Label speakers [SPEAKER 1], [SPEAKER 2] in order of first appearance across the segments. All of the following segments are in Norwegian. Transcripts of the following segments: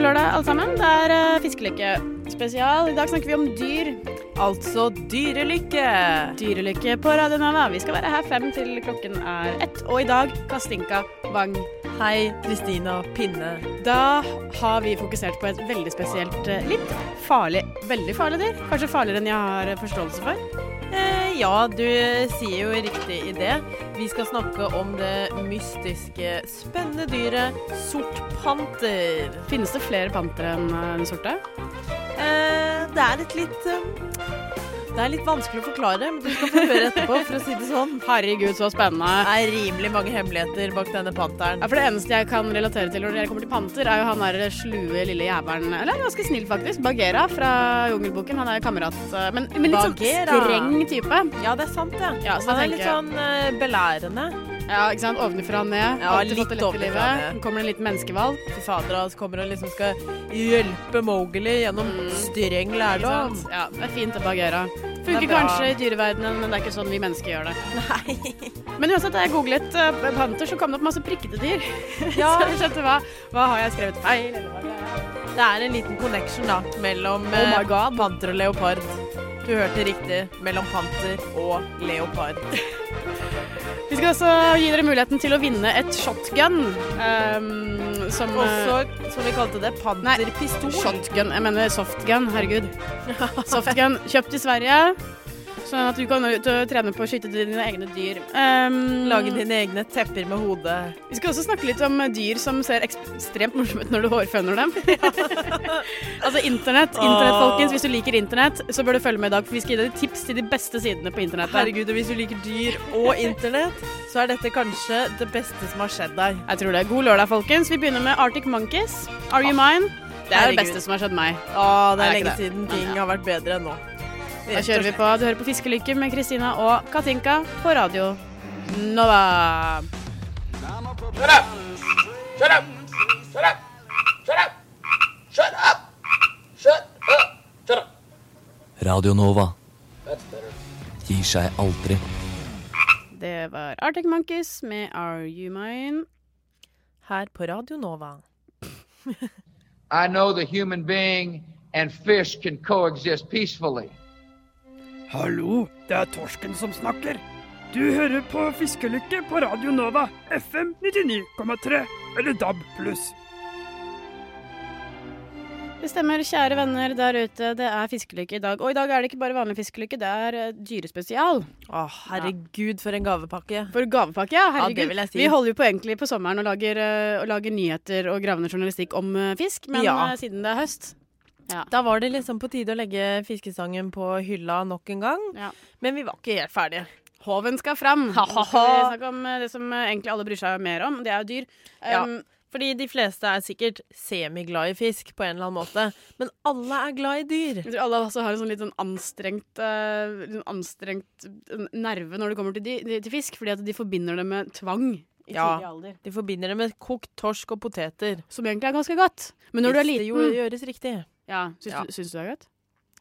[SPEAKER 1] lørdag, alle sammen. Det er uh, fiskelykke spesial. I dag snakker vi om dyr.
[SPEAKER 2] Altså dyrelykke.
[SPEAKER 1] Dyrelykke på Radio Nova. Vi skal være her fem til klokken er ett. Og i dag Kastinka Bang.
[SPEAKER 2] Hei, Kristina Pinne.
[SPEAKER 1] Da har vi fokusert på et veldig spesielt, eh, litt farlig, veldig farlig dyr. Kanskje farligere enn jeg har eh, forståelse for.
[SPEAKER 2] Eh, ja, du sier jo riktig i det. Vi skal snakke om det mystiske, spennende dyret sortpanter.
[SPEAKER 1] Finnes det flere pantere enn eh, den sorte?
[SPEAKER 2] Eh, det er et litt eh, Det er litt vanskelig å forklare, men du skal få høre etterpå, for å si det sånn.
[SPEAKER 1] Herregud, så
[SPEAKER 2] Det
[SPEAKER 1] spennende.
[SPEAKER 2] er rimelig mange hemmeligheter bak denne panteren.
[SPEAKER 1] Ja, for Det eneste jeg kan relatere til når det kommer til panter, er jo han der slue lille jævelen Eller han er ganske snill, faktisk. Bagheera fra Jungelboken. Han er jo kamerat. eh, Men, men litt sånn
[SPEAKER 2] Bagheera.
[SPEAKER 1] streng type.
[SPEAKER 2] Ja, det er sant, det.
[SPEAKER 1] Ja, så
[SPEAKER 2] Han er
[SPEAKER 1] tenker
[SPEAKER 2] litt
[SPEAKER 1] jeg-
[SPEAKER 2] sånn eh, belærende.
[SPEAKER 1] Ja, ikke sant? Ovenfra og ned.
[SPEAKER 2] Ja,
[SPEAKER 1] Alltid fått det
[SPEAKER 2] litt
[SPEAKER 1] lett i
[SPEAKER 2] ovenifra og
[SPEAKER 1] livet.
[SPEAKER 2] ned.
[SPEAKER 1] Kommer det en liten menneskevalp.
[SPEAKER 2] Fy fader, han kommer og liksom skal hjelpe Mowgli gjennom
[SPEAKER 1] Mm.
[SPEAKER 2] streng
[SPEAKER 1] ikke
[SPEAKER 2] lærdom.
[SPEAKER 1] sant? Ja, det er fint å bagere.
[SPEAKER 2] Det er
[SPEAKER 1] Funker
[SPEAKER 2] bra.
[SPEAKER 1] kanskje i dyreverdenen, men det er ikke sånn vi mennesker gjør det.
[SPEAKER 2] Nei.
[SPEAKER 1] Men uansett, da jeg googlet eh, panter, så kom det opp masse prikkete dyr.
[SPEAKER 2] Ja,
[SPEAKER 1] Så jeg skjønte hva, hva har jeg skrevet feil, eller hva er det?
[SPEAKER 2] det er en liten connection da, mellom
[SPEAKER 1] Oh my
[SPEAKER 2] eh, panter og leopard. Du hørte riktig, mellom panter og leopard.
[SPEAKER 1] Vi skal også gi dere muligheten til å vinne et shotgun. ehm, som eh,
[SPEAKER 2] Også, som vi kalte det, panterpistol.
[SPEAKER 1] Shotgun. Jeg mener softgun. Herregud. Softgun kjøpt i Sverige. Sånn at du kan ut og trene på å skyte dine egne dyr. Ehm,
[SPEAKER 2] Lage dine egne tepper med hodet.
[SPEAKER 1] Vi skal også snakke litt om dyr som ser ekstremt morsomme ut når du hårføner dem. altså internett, internett,
[SPEAKER 2] Åh.
[SPEAKER 1] folkens. Hvis du liker internett, så bør du følge med i dag, for vi skal gi deg tips til de beste sidene på internettet.
[SPEAKER 2] Herregud, og hvis du liker dyr og internett, så er dette kanskje det beste som har skjedd deg.
[SPEAKER 1] Jeg tror det. God lørdag, folkens. Vi begynner med Arctic Monkeys. Are you mine? Det er det
[SPEAKER 2] Herregud.
[SPEAKER 1] beste som har skjedd meg.
[SPEAKER 2] Å, det er
[SPEAKER 1] Er det
[SPEAKER 2] lenge
[SPEAKER 1] ikke det?
[SPEAKER 2] siden
[SPEAKER 1] Men
[SPEAKER 2] ting
[SPEAKER 1] ja.
[SPEAKER 2] har vært bedre enn nå.
[SPEAKER 1] Da kjører vi på. Du hører på Fiskelykke med Kristina og Katinka på radio Nova.
[SPEAKER 3] Shut up! Shut up! Shut up! Shut up! Shut up! Shut up! Shut up!
[SPEAKER 4] Radio Nova
[SPEAKER 3] That's better.
[SPEAKER 4] gir seg aldri.
[SPEAKER 1] Det var Arctic Monkeys med Are you mine?
[SPEAKER 2] Her på Radio Nova.
[SPEAKER 5] I know the human being and fish can coexist peacefully.
[SPEAKER 6] Hallo, det er Torsken som snakker. Du hører på Fiskelykke på Radio Nova, FM 99,3 eller DAB+.
[SPEAKER 1] Det stemmer, kjære venner der ute. Det er fiskelykke i dag. Og i dag er det ikke bare vanlig fiskelykke, det er eh, dyrespesial.
[SPEAKER 2] Å, herregud, for en gavepakke.
[SPEAKER 1] For gavepakke, ja. Herregud.
[SPEAKER 2] Ja, det vil jeg si.
[SPEAKER 1] Vi holder jo på egentlig på sommeren og lager, eh, og lager nyheter og gravende journalistikk om eh, fisk, men
[SPEAKER 2] Ja.
[SPEAKER 1] eh, siden det er høst
[SPEAKER 2] Da var det liksom på tide å legge fiskestangen på hylla nok en gang.
[SPEAKER 1] Ja.
[SPEAKER 2] Men vi var ikke helt ferdige.
[SPEAKER 1] Håven skal fram.
[SPEAKER 2] Ha, ha,
[SPEAKER 1] Nå skal vi
[SPEAKER 2] ha.
[SPEAKER 1] snakke om eh, det som eh, egentlig alle bryr seg mer om. Det er jo dyr.
[SPEAKER 2] Ja.
[SPEAKER 1] Um,
[SPEAKER 2] Fordi de fleste er sikkert semiglad i fisk på en eller annen måte. Men alle er glad i dyr.
[SPEAKER 1] Jeg tror alle også har en sånn litt sånn anstrengt, eh, litt sånn anstrengt eh, nerve når det kommer til, de, til fisk, fordi at de forbinder det med tvang i
[SPEAKER 2] Ja.
[SPEAKER 1] tidlig alder.
[SPEAKER 2] De forbinder det med kokt torsk og poteter.
[SPEAKER 1] Som egentlig er ganske godt. Men når du er
[SPEAKER 2] Hvis
[SPEAKER 1] liten
[SPEAKER 2] Det jo gjøres riktig.
[SPEAKER 1] Ja, syns,
[SPEAKER 2] Ja.
[SPEAKER 1] Du, syns du det er godt?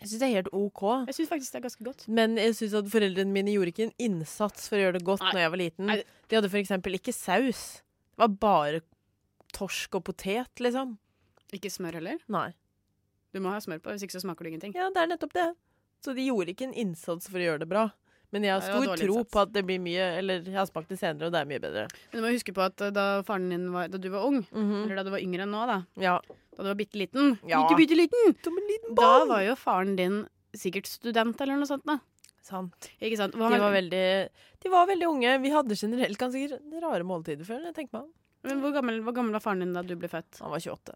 [SPEAKER 2] Jeg syns det er helt OK.
[SPEAKER 1] Jeg syns faktisk det er ganske godt.
[SPEAKER 2] Men jeg syns at foreldrene mine gjorde ikke en innsats for å gjøre det godt
[SPEAKER 1] Nei.
[SPEAKER 2] når jeg var liten.
[SPEAKER 1] Nei.
[SPEAKER 2] De hadde for eksempel ikke saus. Det var bare torsk og potet, liksom.
[SPEAKER 1] Ikke smør heller.
[SPEAKER 2] Nei.
[SPEAKER 1] Du må ha smør på, hvis ikke så smaker det ingenting.
[SPEAKER 2] Ja, det er nettopp det. Så de gjorde ikke en innsats for å gjøre det bra. Men jeg har
[SPEAKER 1] Nei, det var
[SPEAKER 2] stor
[SPEAKER 1] dårlig
[SPEAKER 2] tro
[SPEAKER 1] innsats.
[SPEAKER 2] på at det blir mye Eller jeg har smakt det senere, og det er mye bedre.
[SPEAKER 1] Men du må huske på at eh, da faren din var Da du var ung,
[SPEAKER 2] Mhm.
[SPEAKER 1] eller da du var yngre enn nå, da
[SPEAKER 2] Ja.
[SPEAKER 1] Da du var bitte liten,
[SPEAKER 2] Ja.
[SPEAKER 1] bitte, bitte liten
[SPEAKER 2] Som en liten
[SPEAKER 1] da var jo faren din sikkert student eller noe sånt. Da.
[SPEAKER 2] Sant.
[SPEAKER 1] Ikke sant?
[SPEAKER 2] De
[SPEAKER 1] Hva-
[SPEAKER 2] var veldig, de var veldig unge. Vi hadde generelt ganske rare måltider før. Jeg tenker meg. om.
[SPEAKER 1] men hvor, gammel, hvor gammel var faren din da du ble født?
[SPEAKER 2] Han var 28.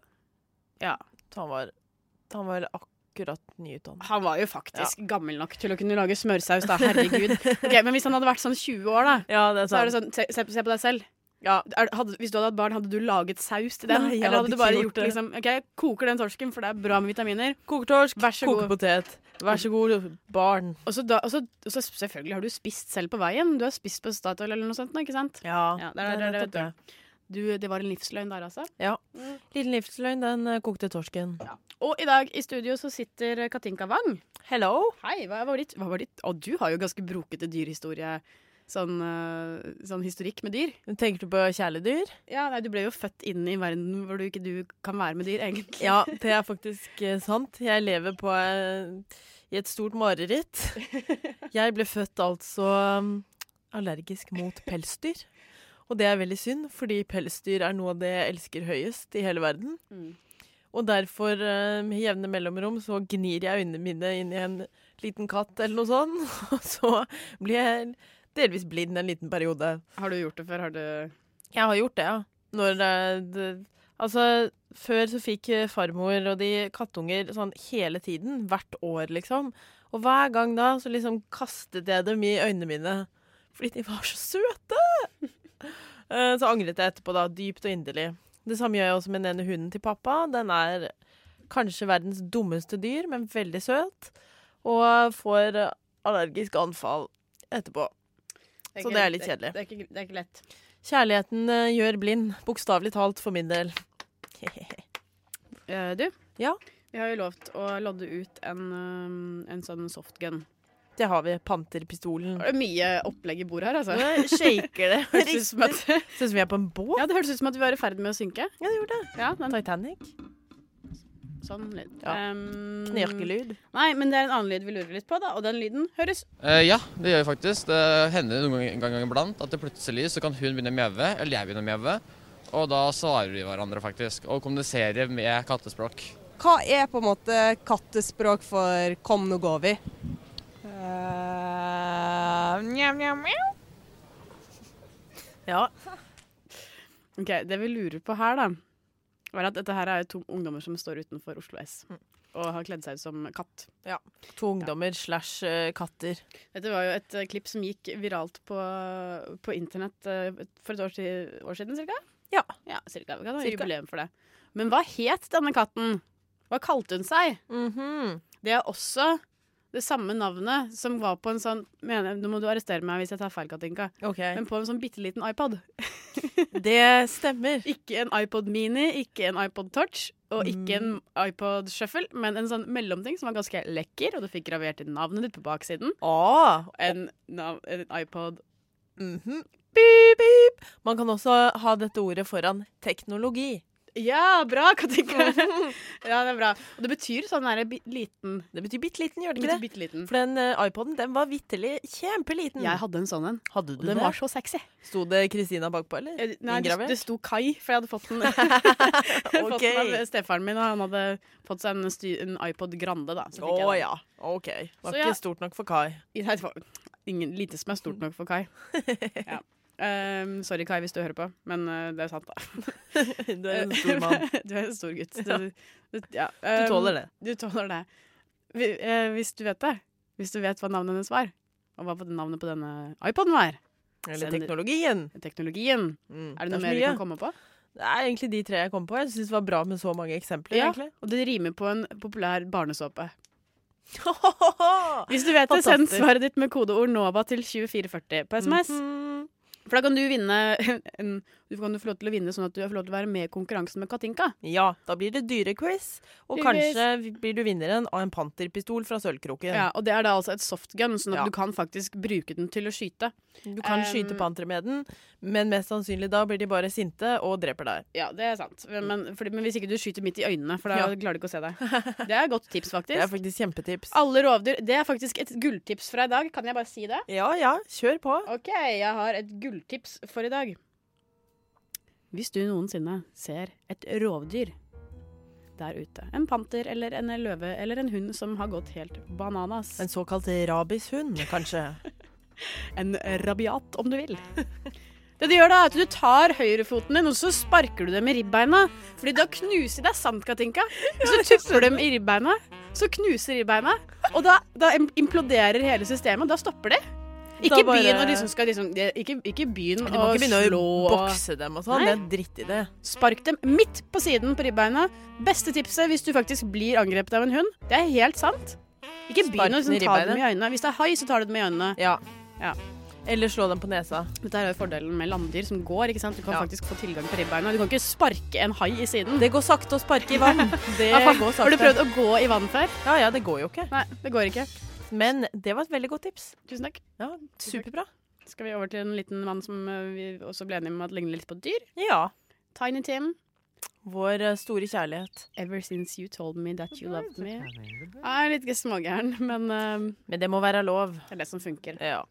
[SPEAKER 1] Ja.
[SPEAKER 2] Så han var, han var akkurat nyutdannet.
[SPEAKER 1] Han var jo faktisk gammel nok til å kunne lage smørsaus, da. Herregud. Ok, men hvis han hadde vært sånn 20 år, da,
[SPEAKER 2] Ja, det er
[SPEAKER 1] så er
[SPEAKER 2] sant.
[SPEAKER 1] det sånn Se, se, på- se på deg selv. Er, hadde, hvis du hadde hatt barn, hadde du laget saus til den?
[SPEAKER 2] Nei, jeg
[SPEAKER 1] eller hadde
[SPEAKER 2] hadde
[SPEAKER 1] du bare
[SPEAKER 2] ikke
[SPEAKER 1] gjort
[SPEAKER 2] gjort det.
[SPEAKER 1] liksom OK, jeg koker den torsken, for det er bra med vitaminer.
[SPEAKER 2] Koketorsk,
[SPEAKER 1] Vær så god.
[SPEAKER 2] sånn, kokepotet. Vær så god, barn.
[SPEAKER 1] Og så, da, og, så, og så selvfølgelig har du spist selv på veien. Du har spist på Statoil eller noe sånt, nå, ikke sant?
[SPEAKER 2] Ja,
[SPEAKER 1] Ja, det er- det er- det er-
[SPEAKER 2] nettopp det.
[SPEAKER 1] Du, det var en livsløgn der, altså.
[SPEAKER 2] Ja. Liten livsløgn, den eh, kokte torsken.
[SPEAKER 1] Og i dag i studio så sitter Katinka Wang.
[SPEAKER 2] Hello!
[SPEAKER 1] Hei, hva var ditt? Hva var ditt? Å, du har jo ganske brokete dyrhistorie sånn, eh, sånn historikk med dyr.
[SPEAKER 2] Tenker du på kjæledyr?
[SPEAKER 1] Ja, nei, Du ble jo født inn i en verden hvor du ikke du kan være med dyr, egentlig.
[SPEAKER 2] Ja, det er faktisk eh, sant. Jeg lever på eh, i et stort mareritt. Jeg ble født altså mm, allergisk mot pelsdyr. Og det er veldig synd, fordi pelsdyr er noe av det jeg elsker høyest i hele verden.
[SPEAKER 1] Mm.
[SPEAKER 2] Og derfor, eh, med jevne mellomrom, så gnir jeg øynene mine inn i en liten katt eller noe sånt. Og så blir jeg delvis blind en liten periode.
[SPEAKER 1] Har du gjort det før? Har du
[SPEAKER 2] Jeg har gjort det, ja. Når eh, det, altså, før så fikk eh, farmor og de kattunger sånn hele tiden, hvert år, liksom. Og hver gang da så liksom kastet jeg dem i øynene mine. Fordi de var så søte! Eh, så angret jeg etterpå, da. Dypt og inderlig. Det samme gjør jeg også med den ene hunden til pappa. Den er kanskje verdens dummeste dyr, men veldig søt. Og får eh, allergisk anfall etterpå. Så det er litt kjedelig.
[SPEAKER 1] Det er ikke, det er ikke lett.
[SPEAKER 2] Kjærligheten eh, gjør blind, bokstavelig talt for min del.
[SPEAKER 1] Eh, du,
[SPEAKER 2] Ja.
[SPEAKER 1] vi har jo lovt å lodde ut en, eh, en sånn softgun.
[SPEAKER 2] Det har vi, panterpistolen.
[SPEAKER 1] Det er mye opplegg i bordet her, altså.
[SPEAKER 2] Nå shaker det.
[SPEAKER 1] Hørtes ut som at,
[SPEAKER 2] Ser ut som vi er på en båt.
[SPEAKER 1] ja, det hørtes ut som at vi var i ferd med å synke.
[SPEAKER 2] Ja, det gjorde det. Mm.
[SPEAKER 1] Ja, den,
[SPEAKER 2] Titanic.
[SPEAKER 1] sånn lyd.
[SPEAKER 2] Ja.
[SPEAKER 1] Ehm,
[SPEAKER 2] Knirkelyd.
[SPEAKER 1] Nei, men det er en annen lyd vi lurer litt på, da, og den lyden høres
[SPEAKER 7] Eh, ja, det gjør vi faktisk. Det hender noen ganger, ganger iblant at det plutselig så kan hun begynne å mjaue, eller jeg begynner å mjaue. Og da svarer vi hverandre faktisk, og kommuniserer med kattespråk.
[SPEAKER 8] Hva er på en måte kattespråk for 'kom, nå går vi'?
[SPEAKER 2] Ja.
[SPEAKER 1] Ok, Det vi lurer på her, da, var at dette her er jo to ungdommer som står utenfor Oslo S og har kledd seg ut som katt.
[SPEAKER 2] To ungdommer slash eh, katter.
[SPEAKER 1] Dette var jo et eh, klipp som gikk viralt på, på internett eh, for et år, si- år siden, cirka?
[SPEAKER 2] Ja.
[SPEAKER 1] ja cirka. Vi kan ha
[SPEAKER 2] Cirka.
[SPEAKER 1] jubileum for det. Men hva het denne katten? Hva kalte hun seg?
[SPEAKER 2] Mhm.
[SPEAKER 1] Det er også det samme navnet som var på en sånn mener, Nå må du arrestere meg hvis jeg tar feil, Katinka.
[SPEAKER 2] OK.
[SPEAKER 1] Men på en sånn bitte liten iPod.
[SPEAKER 2] Det stemmer.
[SPEAKER 1] Ikke en iPod Mini, ikke en iPod Touch og
[SPEAKER 2] Mm.
[SPEAKER 1] ikke en iPod Shuffle, men en sånn mellomting som var ganske lekker, og du fikk gravert inn navnet ditt på baksiden.
[SPEAKER 2] Ah.
[SPEAKER 1] En, nav en iPod
[SPEAKER 2] mhm. Pip, pip. Man kan også ha dette ordet foran teknologi.
[SPEAKER 1] Ja, bra, Katinka! ja, det er bra. Og det betyr sånn derre bi- liten.
[SPEAKER 2] Det betyr bitte liten, gjør det
[SPEAKER 1] Bitte,
[SPEAKER 2] ikke det?
[SPEAKER 1] bitte liten.
[SPEAKER 2] For den eh, iPoden den var vitterlig kjempeliten.
[SPEAKER 1] Jeg hadde en sånn en,
[SPEAKER 2] Hadde Eh,
[SPEAKER 1] og den var så sexy.
[SPEAKER 2] Sto det Kristina bakpå, eller?
[SPEAKER 1] Eh, Nei, det,
[SPEAKER 2] Inngravert?
[SPEAKER 1] det sto Kai, for jeg hadde fått den, fått
[SPEAKER 2] Ok.
[SPEAKER 1] den av stefaren min. Og han hadde fått seg en, sty- en iPod Grande, da. Så
[SPEAKER 2] Å
[SPEAKER 1] fikk jeg den.
[SPEAKER 2] ja, OK. Det var
[SPEAKER 1] Så
[SPEAKER 2] ikke
[SPEAKER 1] ja.
[SPEAKER 2] stort nok for Kai.
[SPEAKER 1] I- Nei, det var ingen, lite som er stort nok for Kai. Ja. Ehm, sorry, Kai, hvis du hører på, men eh, det er sant, da.
[SPEAKER 2] Du er en
[SPEAKER 1] Eh,
[SPEAKER 2] stor mann.
[SPEAKER 1] du er en stor gutt. Du, du, ja.
[SPEAKER 2] Du
[SPEAKER 1] Ehm,
[SPEAKER 2] tåler det.
[SPEAKER 1] Du tåler det. Vi- eh, hvis du vet det, hvis du vet hva navnet hennes var, og hva på- navnet på denne iPoden var,
[SPEAKER 2] Eller teknologien.
[SPEAKER 1] teknologien,
[SPEAKER 2] Mm.
[SPEAKER 1] er det
[SPEAKER 2] så
[SPEAKER 1] noe mer du
[SPEAKER 2] mye.
[SPEAKER 1] kan komme på?
[SPEAKER 2] Det er egentlig de tre jeg kom på. Jeg syns det var bra med så mange eksempler,
[SPEAKER 1] Ja.
[SPEAKER 2] egentlig.
[SPEAKER 1] Og det rimer på en populær barnesåpe.
[SPEAKER 2] Mhm.
[SPEAKER 1] Hvis du vet det, send
[SPEAKER 2] Fantastisk. Mhm.
[SPEAKER 1] svaret ditt med kodeord NOVA til 2440 på SMS. For da kan du vinne en, Du kan jo få lov til å vinne sånn at du får lov til å være med i konkurransen med Katinka.
[SPEAKER 2] Ja, da blir det dyrequiz. Og
[SPEAKER 1] Dyrequiz.
[SPEAKER 2] kanskje vi- blir du vinneren av en panterpistol fra Sølvkroken.
[SPEAKER 1] Ja, og det er da altså et softgun, sånn at
[SPEAKER 2] Ja.
[SPEAKER 1] du kan faktisk bruke den til å skyte.
[SPEAKER 2] Du kan
[SPEAKER 1] Um,
[SPEAKER 2] skyte pantere med den, men mest sannsynlig da blir de bare sinte og dreper deg.
[SPEAKER 1] Ja, det er sant. Men, fordi, men hvis ikke du skyter midt i øynene, for da
[SPEAKER 2] Ja.
[SPEAKER 1] klarer du ikke å se deg. Det er et godt tips, faktisk.
[SPEAKER 2] Det er faktisk kjempetips.
[SPEAKER 1] Alle rovdyr. Det er faktisk et gulltips fra i dag. Kan jeg bare si det?
[SPEAKER 2] Ja ja, kjør på.
[SPEAKER 1] OK, jeg har et gulltips for i dag. Hvis du noensinne ser et rovdyr der ute, en panter eller en løve eller en hund som har gått helt bananas
[SPEAKER 2] En såkalt rabishund, kanskje.
[SPEAKER 1] en rabiat, om du vil. Det du gjør da, er at du tar høyrefoten din, og så sparker du dem i ribbeina. Fordi da knuser det er sant, Katinka. Så tupper dem i ribbeina, så knuser ribbeina, og da, da im- imploderer hele systemet. Da stopper de.
[SPEAKER 2] Da
[SPEAKER 1] Ikke
[SPEAKER 2] bare-
[SPEAKER 1] begynn å liksom skal liksom det- Ikke, ikke begynn
[SPEAKER 2] Du må
[SPEAKER 1] å
[SPEAKER 2] ikke begynne
[SPEAKER 1] slå
[SPEAKER 2] å
[SPEAKER 1] og
[SPEAKER 2] bokse dem og sånn. Det er dritt i det.
[SPEAKER 1] Spark dem midt på siden på ribbeina. Beste tipset hvis du faktisk blir angrepet av en hund. Det er helt sant. Ikke
[SPEAKER 2] Spark
[SPEAKER 1] begynn å
[SPEAKER 2] den i
[SPEAKER 1] liksom, ta dem i
[SPEAKER 2] ribbeina.
[SPEAKER 1] øynene. Hvis det er hai, så tar du dem i øynene.
[SPEAKER 2] Ja.
[SPEAKER 1] Ja.
[SPEAKER 2] Eller slå dem på nesa.
[SPEAKER 1] Dette er jo fordelen med landdyr som går. ikke sant? Du kan
[SPEAKER 2] Ja.
[SPEAKER 1] faktisk få tilgang på ribbeina. Du kan ikke sparke en hai i siden.
[SPEAKER 2] Det går sakte å sparke i vann. Det
[SPEAKER 1] Ja, faen,
[SPEAKER 2] går
[SPEAKER 1] Har
[SPEAKER 2] sakte.
[SPEAKER 1] du prøvd å gå i vann før?
[SPEAKER 2] Ja, ja, det går jo ikke.
[SPEAKER 1] Nei, det går ikke.
[SPEAKER 2] Men det var et veldig godt tips.
[SPEAKER 1] Tusen takk.
[SPEAKER 2] Ja, Superbra.
[SPEAKER 1] Skal vi over til en liten mann som eh, vi også ble enige om at ligner litt på et dyr?
[SPEAKER 2] Ja.
[SPEAKER 1] Tiny Tim.
[SPEAKER 2] Vår eh, store kjærlighet.
[SPEAKER 1] Ever since you told me that you loved me. Jeg er litt smågæren, men eh,
[SPEAKER 2] Men det må være lov.
[SPEAKER 1] det er det som funker.
[SPEAKER 2] Ja.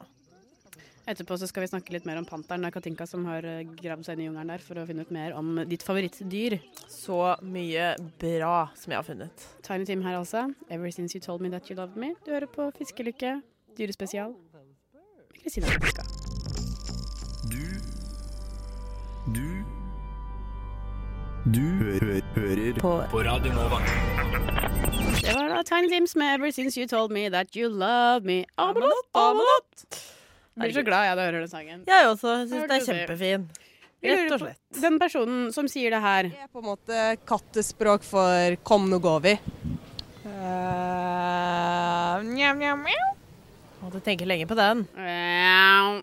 [SPEAKER 1] Etterpå så skal vi snakke litt mer om panteren. Det er Katinka som har eh, gravd seg inn i jungelen der for å finne ut mer om ditt favorittdyr.
[SPEAKER 2] Så mye bra som jeg har funnet.
[SPEAKER 1] Tiny Tim her altså. Ever since you told me that you loved me. Du hører på Fiskelykke, dyrespesial. med Kristina Katinka.
[SPEAKER 9] Du Du Du hø hø hører på. Radio Nova.
[SPEAKER 1] Det var da Tiny Tims med Ever since you told me that you loved me. Amelott, amelott! Jeg blir så glad jeg da hører den sangen.
[SPEAKER 2] Jeg også. Jeg
[SPEAKER 1] Hørte
[SPEAKER 2] syns det
[SPEAKER 1] du
[SPEAKER 2] er
[SPEAKER 1] det?
[SPEAKER 2] kjempefin.
[SPEAKER 1] Vi lurer
[SPEAKER 2] Rett og
[SPEAKER 1] på-
[SPEAKER 2] slett.
[SPEAKER 1] Den personen som sier det her,
[SPEAKER 8] Det er på en måte kattespråk for kom, nå går vi. Uh, mjau, mjau, mjau.
[SPEAKER 2] Måtte tenke lenge på den.
[SPEAKER 1] Mjau.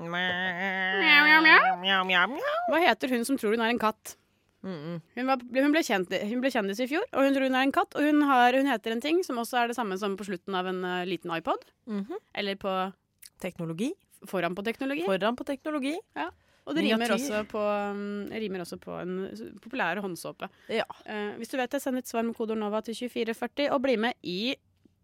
[SPEAKER 1] mjau, mjau.
[SPEAKER 2] Mjau, mjau, mjau.
[SPEAKER 1] Hva heter hun som tror hun er en katt? Hun, var, hun, ble kjent, hun ble kjendis i fjor, og hun tror hun er en katt. Og hun, har, hun heter en ting som også er det samme som på slutten av en eh, liten iPod.
[SPEAKER 2] Mhm.
[SPEAKER 1] Eller på,
[SPEAKER 2] Teknologi.
[SPEAKER 1] Mm-hmm. foran på teknologi.
[SPEAKER 2] Foran på teknologi.
[SPEAKER 1] og det rimer
[SPEAKER 2] miniatyr.
[SPEAKER 1] også, på, um, rimer også på en s- populær håndsåpe.
[SPEAKER 2] Ja.
[SPEAKER 1] Eh, hvis du vet det, send et svar med kodeord NOVA til 2440, og bli med i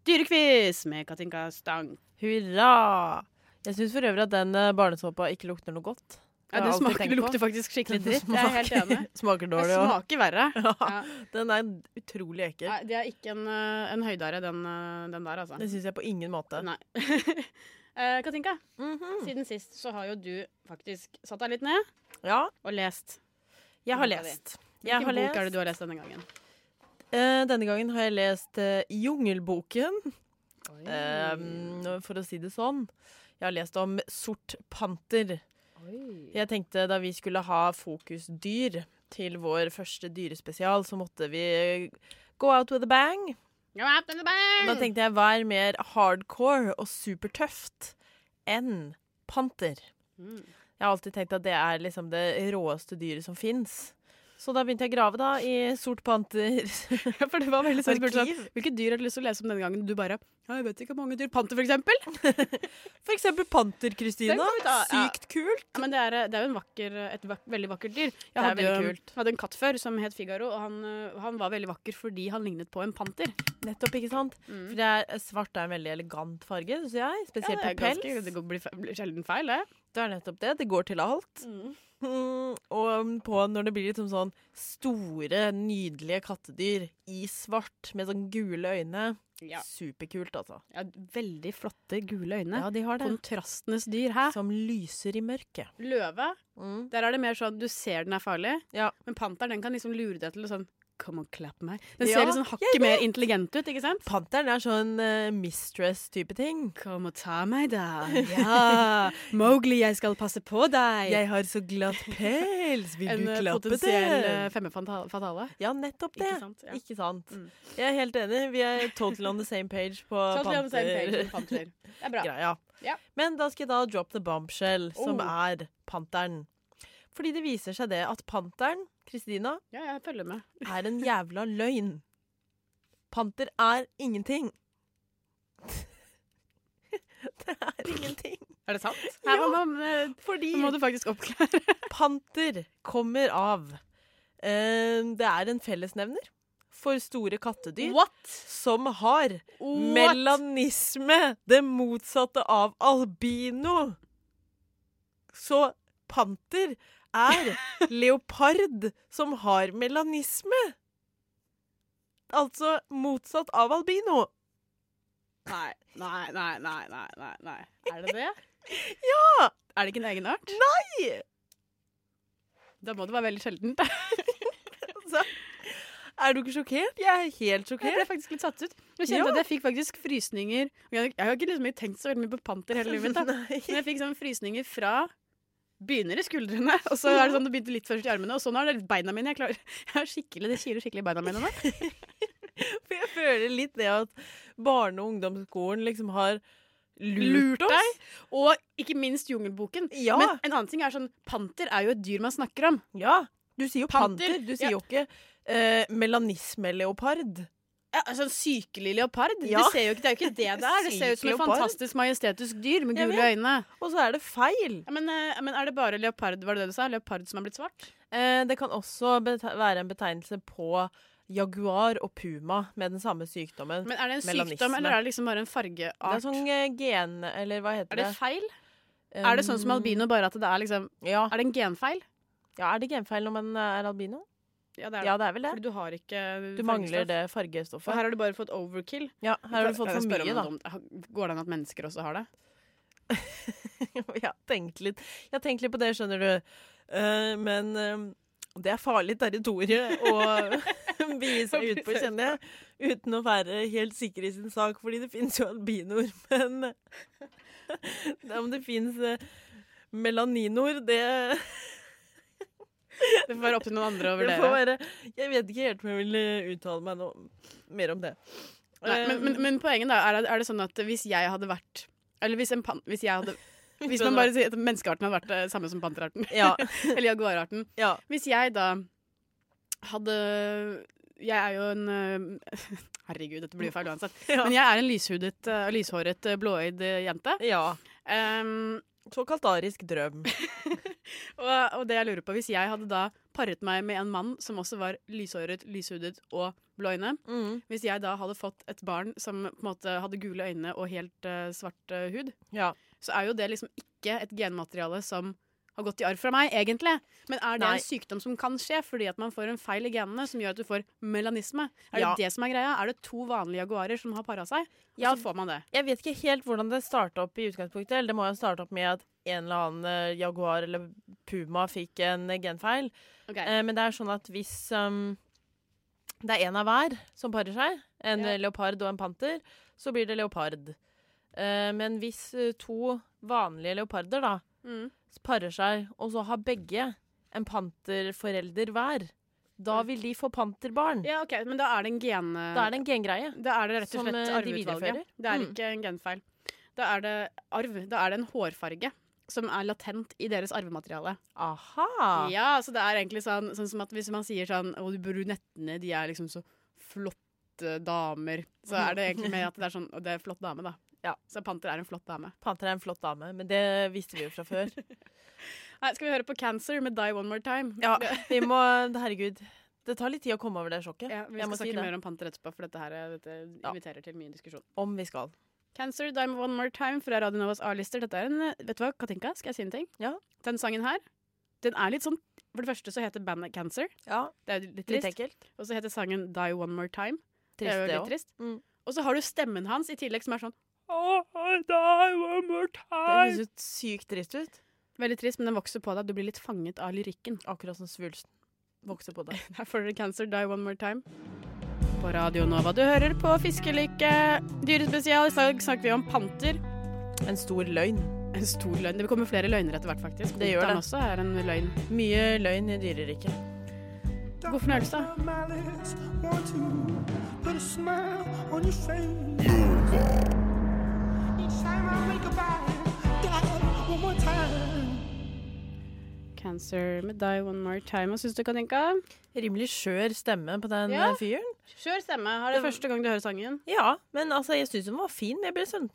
[SPEAKER 1] Dyrekviz med Katinka Stang.
[SPEAKER 2] Hurra! Jeg syns for øvrig at den eh, barnesåpa ikke lukter noe godt.
[SPEAKER 1] Ja,
[SPEAKER 2] Jeg
[SPEAKER 1] det
[SPEAKER 2] har alltid
[SPEAKER 1] smaker,
[SPEAKER 2] tenkt
[SPEAKER 1] det
[SPEAKER 2] på.
[SPEAKER 1] lukter faktisk skikkelig
[SPEAKER 2] Den
[SPEAKER 1] dritt. Jeg er helt
[SPEAKER 2] smaker-
[SPEAKER 1] enig.
[SPEAKER 2] Smaker
[SPEAKER 1] Det
[SPEAKER 2] dårlig òg.
[SPEAKER 1] smaker verre.
[SPEAKER 2] Ja.
[SPEAKER 1] Ja.
[SPEAKER 2] Den er utrolig ekkel.
[SPEAKER 1] Nei, det er ikke en, eh, en høydare, den, eh, den der, altså.
[SPEAKER 2] Det syns jeg på ingen måte.
[SPEAKER 1] Nei. Eh, Katinka,
[SPEAKER 2] Mhm.
[SPEAKER 1] siden sist så har jo du faktisk satt deg litt ned
[SPEAKER 2] Ja,
[SPEAKER 1] og lest.
[SPEAKER 2] jeg har
[SPEAKER 1] Boka di.
[SPEAKER 2] lest. Jeg
[SPEAKER 1] Hvilken bok
[SPEAKER 2] har lest.
[SPEAKER 1] er det du har lest denne gangen?
[SPEAKER 2] Eh, denne gangen har jeg lest eh, Jungelboken, eh, for å si det sånn. Jeg har lest om sort panter. Jeg tenkte da vi skulle ha fokusdyr til vår første dyrespesial, så måtte vi go out with a bang.
[SPEAKER 1] Go out in the bang!
[SPEAKER 2] Og da tenkte jeg hva er mer hardcore og supertøft enn panter?
[SPEAKER 1] Mm.
[SPEAKER 2] Jeg har alltid tenkt at det er liksom det råeste dyret som fins. Så da begynte jeg å grave da i sort panter.
[SPEAKER 1] Ja, For det var veldig sånn jeg spurte sånn,
[SPEAKER 2] Arkiv.
[SPEAKER 1] Hvilke dyr har du lyst til å lese om denne gangen? Du bare ja, 'Jeg vet ikke hvor mange dyr'. Panter, for eksempel.
[SPEAKER 2] For eksempel panter,
[SPEAKER 1] Den
[SPEAKER 2] Kristina.
[SPEAKER 1] kan vi ta, ja.
[SPEAKER 2] Sykt kult.
[SPEAKER 1] Ja, men det er, det er jo en vakker, et vak veldig vakkert dyr. Jeg
[SPEAKER 2] er
[SPEAKER 1] hadde,
[SPEAKER 2] veldig
[SPEAKER 1] jo-
[SPEAKER 2] kult.
[SPEAKER 1] jeg hadde en katt før som het Figaro, og han, øh, han var veldig vakker fordi han lignet på en panter.
[SPEAKER 2] Nettopp, ikke sant?
[SPEAKER 1] Mm.
[SPEAKER 2] For det er, svart er en veldig elegant farge, syns jeg. Spesielt
[SPEAKER 1] det,
[SPEAKER 2] på pels.
[SPEAKER 1] ganske- det går- blir, fe- blir sjelden feil, det.
[SPEAKER 2] Det er nettopp det. Det går til alt. Mm, og på når det blir liksom sånn store, nydelige kattedyr i svart med sånn gule øyne.
[SPEAKER 1] Ja.
[SPEAKER 2] Superkult, altså.
[SPEAKER 1] Ja, veldig flotte gule øyne.
[SPEAKER 2] Ja, de har det.
[SPEAKER 1] Kontrastenes dyr, hæ?
[SPEAKER 2] Som lyser i mørket.
[SPEAKER 1] Løve,
[SPEAKER 2] Mm.
[SPEAKER 1] der er det mer sånn du ser den er farlig,
[SPEAKER 2] Ja.
[SPEAKER 1] men panteren den kan liksom lure deg til å sånn Come and clap meg. Den ser
[SPEAKER 2] Ja,
[SPEAKER 1] liksom hakket mer intelligent ut, ikke sant?
[SPEAKER 2] Panteren er sånn eh, mistress-type ting.
[SPEAKER 1] Kom og ta meg, da. Ja. Mowgli, jeg skal passe på deg.
[SPEAKER 2] Jeg har så glatt pels, vil
[SPEAKER 1] en
[SPEAKER 2] du
[SPEAKER 1] eh,
[SPEAKER 2] klappe
[SPEAKER 1] potensiell
[SPEAKER 2] den?
[SPEAKER 1] eh, femme fanta- fatale.
[SPEAKER 2] Ja, nettopp det.
[SPEAKER 1] Ikke sant? Ja.
[SPEAKER 2] Ikke sant.
[SPEAKER 1] Mm.
[SPEAKER 2] Jeg er helt enig. Vi er totally on the same page på
[SPEAKER 1] Totally on the same page Sånn
[SPEAKER 2] panter-
[SPEAKER 1] som panter. Det er bra.
[SPEAKER 2] greia.
[SPEAKER 1] Ja.
[SPEAKER 2] Men da skal jeg da drop the bombshell, som
[SPEAKER 1] Oh.
[SPEAKER 2] er panteren. Fordi det viser seg det at panteren, Kristina,
[SPEAKER 1] Ja, jeg følger med.
[SPEAKER 2] er en jævla løgn. Panter er ingenting. Det er ingenting.
[SPEAKER 1] Er det sant? Her må, man, eh,
[SPEAKER 2] Fordi
[SPEAKER 1] må du faktisk oppklare.
[SPEAKER 2] Panter kommer av eh, Det er en fellesnevner for store kattedyr
[SPEAKER 1] What?
[SPEAKER 2] som har
[SPEAKER 1] What?
[SPEAKER 2] melanisme, det motsatte av albino. Så panter er leopard som har melanisme. Altså motsatt av albino.
[SPEAKER 1] Nei, nei, nei, nei, nei, nei, nei. Er det det?
[SPEAKER 2] Ja!
[SPEAKER 1] Er det ikke en egen art?
[SPEAKER 2] Nei!
[SPEAKER 1] Da må det være veldig sjeldent.
[SPEAKER 2] Altså, er du ikke sjokkert? Jeg er helt
[SPEAKER 1] Jeg ble
[SPEAKER 2] sjokkert.
[SPEAKER 1] faktisk litt satt ut. Nå kjente jeg at jeg fikk faktisk frysninger. Jeg har ikke liksom tenkt så veldig mye på panter hele livet mitt. Da.
[SPEAKER 2] Nei.
[SPEAKER 1] Men jeg fikk sånn frysninger fra begynner i skuldrene, og så er det sånn det begynte litt først i armene, og så nå er det beina mine. Jeg, klarer, jeg har skikkelig, Det kiler skikkelig i beina mine nå.
[SPEAKER 2] For jeg føler litt det at barne- og ungdomsskolen liksom har lurt,
[SPEAKER 1] Lurt
[SPEAKER 2] oss.
[SPEAKER 1] deg? Og ikke minst Jungelboken.
[SPEAKER 2] Ja.
[SPEAKER 1] Men en annen ting er sånn Panter er jo et dyr man snakker om.
[SPEAKER 2] Ja. Du sier jo panter.
[SPEAKER 1] Panter,
[SPEAKER 2] Du
[SPEAKER 1] ja.
[SPEAKER 2] sier jo ikke eh, melanismeleopard.
[SPEAKER 1] Ja, altså En sykelig leopard?
[SPEAKER 2] Ja.
[SPEAKER 1] Det, ser jo ikke, det er jo ikke det det er. Det ser ut som et
[SPEAKER 2] Syk leopard.
[SPEAKER 1] fantastisk majestetisk dyr med
[SPEAKER 2] Jeg
[SPEAKER 1] gule
[SPEAKER 2] vet.
[SPEAKER 1] øyne.
[SPEAKER 2] Og så er det feil.
[SPEAKER 1] Ja, men, eh, men er det bare leopard var det det du sa? Leopard som er blitt svart?
[SPEAKER 2] Eh, det kan også bete- være en betegnelse på jaguar og puma med den samme sykdommen.
[SPEAKER 1] Men Er det en
[SPEAKER 2] Melanisme.
[SPEAKER 1] sykdom, eller er det liksom bare en fargeart?
[SPEAKER 2] det er sånn eh, gen... Eller hva heter
[SPEAKER 1] er det
[SPEAKER 2] det? Um,
[SPEAKER 1] feil? Er det sånn som albino, bare at det er liksom
[SPEAKER 2] Ja.
[SPEAKER 1] Er det en genfeil?
[SPEAKER 2] ja. Er det genfeil når man eh, er albino?
[SPEAKER 1] Ja, det er det.
[SPEAKER 2] Ja, det er vel det.
[SPEAKER 1] Fordi du har ikke eh,
[SPEAKER 2] Du mangler
[SPEAKER 1] fargestoff.
[SPEAKER 2] det
[SPEAKER 1] Og
[SPEAKER 2] fargestoffet.
[SPEAKER 1] her har du bare fått overkill.
[SPEAKER 2] Ja, her har du fått
[SPEAKER 1] Kan jeg
[SPEAKER 2] for
[SPEAKER 1] spørre
[SPEAKER 2] mye,
[SPEAKER 1] om
[SPEAKER 2] da.
[SPEAKER 1] noe dumt? Går det an at mennesker også har det?
[SPEAKER 2] Jeg har tenkt litt, jeg har tenkt litt på det, skjønner du. Eh, men eh, det er farlig territorium å begi seg ut på, kjenner jeg. Uten å være helt sikker i sin sak, fordi det fins jo albinoer. Men det er om det fins melaninoer, det,
[SPEAKER 1] Det får være opp til noen andre å
[SPEAKER 2] det
[SPEAKER 1] vurdere.
[SPEAKER 2] får være Jeg vet ikke helt om jeg vil eh, uttale meg noe mer om det. Eh,
[SPEAKER 1] Nei, Eh, men, men, men poenget da, er, er det sånn at hvis jeg hadde vært Eller hvis en pan... Hvis jeg hadde Hvis man bare sier at menneskearten hadde vært det samme som panterarten.
[SPEAKER 2] Ja.
[SPEAKER 1] eller jaguararten.
[SPEAKER 2] ja.
[SPEAKER 1] Hvis jeg da hadde Jeg er jo en øh, Herregud, dette blir jo feil uansett.
[SPEAKER 2] Ja.
[SPEAKER 1] Men jeg er en lyshudet, øh, lyshåret, øh, blåøyd øh, jente.
[SPEAKER 2] ja.
[SPEAKER 1] Ehm,
[SPEAKER 2] Såkalt arisk drøm.
[SPEAKER 1] og, og det jeg lurer på, hvis jeg hadde da paret meg med en mann som også var lyshåret, lyshudet og blå øyne,
[SPEAKER 2] Mm.
[SPEAKER 1] hvis jeg da hadde fått et barn som på en måte hadde gule øyne og helt øh, svart øh, hud,
[SPEAKER 2] Ja.
[SPEAKER 1] så er jo det liksom ikke et genmateriale som har gått i arv fra meg, egentlig. Men er det
[SPEAKER 2] Nei.
[SPEAKER 1] en sykdom som kan skje fordi at man får en feil i genene som gjør at du får melanisme? Er
[SPEAKER 2] Ja.
[SPEAKER 1] det det som er greia? Er det to vanlige jaguarer som har para seg, og
[SPEAKER 2] Ja.
[SPEAKER 1] så får man det?
[SPEAKER 2] Jeg vet ikke helt hvordan det starta opp i utgangspunktet. Eller det må jo ha starta opp med at en eller annen eh, jaguar eller puma fikk en eh, genfeil.
[SPEAKER 1] Ok.
[SPEAKER 2] Eh, men det er sånn at hvis um, det er én av hver som parer seg, en
[SPEAKER 1] Ja.
[SPEAKER 2] eh, leopard og en panter, så blir det leopard. Eh, men hvis eh, to vanlige leoparder da
[SPEAKER 1] Mm.
[SPEAKER 2] parer seg, og så har begge en panterforelder hver, da vil de få panterbarn.
[SPEAKER 1] Mm. Ja, ok, Men da er det en gen...
[SPEAKER 2] Da er det en gengreie.
[SPEAKER 1] da er det rett og
[SPEAKER 2] som,
[SPEAKER 1] slett
[SPEAKER 2] eh, de viderefører.
[SPEAKER 1] arveutvalget. Det er
[SPEAKER 2] Mm.
[SPEAKER 1] ikke en genfeil. Da er det arv. Da er det en hårfarge som er latent i deres arvemateriale.
[SPEAKER 2] Aha!
[SPEAKER 1] Ja, så det er egentlig sånn, sånn som at hvis man sier sånn Å, de brunettene, de er liksom så flotte damer. Så er det egentlig mer at det er sånn «Å, Det er flott dame, da.
[SPEAKER 2] Ja.
[SPEAKER 1] Så panter er en flott dame.
[SPEAKER 2] Panter er en flott dame, men det visste vi jo fra før.
[SPEAKER 1] Nei, skal vi høre på Cancer med Die One More Time?
[SPEAKER 2] Ja, vi må Herregud. Det tar litt tid å komme over det sjokket.
[SPEAKER 1] Ja, vi
[SPEAKER 2] jeg
[SPEAKER 1] skal
[SPEAKER 2] må si
[SPEAKER 1] snakke
[SPEAKER 2] det.
[SPEAKER 1] mer om panter etterpå, for dette her er- dette
[SPEAKER 2] Ja.
[SPEAKER 1] inviterer til mye diskusjon.
[SPEAKER 2] Om vi skal.
[SPEAKER 1] Cancer, Die One More Time fra Radio Novas A-lister. Dette er en eh, Vet du hva, Katinka, skal jeg si en ting?
[SPEAKER 2] Ja.
[SPEAKER 1] Den sangen her, den er litt sånn For det første så heter bandet Cancer.
[SPEAKER 2] Ja,
[SPEAKER 1] Det er jo litt
[SPEAKER 2] Litt
[SPEAKER 1] trist.
[SPEAKER 2] ekkelt.
[SPEAKER 1] Og så heter sangen Die One More Time. Det
[SPEAKER 2] Trist,
[SPEAKER 1] er
[SPEAKER 2] det
[SPEAKER 1] jo litt
[SPEAKER 2] òg.
[SPEAKER 1] trist.
[SPEAKER 2] Mm.
[SPEAKER 1] Og så har du stemmen hans i tillegg, som er sånn
[SPEAKER 2] Det høres ut sykt trist ut.
[SPEAKER 1] Veldig trist, men den vokser på deg. Du blir litt fanget av lyrikken.
[SPEAKER 2] Akkurat som svulsten vokser på deg.
[SPEAKER 1] Her får dere Cancer Die One More Time. På Radio Nova. Du hører på Fiskelykke dyrespesial. I dag snakker vi om panter.
[SPEAKER 2] En stor løgn.
[SPEAKER 1] En stor løgn. Det kommer flere løgner etter hvert, faktisk.
[SPEAKER 2] Det gjør
[SPEAKER 1] Otan
[SPEAKER 2] det.
[SPEAKER 1] også er en løgn.
[SPEAKER 2] Mye løgn i dyreriket.
[SPEAKER 1] God fornøyelse. Cancer med Die One More Time. Hva syns du, Katinka?
[SPEAKER 2] Rimelig skjør stemme på den
[SPEAKER 1] Ja.
[SPEAKER 2] eh, fyren.
[SPEAKER 1] Skjør stemme. Har det første gang du hører sangen.
[SPEAKER 2] Ja, men altså, jeg syns den var fin. men Jeg ble sånn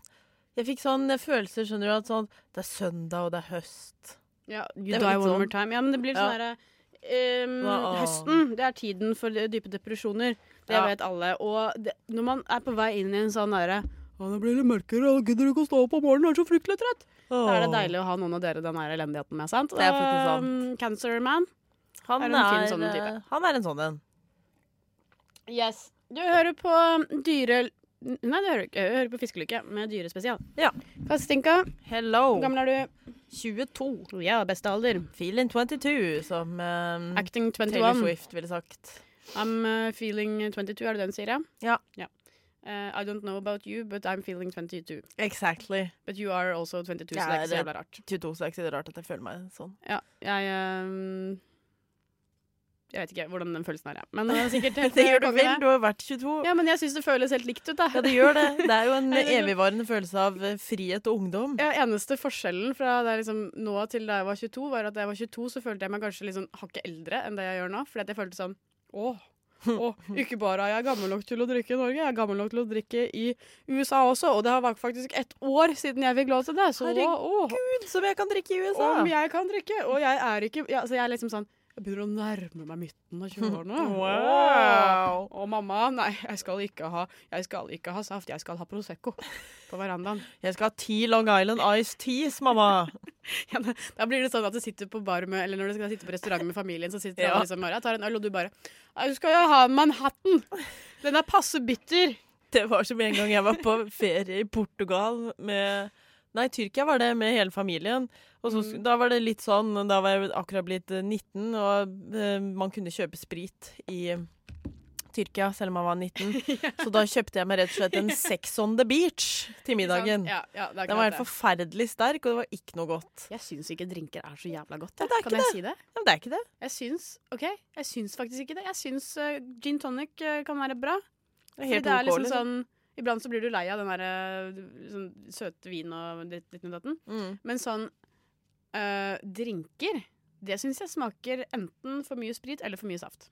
[SPEAKER 2] Jeg fikk sånn eh, følelse, skjønner du, at sånn Det er søndag, og det er høst.
[SPEAKER 1] Ja,
[SPEAKER 2] Det
[SPEAKER 1] You
[SPEAKER 2] er
[SPEAKER 1] Die
[SPEAKER 2] litt
[SPEAKER 1] One
[SPEAKER 2] sånn.
[SPEAKER 1] More Time. Ja, men det blir
[SPEAKER 2] Ja.
[SPEAKER 1] sånn derre ehm,
[SPEAKER 2] Wow.
[SPEAKER 1] Høsten, det er tiden for eh, dype depresjoner. Det
[SPEAKER 2] Ja.
[SPEAKER 1] vet alle. Og det, når man er på vei inn i en sånn derre «Å, det blir litt mørkere, jeg gidder ikke å stå opp om morgenen, jeg er så fryktelig trøtt. Da er det deilig å ha noen av dere den her elendigheten med, sant?
[SPEAKER 2] Det er faktisk sant.
[SPEAKER 1] Ehm, cancer man.
[SPEAKER 2] Han
[SPEAKER 1] Er
[SPEAKER 2] er,
[SPEAKER 1] det en fin sånn
[SPEAKER 2] eh,
[SPEAKER 1] type?
[SPEAKER 2] han er en sånn en.
[SPEAKER 1] Yes. Du hører på dyre... Nei, du hører, ikke. du hører på Fiskelykke med dyrespesial.
[SPEAKER 2] Ja.
[SPEAKER 1] Kastinka,
[SPEAKER 2] Hello.
[SPEAKER 1] hvor gammel er du?
[SPEAKER 2] 22.
[SPEAKER 1] Ja, beste alder.
[SPEAKER 2] Feeling 22, som eh,
[SPEAKER 1] Acting
[SPEAKER 2] Mhm. Taylor
[SPEAKER 1] 21.
[SPEAKER 2] Swift ville sagt.
[SPEAKER 1] I'm uh, feeling 22, er det den sier jeg?
[SPEAKER 2] Ja.
[SPEAKER 1] Uh, I don't know about you, but I'm feeling 22.
[SPEAKER 2] Exactly.
[SPEAKER 1] But you are also 22, så
[SPEAKER 2] Ja,
[SPEAKER 1] det er ikke så
[SPEAKER 2] det-
[SPEAKER 1] jævla rart.
[SPEAKER 2] 22, så er det ikke så rart at jeg føler meg sånn.
[SPEAKER 1] Ja, jeg um, Jeg vet ikke hvordan den følelsen her er, men det er sikkert helt
[SPEAKER 2] Det gjør du
[SPEAKER 1] konge,
[SPEAKER 2] vel, du har vært 22. Ja,
[SPEAKER 1] Ja, men jeg syns det føles helt likt ut, da.
[SPEAKER 2] det gjør det. Det er jo en
[SPEAKER 1] Nei, det er-
[SPEAKER 2] evigvarende følelse av eh, frihet og ungdom.
[SPEAKER 1] Ja, eneste forskjellen fra da jeg liksom nå til da jeg var 22, var at da jeg var 22, så følte jeg meg kanskje liksom hakket eldre enn det jeg gjør nå. Fordi at jeg følte sånn Å, Og sånn, ikke bare er jeg gammel nok til å drikke i Norge, jeg er gammel nok til å drikke i USA også. Og det har vært faktisk ett år siden jeg fikk lov til det. Så
[SPEAKER 2] Herregud, som jeg kan drikke i USA!
[SPEAKER 1] om jeg kan drikke. Og jeg er ikke ja, Så jeg er liksom sånn Jeg begynner å nærme meg midten av 20-årene.
[SPEAKER 2] Wow.
[SPEAKER 1] Og mamma Nei, jeg skal ikke ha Jeg skal ikke ha saft. Jeg skal ha Prosecco på verandaen.
[SPEAKER 2] Jeg skal ha ti Long Island Ice Teas, mamma!
[SPEAKER 1] Ja, da- da blir det sånn at du sitter på bar med Eller når du skal sitte på restaurant med familien, så sitter
[SPEAKER 2] Ja.
[SPEAKER 1] alle liksom bare Jeg tar en øl, og du bare Nei, du skal jo ha Manhattan. Den er passe bitter.
[SPEAKER 2] Det var som en gang jeg var på ferie i Portugal med Nei, Tyrkia var det, med hele familien. Og så, sk-
[SPEAKER 1] Mm.
[SPEAKER 2] Da var det litt sånn Da var jeg akkurat blitt eh, 19, og eh, man kunne kjøpe sprit i Tyrkia selv om man var 19. Så da kjøpte jeg meg rett og slett en Sex on the Beach til middagen.
[SPEAKER 1] Ja, ja, det er
[SPEAKER 2] Den var
[SPEAKER 1] akkurat
[SPEAKER 2] helt forferdelig sterk, og det var ikke noe godt.
[SPEAKER 1] det. Jeg syns ikke drinker er så jævla godt. jeg.
[SPEAKER 2] det er
[SPEAKER 1] kan
[SPEAKER 2] ikke
[SPEAKER 1] jeg si det?
[SPEAKER 2] Ja, Men det er ikke det.
[SPEAKER 1] Jeg syns OK, jeg syns faktisk ikke det. Jeg syns eh, gin tonic eh, kan være bra.
[SPEAKER 2] Det er
[SPEAKER 1] Fordi
[SPEAKER 2] helt
[SPEAKER 1] det er
[SPEAKER 2] OK.
[SPEAKER 1] liksom
[SPEAKER 2] liksom.
[SPEAKER 1] sånn Iblant så blir du lei av den der eh, sånn søte vin og ditt ditt og datten.
[SPEAKER 2] Mm.
[SPEAKER 1] Men sånn eh, drinker, det syns jeg smaker enten for mye sprit eller for mye saft.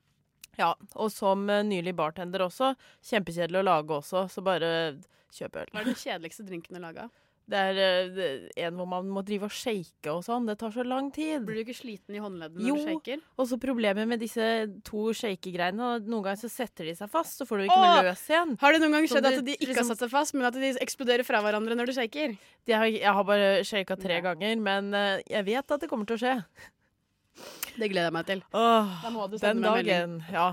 [SPEAKER 2] Ja, og som eh, nylig bartender også. Kjempekjedelig å lage også, så bare kjøp øl.
[SPEAKER 1] Hva er den kjedeligste drinken å lage av?
[SPEAKER 2] Det er eh, det- en hvor man må drive og shake og sånn. Det tar så lang tid.
[SPEAKER 1] Blir du ikke sliten i håndleddene
[SPEAKER 2] Jo.
[SPEAKER 1] når du shaker?
[SPEAKER 2] Og så problemet med disse to shakegreiene. at Noen ganger så setter de seg fast, så får du ikke noe
[SPEAKER 1] Åh!
[SPEAKER 2] løs igjen.
[SPEAKER 1] Har det noen gang
[SPEAKER 2] Som
[SPEAKER 1] skjedd
[SPEAKER 2] du
[SPEAKER 1] at de ikke har
[SPEAKER 2] liksom-
[SPEAKER 1] satt seg fast, men at de eksploderer fra hverandre når du shaker?
[SPEAKER 2] Det har, jeg har bare shaka tre ganger, men eh, jeg vet at det kommer til å skje.
[SPEAKER 1] Det gleder jeg meg til.
[SPEAKER 2] Åh,
[SPEAKER 1] Da må du
[SPEAKER 2] den
[SPEAKER 1] sende meg en melding.
[SPEAKER 2] dagen. Ja.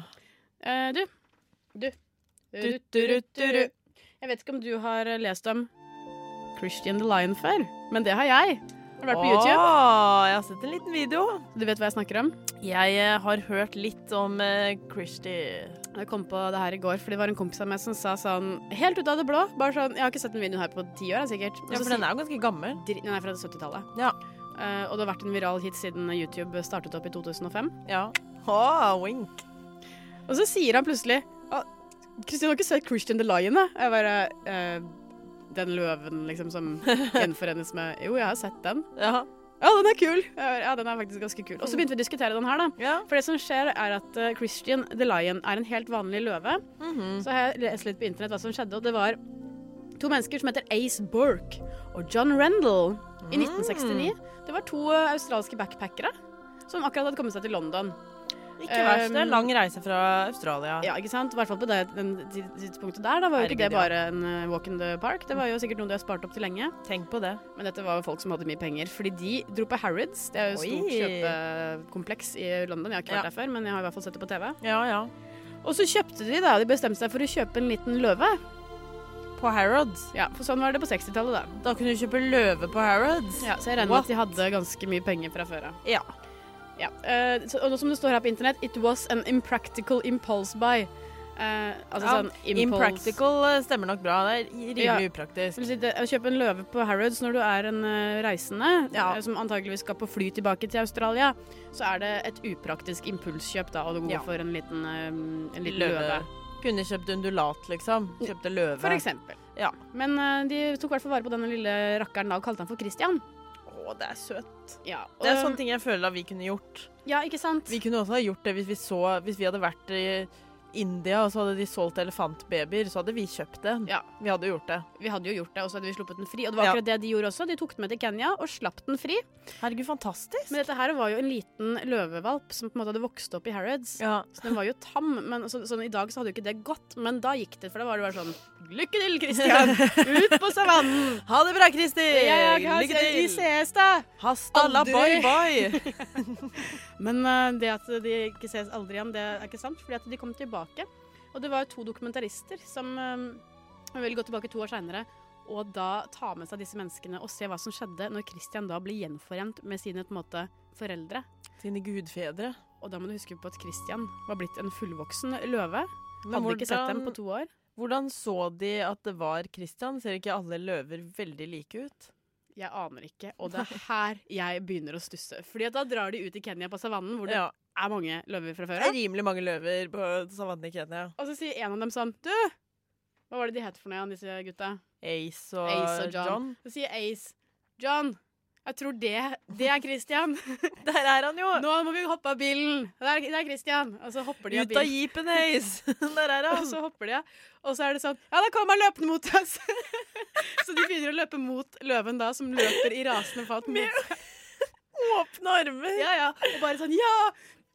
[SPEAKER 1] Eh, du. Du.
[SPEAKER 2] Du, du, du, du.
[SPEAKER 1] Jeg vet ikke om du har eh, lest om Christian the Lion før, men det har jeg. Har vært på YouTube.
[SPEAKER 2] Åh, jeg har sett en liten video.
[SPEAKER 1] Du vet hva jeg snakker om?
[SPEAKER 2] Jeg eh, har hørt litt om eh, Christie.
[SPEAKER 1] Jeg kom på det her i går, for det var en kompis av meg som sa sånn helt ut av det blå Bare sånn, Jeg har ikke sett den videoen her på ti år, jeg, sikkert. Og
[SPEAKER 2] Ja,
[SPEAKER 1] så
[SPEAKER 2] for den
[SPEAKER 1] sier-
[SPEAKER 2] er jo ganske gammel.
[SPEAKER 1] Dri- Den er fra 70-tallet.
[SPEAKER 2] Ja.
[SPEAKER 1] Eh, og det har vært en viral hit siden YouTube startet opp i 2005.
[SPEAKER 2] Ja. Åh, wink.
[SPEAKER 1] Og så sier han plutselig «Å, Kristin, du har ikke sett Christian the Lion, da? Jeg bare eh, Den løven liksom som gjenforenes med Jo, jeg har sett den.
[SPEAKER 2] Ja.
[SPEAKER 1] Ja, den er kul! Jeg bare, Ja, den er faktisk ganske kul. Og så begynte vi å diskutere den her, da.
[SPEAKER 2] ja.
[SPEAKER 1] For det som skjer, er at eh, Christian the Lion er en helt vanlig løve.
[SPEAKER 2] Mhm.
[SPEAKER 1] Så har jeg lest litt på internett hva som skjedde, og det var to mennesker som heter Ace Burke og John Rendell i 1969. Det var to eh, australske backpackere som akkurat hadde kommet seg til London.
[SPEAKER 2] Ikke verst. Det er
[SPEAKER 1] Um,
[SPEAKER 2] lang reise fra Australia.
[SPEAKER 1] Ja, ikke sant? I hvert fall på det den tid- tidspunktet der. Da var jo ikke det
[SPEAKER 2] Herregud, ja.
[SPEAKER 1] bare en eh, walk in the park. Det var jo sikkert noe de har spart opp til lenge.
[SPEAKER 2] Tenk på det.
[SPEAKER 1] Men dette var jo folk som hadde mye penger, fordi de dro på Harrods. Det er jo et stort
[SPEAKER 2] Oi.
[SPEAKER 1] kjøpekompleks i London. Jeg har ikke vært
[SPEAKER 2] Ja.
[SPEAKER 1] der før, men jeg har i hvert fall sett det på TV.
[SPEAKER 2] Ja, ja.
[SPEAKER 1] Og så kjøpte de, da. De bestemte seg for å kjøpe en liten løve.
[SPEAKER 2] På Harrods.
[SPEAKER 1] Ja, For sånn var det på 60-tallet, da.
[SPEAKER 2] Da kunne du kjøpe løve på Harrods.
[SPEAKER 1] Ja, så jeg regner med at de hadde ganske mye penger fra før av.
[SPEAKER 2] Ja.
[SPEAKER 1] Ja, eh, så, og som det står her på internett, it was an impractical impulse buy. Eh, altså
[SPEAKER 2] Ja,
[SPEAKER 1] sånn impulse...
[SPEAKER 2] Impractical eh, stemmer nok bra. Det er rimelig
[SPEAKER 1] Ja. Det
[SPEAKER 2] upraktisk.
[SPEAKER 1] vil si, det, å kjøpe en løve på Harrods når du er en eh, reisende,
[SPEAKER 2] Ja.
[SPEAKER 1] eh, som antageligvis skal på fly tilbake til Australia, så er det et upraktisk impulskjøp da, å gå
[SPEAKER 2] Ja.
[SPEAKER 1] for en liten, eh, en liten
[SPEAKER 2] Løve.
[SPEAKER 1] løve.
[SPEAKER 2] Kunne kjøpt undulat, liksom. Kjøpte løve.
[SPEAKER 1] For eksempel.
[SPEAKER 2] Ja.
[SPEAKER 1] Men eh, de tok i hvert fall vare på denne lille rakkeren da og kalte han for Christian.
[SPEAKER 2] Å, det er søtt.
[SPEAKER 1] Ja, og,
[SPEAKER 2] Det er sånne ting jeg føler at vi kunne gjort.
[SPEAKER 1] Ja, ikke sant?
[SPEAKER 2] Vi kunne også ha gjort det hvis vi, så, hvis vi hadde vært i India og så hadde de solgt elefantbabyer, så hadde vi kjøpt det.
[SPEAKER 1] Ja.
[SPEAKER 2] Vi hadde gjort det.
[SPEAKER 1] Vi hadde jo gjort det, og så hadde vi sluppet den fri. Og det var
[SPEAKER 2] Ja.
[SPEAKER 1] akkurat det de gjorde også. De tok den med til Kenya og slapp den fri.
[SPEAKER 2] Herregud, fantastisk.
[SPEAKER 1] Men dette her var jo en liten løvevalp som på en måte hadde vokst opp i Harrods.
[SPEAKER 2] ja.
[SPEAKER 1] Så den var jo tam, men så, sånn, i dag så hadde jo ikke det gått. Men da gikk det, for da var det bare sånn Lykke til, Christian! Ut på savannen!
[SPEAKER 2] Ha det bra, Kristi!
[SPEAKER 1] Jeg er
[SPEAKER 2] Lykke
[SPEAKER 1] Vi
[SPEAKER 2] til!
[SPEAKER 1] ses, da!
[SPEAKER 2] Hasta la
[SPEAKER 1] Aldri.
[SPEAKER 2] bye bye!
[SPEAKER 1] Men eh, det at de ikke ses aldri igjen, det er ikke sant, fordi at de kom tilbake. Og det var to dokumentarister som eh, vil gå tilbake to år seinere og da ta med seg disse menneskene og se hva som skjedde når Christian da ble gjenforent med sine på en måte, foreldre.
[SPEAKER 2] Sine gudfedre.
[SPEAKER 1] Og da må du huske på at Christian var blitt en fullvoksen løve.
[SPEAKER 2] Men
[SPEAKER 1] Hadde ikke sett dem på to år.
[SPEAKER 2] Hvordan så de at det var Christian? Ser ikke alle løver veldig like ut?
[SPEAKER 1] Jeg aner ikke, og det er her jeg begynner å stusse. Fordi at da drar de ut i Kenya på savannen, hvor det
[SPEAKER 2] Ja,
[SPEAKER 1] er mange løver fra
[SPEAKER 2] det
[SPEAKER 1] før
[SPEAKER 2] er
[SPEAKER 1] av.
[SPEAKER 2] rimelig mange løver på savannen i Kenya.
[SPEAKER 1] Og så sier en av dem sånn Du! Hva var det de het for noe igjen, disse gutta?
[SPEAKER 2] Ace og,
[SPEAKER 1] Ace og John.
[SPEAKER 2] John.
[SPEAKER 1] Så sier Ace John, jeg tror det Det er Christian.
[SPEAKER 2] Der er han jo!
[SPEAKER 1] Nå må vi hoppe av bilen! Det er, det er Christian. Og så hopper de av
[SPEAKER 2] Ut av
[SPEAKER 1] bilen.
[SPEAKER 2] jeepen, Ace! Der er
[SPEAKER 1] Og
[SPEAKER 2] han.
[SPEAKER 1] så hopper de av. Og så er det sånn Ja, da kommer han løpende mot oss! så de begynner å løpe mot løven da, som løper i rasende fat mot
[SPEAKER 2] Åpne armer.
[SPEAKER 1] Ja, ja. Og bare sånn Ja!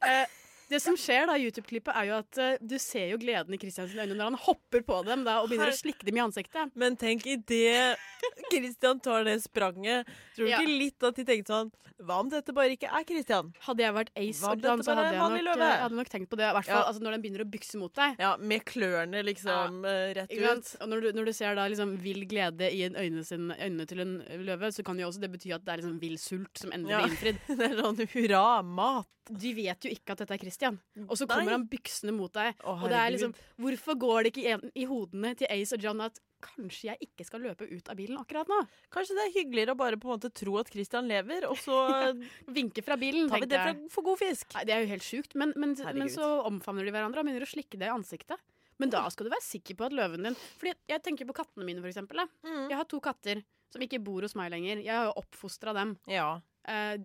[SPEAKER 1] Eh, det som skjer da i YouTube-klippet, er jo at eh, du ser jo gleden i Christians øyne når han hopper på dem da, og begynner å slikke dem i ansiktet.
[SPEAKER 2] Men tenk idet Christian tar det spranget. Tror du
[SPEAKER 1] Ja.
[SPEAKER 2] ikke litt at de tenkte sånn Hva om dette bare ikke er Christian?
[SPEAKER 1] Hadde jeg vært Ace
[SPEAKER 2] Hva om
[SPEAKER 1] Jordan,
[SPEAKER 2] dette
[SPEAKER 1] så
[SPEAKER 2] bare er
[SPEAKER 1] hadde
[SPEAKER 2] en
[SPEAKER 1] jeg,
[SPEAKER 2] vanlig
[SPEAKER 1] nok,
[SPEAKER 2] løve?
[SPEAKER 1] eh, hadde nok tenkt på det. I hvert fall
[SPEAKER 2] Ja.
[SPEAKER 1] altså, når den begynner å bykse mot deg.
[SPEAKER 2] Ja, med klørne liksom eh, rett
[SPEAKER 1] Ikke
[SPEAKER 2] ut.
[SPEAKER 1] sant? Og når du, når du ser da liksom vill glede i en øyne sin, øynene til en løve, så kan jo også det bety at det er liksom vill sult som endelig
[SPEAKER 2] Ja.
[SPEAKER 1] blir innfridd.
[SPEAKER 2] Det er sånn hurra, mat.
[SPEAKER 1] De vet jo ikke at dette er Christian. Og så
[SPEAKER 2] Nei.
[SPEAKER 1] kommer han byksende mot deg.
[SPEAKER 2] Å,
[SPEAKER 1] og det er liksom
[SPEAKER 2] herregud.
[SPEAKER 1] Hvorfor går det ikke igjen i hodene til Ace og John at kanskje jeg ikke skal løpe ut av bilen akkurat nå?
[SPEAKER 2] Kanskje det er hyggeligere å bare på en måte tro at Christian lever, og så
[SPEAKER 1] Vinke fra bilen,
[SPEAKER 2] tar vi
[SPEAKER 1] tenkte
[SPEAKER 2] det
[SPEAKER 1] jeg.
[SPEAKER 2] for, for god fisk.
[SPEAKER 1] Nei, det er jo helt sjukt. Men, men, men
[SPEAKER 2] Herregud.
[SPEAKER 1] så omfavner de hverandre og begynner å slikke deg i ansiktet. Men da skal du være sikker på at løven din Fordi jeg tenker på kattene mine, for eksempel. da. Jeg har to katter som ikke bor hos meg lenger. Jeg har jo oppfostra dem.
[SPEAKER 2] Ja.
[SPEAKER 1] Eh,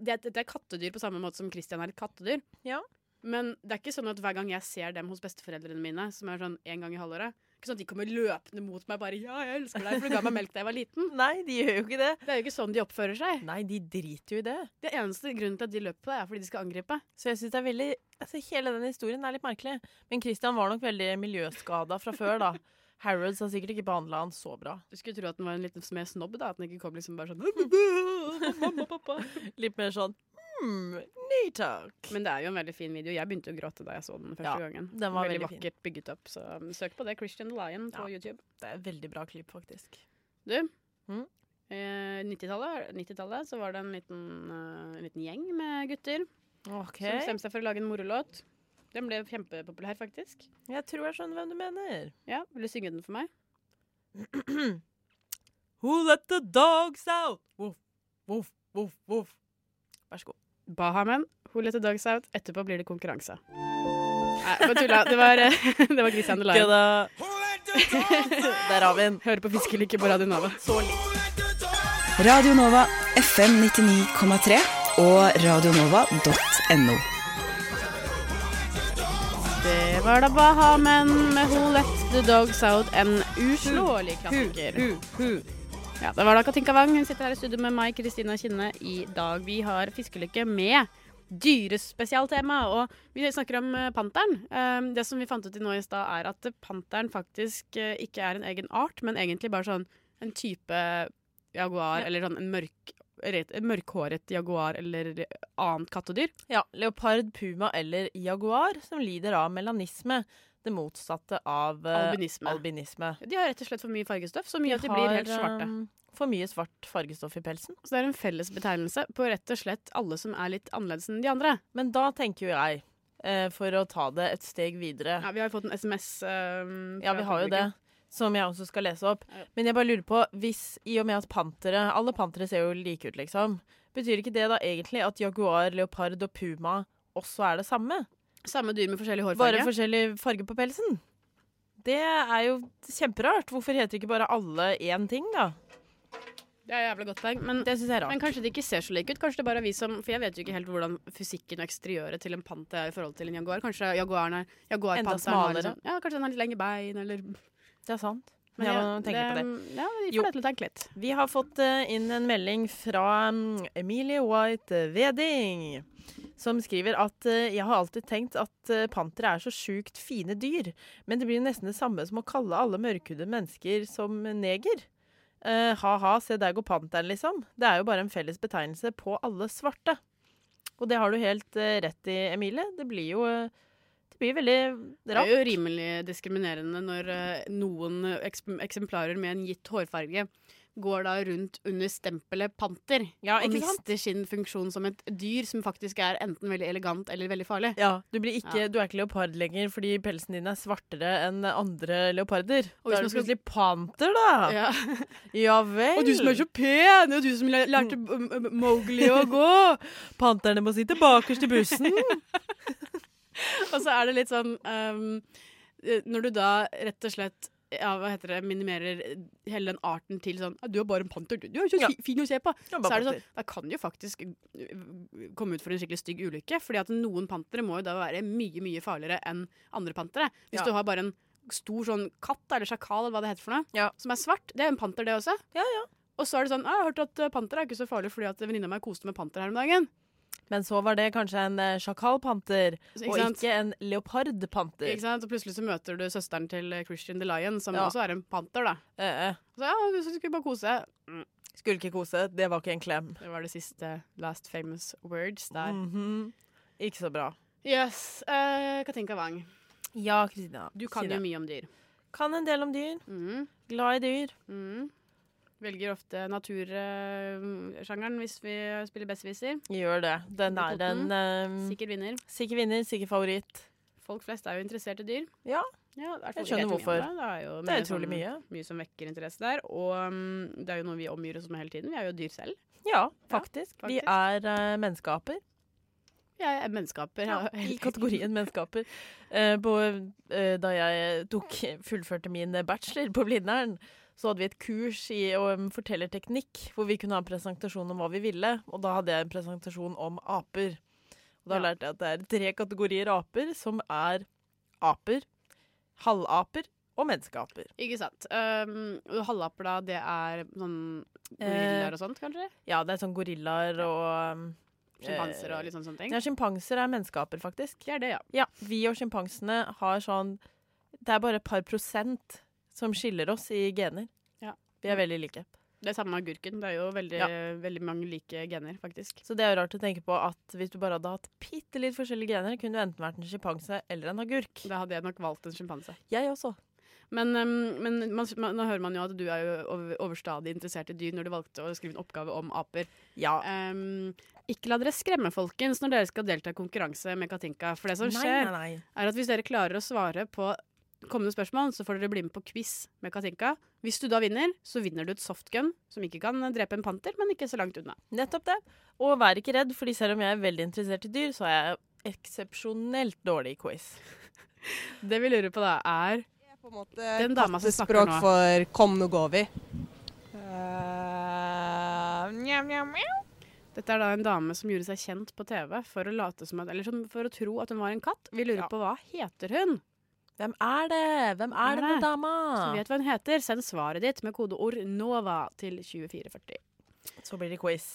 [SPEAKER 1] det, dette er kattedyr på samme måte som Christian er et kattedyr.
[SPEAKER 2] Ja.
[SPEAKER 1] Men det er ikke sånn at hver gang jeg ser dem hos besteforeldrene mine, som er sånn en gang i halvåret Ikke sånn at de kommer løpende mot meg bare 'Ja, jeg elsker deg, for du ga meg melk da jeg var liten'.
[SPEAKER 2] Nei, de gjør jo ikke det.
[SPEAKER 1] Det er jo ikke sånn de oppfører seg.
[SPEAKER 2] Nei, de driter jo i det.
[SPEAKER 1] Det eneste grunnen til at de løper på deg, er fordi de skal angripe.
[SPEAKER 2] Så jeg synes det er veldig altså Hele den historien er litt merkelig. Men Christian var nok veldig miljøskada fra før, da. Harrods har sikkert ikke behandla han så bra.
[SPEAKER 1] Du skulle tro at den var en liten mer snobb, da. At den ikke kom liksom bare sånn Mamma, pappa.
[SPEAKER 2] Litt mer sånn hmm, nei takk.
[SPEAKER 1] Men det er jo en veldig fin video. Jeg begynte å gråte da jeg så den første
[SPEAKER 2] Ja,
[SPEAKER 1] gangen.
[SPEAKER 2] den var veldig fin.
[SPEAKER 1] vakkert bygget opp, så um, søk på det. Christian the Lion på YouTube.
[SPEAKER 2] Det er et veldig bra klipp, faktisk.
[SPEAKER 1] Du,
[SPEAKER 2] Mm.
[SPEAKER 1] eh, 90-tallet 90 så var det en liten, eh, en liten gjeng med gutter
[SPEAKER 2] Ok,
[SPEAKER 1] som bestemte seg for å lage en morolåt. Den ble kjempepopulær, faktisk.
[SPEAKER 2] Jeg tror jeg skjønner hvem du mener.
[SPEAKER 1] Ja, Vil du synge den for meg?
[SPEAKER 2] Who let the dogs out? Voff, voff, voff, voff. Vær så god.
[SPEAKER 1] Bahamen, Who Let The Dogs Out. Etterpå blir det konkurranse. Nei, bare tulla. Det var, eh, det var Christian the Lion.
[SPEAKER 2] Kødda. Der har vi den.
[SPEAKER 1] Hører på Fiskelykke på Radio Nova.
[SPEAKER 10] Radio Nova FM 99,3 og radionova.no.
[SPEAKER 1] Det var da Bahamen med Who Let The Dogs Out. En uslåelig klassiker. Ja, det var da Katinka Wang. Hun sitter her i studio med meg, Kristina Kinne. I dag vi har Fiskelykke med dyrespesialtema. Og vi snakker om eh, panteren. Eh, Det som vi fant ut i nå i stad, er at eh, panteren faktisk eh, ikke er en egen art, men egentlig bare sånn en type jaguar, eller sånn en mørk en mørkhåret jaguar eller annet kattedyr.
[SPEAKER 2] Ja, leopard, puma eller jaguar som lider av melanisme. Det motsatte av eh,
[SPEAKER 1] Albinisme.
[SPEAKER 2] albinisme.
[SPEAKER 1] De har rett og slett for mye fargestoff, så mye at de
[SPEAKER 2] har,
[SPEAKER 1] blir helt svarte.
[SPEAKER 2] eh, for mye svart fargestoff i pelsen.
[SPEAKER 1] Så det er en felles betegnelse på rett og slett alle som er litt annerledes enn de andre.
[SPEAKER 2] Men da tenker jo jeg, eh, for å ta det et steg videre
[SPEAKER 1] Ja, vi har jo fått en SMS. ehm,
[SPEAKER 2] Ja,
[SPEAKER 1] fra
[SPEAKER 2] vi har jo
[SPEAKER 1] publikum.
[SPEAKER 2] det. Som jeg også skal lese opp.
[SPEAKER 1] Ja.
[SPEAKER 2] Men jeg bare lurer på, hvis i og med at pantere Alle pantere ser jo like ut, liksom. Betyr ikke det da egentlig at jaguar, leopard og puma også er det samme?
[SPEAKER 1] Samme dyr med forskjellig
[SPEAKER 2] Bare
[SPEAKER 1] hårfarge.
[SPEAKER 2] forskjellig farge på pelsen? Det er jo kjemperart. Hvorfor heter ikke bare alle én ting, da?
[SPEAKER 1] Det er jævla godt poeng. Men,
[SPEAKER 2] Det syns jeg er
[SPEAKER 1] men
[SPEAKER 2] rart.
[SPEAKER 1] kanskje de ikke ser så like ut. Kanskje det bare er vi som For jeg vet jo ikke helt hvordan fysikken og eksteriøret til en pant er i forhold til en jaguar. Kanskje jaguaren er jaguarpanteren
[SPEAKER 2] Enda
[SPEAKER 1] har litt
[SPEAKER 2] smalere.
[SPEAKER 1] sånn- Ja, kanskje den har litt lengre bein, eller
[SPEAKER 2] Det er sant. Men jeg må tenke på det.
[SPEAKER 1] Ja, vi
[SPEAKER 2] Jo.
[SPEAKER 1] får deg til å tenke litt.
[SPEAKER 2] Vi har fått eh, inn en melding fra mm, Emilie White Veding, som skriver at eh, jeg har alltid tenkt at eh, pantere er så sjukt fine dyr, men det blir nesten det samme som å kalle alle mørkhudede mennesker som neger. Eh, Ha-ha, se der går panteren, liksom. Det er jo bare en felles betegnelse på alle svarte. Og det har du helt eh, rett i, Emilie. Det blir jo eh, Det blir veldig
[SPEAKER 1] Det er
[SPEAKER 2] rart.
[SPEAKER 1] jo rimelig diskriminerende når eh, noen eksp eksemplarer med en gitt hårfarge går da rundt under stempelet panter
[SPEAKER 2] Ja,
[SPEAKER 1] og
[SPEAKER 2] ikke sant?
[SPEAKER 1] mister sin funksjon som et dyr som faktisk er enten veldig elegant eller veldig farlig.
[SPEAKER 2] Ja, du, blir ikke,
[SPEAKER 1] Ja.
[SPEAKER 2] du er ikke leopard lenger fordi pelsen din er svartere enn andre leoparder.
[SPEAKER 1] Og hvis
[SPEAKER 2] da er
[SPEAKER 1] man
[SPEAKER 2] du
[SPEAKER 1] skal-
[SPEAKER 2] plutselig panter, da. Ja,
[SPEAKER 1] Ja.
[SPEAKER 2] vel.
[SPEAKER 1] Og du som er så pen, og du som læ- lærte
[SPEAKER 2] Mm.
[SPEAKER 1] um, um, Mowgli å gå.
[SPEAKER 2] Panterne må sitte bakerst i bussen.
[SPEAKER 1] ehm, Og så er det litt sånn um, eh, Når du da rett og slett ja, hva heter det, minimerer hele den arten til sånn «Ah, 'Du er bare en panter, du. Du er jo så fi- fin å se på.'
[SPEAKER 2] Du er bare
[SPEAKER 1] så er det sånn,
[SPEAKER 2] panter.
[SPEAKER 1] Da kan det jo faktisk øh, komme ut for en skikkelig stygg ulykke. Fordi at noen pantere må jo da være mye mye farligere enn andre pantere. Hvis
[SPEAKER 2] Ja.
[SPEAKER 1] du har bare en stor sånn katt eller sjakal eller hva det heter for noe, som er svart, det er jo en panter, det også. Og så er det sånn «Ah, 'Jeg har hørt at øh, panter er ikke så farlig fordi at venninna mi koste med panter her om dagen'.
[SPEAKER 2] Men så var det kanskje en eh, sjakalpanter,
[SPEAKER 1] Så, sånn- ikke
[SPEAKER 2] og
[SPEAKER 1] sant?
[SPEAKER 2] ikke en leopardpanter.
[SPEAKER 1] Ikke sant? Og plutselig så møter du søsteren til eh, Christian the Lion, som
[SPEAKER 2] Ja.
[SPEAKER 1] også er en panter, da. Så ja, vi skulle bare kose.
[SPEAKER 2] Eh, Skulle ikke kose, det var ikke en klem.
[SPEAKER 1] Det var det siste last famous words der.
[SPEAKER 2] Mm. Mhm. Ikke så bra.
[SPEAKER 1] Yes. eh, Katinka Wang,
[SPEAKER 2] Ja, Kristina.
[SPEAKER 1] du kan jo mye om dyr.
[SPEAKER 2] Kan en del om dyr. Glad i dyr.
[SPEAKER 1] Mm. Velger ofte natursjangeren hvis vi spiller bestviser.
[SPEAKER 2] Gjør det. Den
[SPEAKER 1] Under
[SPEAKER 2] er en eh,
[SPEAKER 1] Sikker vinner.
[SPEAKER 2] sikker vinner, sikker favoritt.
[SPEAKER 1] Folk flest er jo interessert i dyr.
[SPEAKER 2] Ja.
[SPEAKER 1] Ja, i hvert fall
[SPEAKER 2] Jeg
[SPEAKER 1] vet mye
[SPEAKER 2] skjønner
[SPEAKER 1] om
[SPEAKER 2] hvorfor.
[SPEAKER 1] Det. Det er, jo
[SPEAKER 2] Det er utrolig
[SPEAKER 1] som-
[SPEAKER 2] mye.
[SPEAKER 1] mye som vekker interesse der. Og mm, det er jo noe vi omgir oss med hele tiden. Vi er jo dyr selv.
[SPEAKER 2] Ja, faktisk.
[SPEAKER 1] faktisk.
[SPEAKER 2] Vi er eh, menneskeaper.
[SPEAKER 1] Jeg er menneskeaper.
[SPEAKER 2] Ja,
[SPEAKER 1] jeg-
[SPEAKER 2] I kategorien menneskeaper. Eh, på, eh, da jeg tok, fullførte min bachelor på Blindern, så hadde vi et kurs i um, fortellerteknikk, hvor vi kunne ha en presentasjon om hva vi ville. Og da hadde jeg en presentasjon om aper. Og da
[SPEAKER 1] Ja.
[SPEAKER 2] lærte jeg at det er tre kategorier aper, som er aper, halvaper og menneskeaper.
[SPEAKER 1] Ikke sant. Um, og halvaper, da, det er sånn gorillaer og sånt, kanskje?
[SPEAKER 2] Ja, det er sånn gorillaer og um,
[SPEAKER 1] Sjimpanser og litt sånn sånne ting.
[SPEAKER 2] Ja, sjimpanser er menneskeaper, faktisk.
[SPEAKER 1] Det er det, ja.
[SPEAKER 2] Ja, vi og sjimpansene har sånn Det er bare et par prosent som skiller oss i gener.
[SPEAKER 1] Ja.
[SPEAKER 2] Vi er veldig like.
[SPEAKER 1] Det er samme med agurken. Det er jo veldig,
[SPEAKER 2] Ja.
[SPEAKER 1] veldig mange like gener, faktisk.
[SPEAKER 2] Så det er jo rart å tenke på at hvis du bare hadde hatt bitte litt forskjellige gener, kunne du enten vært en sjimpanse eller en agurk.
[SPEAKER 1] Da hadde jeg nok valgt en sjimpanse.
[SPEAKER 2] Jeg også.
[SPEAKER 1] Men, um, men man, man, nå hører man jo at du er jo over, overstadig interessert i dyr når du valgte å skrive en oppgave om aper.
[SPEAKER 2] Ja.
[SPEAKER 1] Um, ikke la dere skremme, folkens, når dere skal delta i konkurranse med Katinka. For det som
[SPEAKER 2] Nei,
[SPEAKER 1] skjer,
[SPEAKER 2] nei, nei.
[SPEAKER 1] er at hvis dere klarer å svare på kommende spørsmål, så får dere bli med på quiz med Katinka. Hvis du da vinner, så vinner du et softgun, som ikke kan drepe en panter, men ikke så langt unna.
[SPEAKER 2] Nettopp det. Og vær ikke redd, fordi selv om jeg er veldig interessert i dyr, så er jeg eksepsjonelt dårlig i quiz.
[SPEAKER 1] Det vi lurer på da, er
[SPEAKER 8] på en måte
[SPEAKER 1] Den dama som snakker nå.
[SPEAKER 8] kattespråk for kom, nå går vi.
[SPEAKER 1] Dette er da en dame som gjorde seg kjent på TV for å, late som at, eller sånn for å tro at hun var en katt. Vi lurer på hva heter hun?
[SPEAKER 2] Hvem er det? Hvem er,
[SPEAKER 1] er
[SPEAKER 2] denne
[SPEAKER 1] det?
[SPEAKER 2] dama?
[SPEAKER 1] Så vi vet hva hun heter. Send svaret ditt med kodeord NOVA til 2440.
[SPEAKER 2] Så blir det quiz.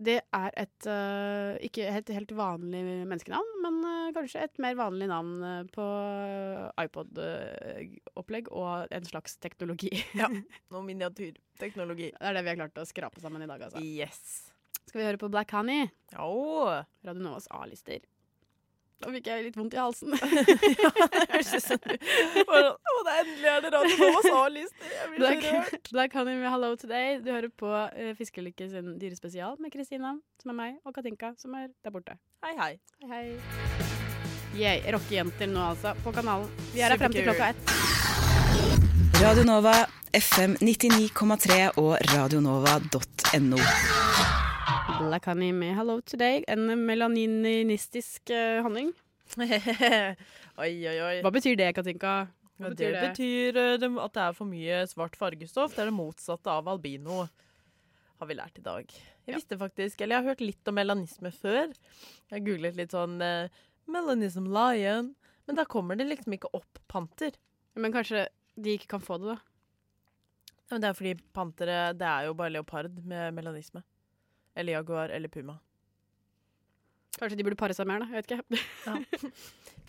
[SPEAKER 1] Det er et øh, ikke et helt vanlig menneskenavn, men øh, kanskje et mer vanlig navn øh, på eh, iPod-opplegg og en slags teknologi.
[SPEAKER 2] Ja. Noe miniatyrteknologi.
[SPEAKER 1] Det er det vi har klart å skrape sammen i dag, altså.
[SPEAKER 2] Yes.
[SPEAKER 1] Skal vi høre på Black Honey?
[SPEAKER 2] Åh.
[SPEAKER 1] Radio Novas A-lister. Da fikk jeg litt vondt i halsen.
[SPEAKER 2] Høres ut som du bare, Å, det er endelig er det Radio Novas A-liste! Jeg blir
[SPEAKER 1] Black,
[SPEAKER 2] så rørt.
[SPEAKER 1] Black Honey med Hello Today. Du hører på uh, Fiskelykke sin dyrespesial med Kristina, som er meg, og Katinka, som er der borte.
[SPEAKER 2] Hei, hei.
[SPEAKER 1] Hei, hei. Yeah, rockejenter nå, altså, på kanalen. Vi er her frem til
[SPEAKER 2] Superkult.
[SPEAKER 1] klokka ett.
[SPEAKER 10] Radio Nova, FM 99,3 og radionova.no.
[SPEAKER 1] Black Honey med Hello Today. En melanininistisk eh, honning.
[SPEAKER 2] oi, oi, oi.
[SPEAKER 1] Hva betyr det, Katinka? Hva
[SPEAKER 2] det betyr eh, det- at det er for mye svart fargestoff. Det er det motsatte av albino, har vi lært i dag. Jeg visste faktisk, eller jeg har hørt litt om melanisme før. Jeg googlet litt sånn eh, Melanism lion. Men da kommer det liksom ikke opp panter.
[SPEAKER 1] Men kanskje de ikke kan få det, da.
[SPEAKER 2] Ja, men det er fordi pantere Det er jo bare leopard med melanisme. Eller jaguar eller puma.
[SPEAKER 1] Kanskje de burde pare seg mer, da. Jeg vet ikke.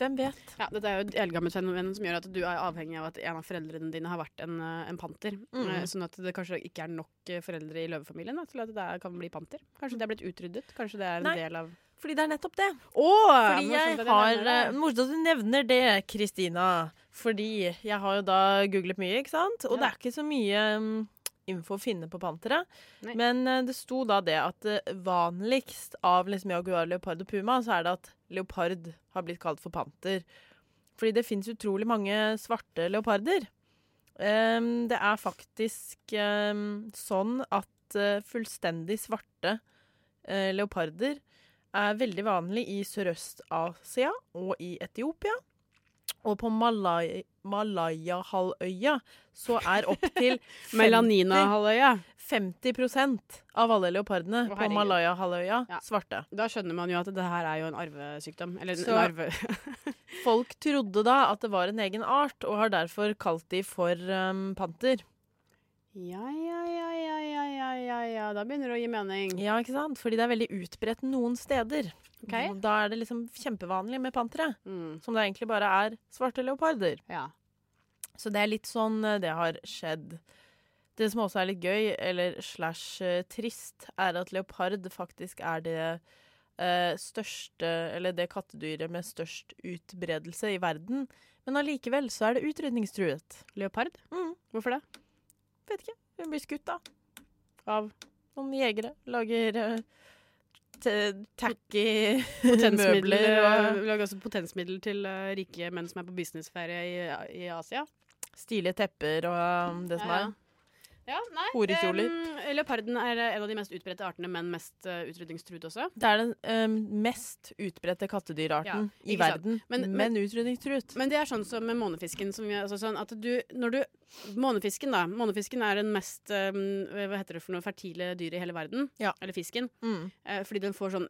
[SPEAKER 2] Hvem vet?
[SPEAKER 1] Ja, dette er jo et eldgammelt fenomen som gjør at du er avhengig av at en av foreldrene dine har vært en, eh, en panter.
[SPEAKER 2] Mm.
[SPEAKER 1] Eh, Sånn at det kanskje ikke er nok eh, foreldre i løvefamilien da, til at det er- kan bli panter. Kanskje det er blitt utryddet? Kanskje det er en
[SPEAKER 2] Nei.
[SPEAKER 1] del av
[SPEAKER 2] Fordi det er nettopp det.
[SPEAKER 1] Åh,
[SPEAKER 2] Fordi jeg har eh, Morsomt at du nevner det, Kristina. Fordi jeg har jo da googlet mye, ikke sant?
[SPEAKER 1] Ja.
[SPEAKER 2] Og det er ikke så mye mm, info å finne på pantere.
[SPEAKER 1] Nei.
[SPEAKER 2] Men eh, det sto da det at eh, vanligst av liksom jaguar, leopard og puma, så er det at leopard har blitt kalt for panter. Fordi det fins utrolig mange svarte leoparder. Em, det er faktisk em, sånn at eh, fullstendig svarte eh, leoparder er veldig vanlig i Sørøst-Asia og i Etiopia. Og på Malai Malaya-halvøya, så er opptil 50
[SPEAKER 1] Melanina-halvøya.
[SPEAKER 2] 50 av alle leopardene
[SPEAKER 1] Å,
[SPEAKER 2] på
[SPEAKER 1] herregud.
[SPEAKER 2] Malaya-halvøya svarte.
[SPEAKER 1] Da skjønner man jo at det her er jo en arvesykdom. Eller en
[SPEAKER 2] Så-
[SPEAKER 1] arve...
[SPEAKER 2] Folk trodde da at det var en egen art, og har derfor kalt de for um, panter.
[SPEAKER 1] Ja, ja, ja, ja, ja, ja, ja, ja. Da begynner det å gi mening.
[SPEAKER 2] Ja, ikke sant? Fordi det er veldig utbredt noen steder.
[SPEAKER 1] Ok.
[SPEAKER 2] Da er det liksom kjempevanlig med pantere,
[SPEAKER 1] Mm.
[SPEAKER 2] som det egentlig bare er svarte leoparder. Så det er litt sånn eh, det har skjedd. Det som også er litt gøy, eller slash eh, trist, er at leopard faktisk er det eh, største Eller det kattedyret med størst utbredelse i verden. Men allikevel så er det utrydningstruet. Mm,
[SPEAKER 1] Leopard? Hvorfor det?
[SPEAKER 2] Vet ikke. Hun blir skutt, da.
[SPEAKER 1] Av
[SPEAKER 2] noen jegere. Lager eh, t- tacky
[SPEAKER 1] Potensmidler,
[SPEAKER 2] møbler og
[SPEAKER 1] eh, lager også potensmidler til eh, rike menn som er på businessferie i, i Asia.
[SPEAKER 2] stilige tepper og eh, det som
[SPEAKER 1] Ja, ja.
[SPEAKER 2] er.
[SPEAKER 1] Ja, nei.
[SPEAKER 2] Horekjoler.
[SPEAKER 1] eh, leoparden er eh, en av de mest utbredte artene, men mest uh, utrydningstruet også.
[SPEAKER 2] Det er den eh, mest utbredte kattedyrarten
[SPEAKER 1] Ja,
[SPEAKER 2] i
[SPEAKER 1] ikke sant.
[SPEAKER 2] verden, men, utrydningstruet.
[SPEAKER 1] Men det er sånn som med månefisken. Som vi, altså sånn at du, når du, månefisken, da. Månefisken er den mest eh, hva heter det for noe, fertile dyret i hele verden. Eller fisken.
[SPEAKER 2] Mm.
[SPEAKER 1] Eh, fordi den får sånn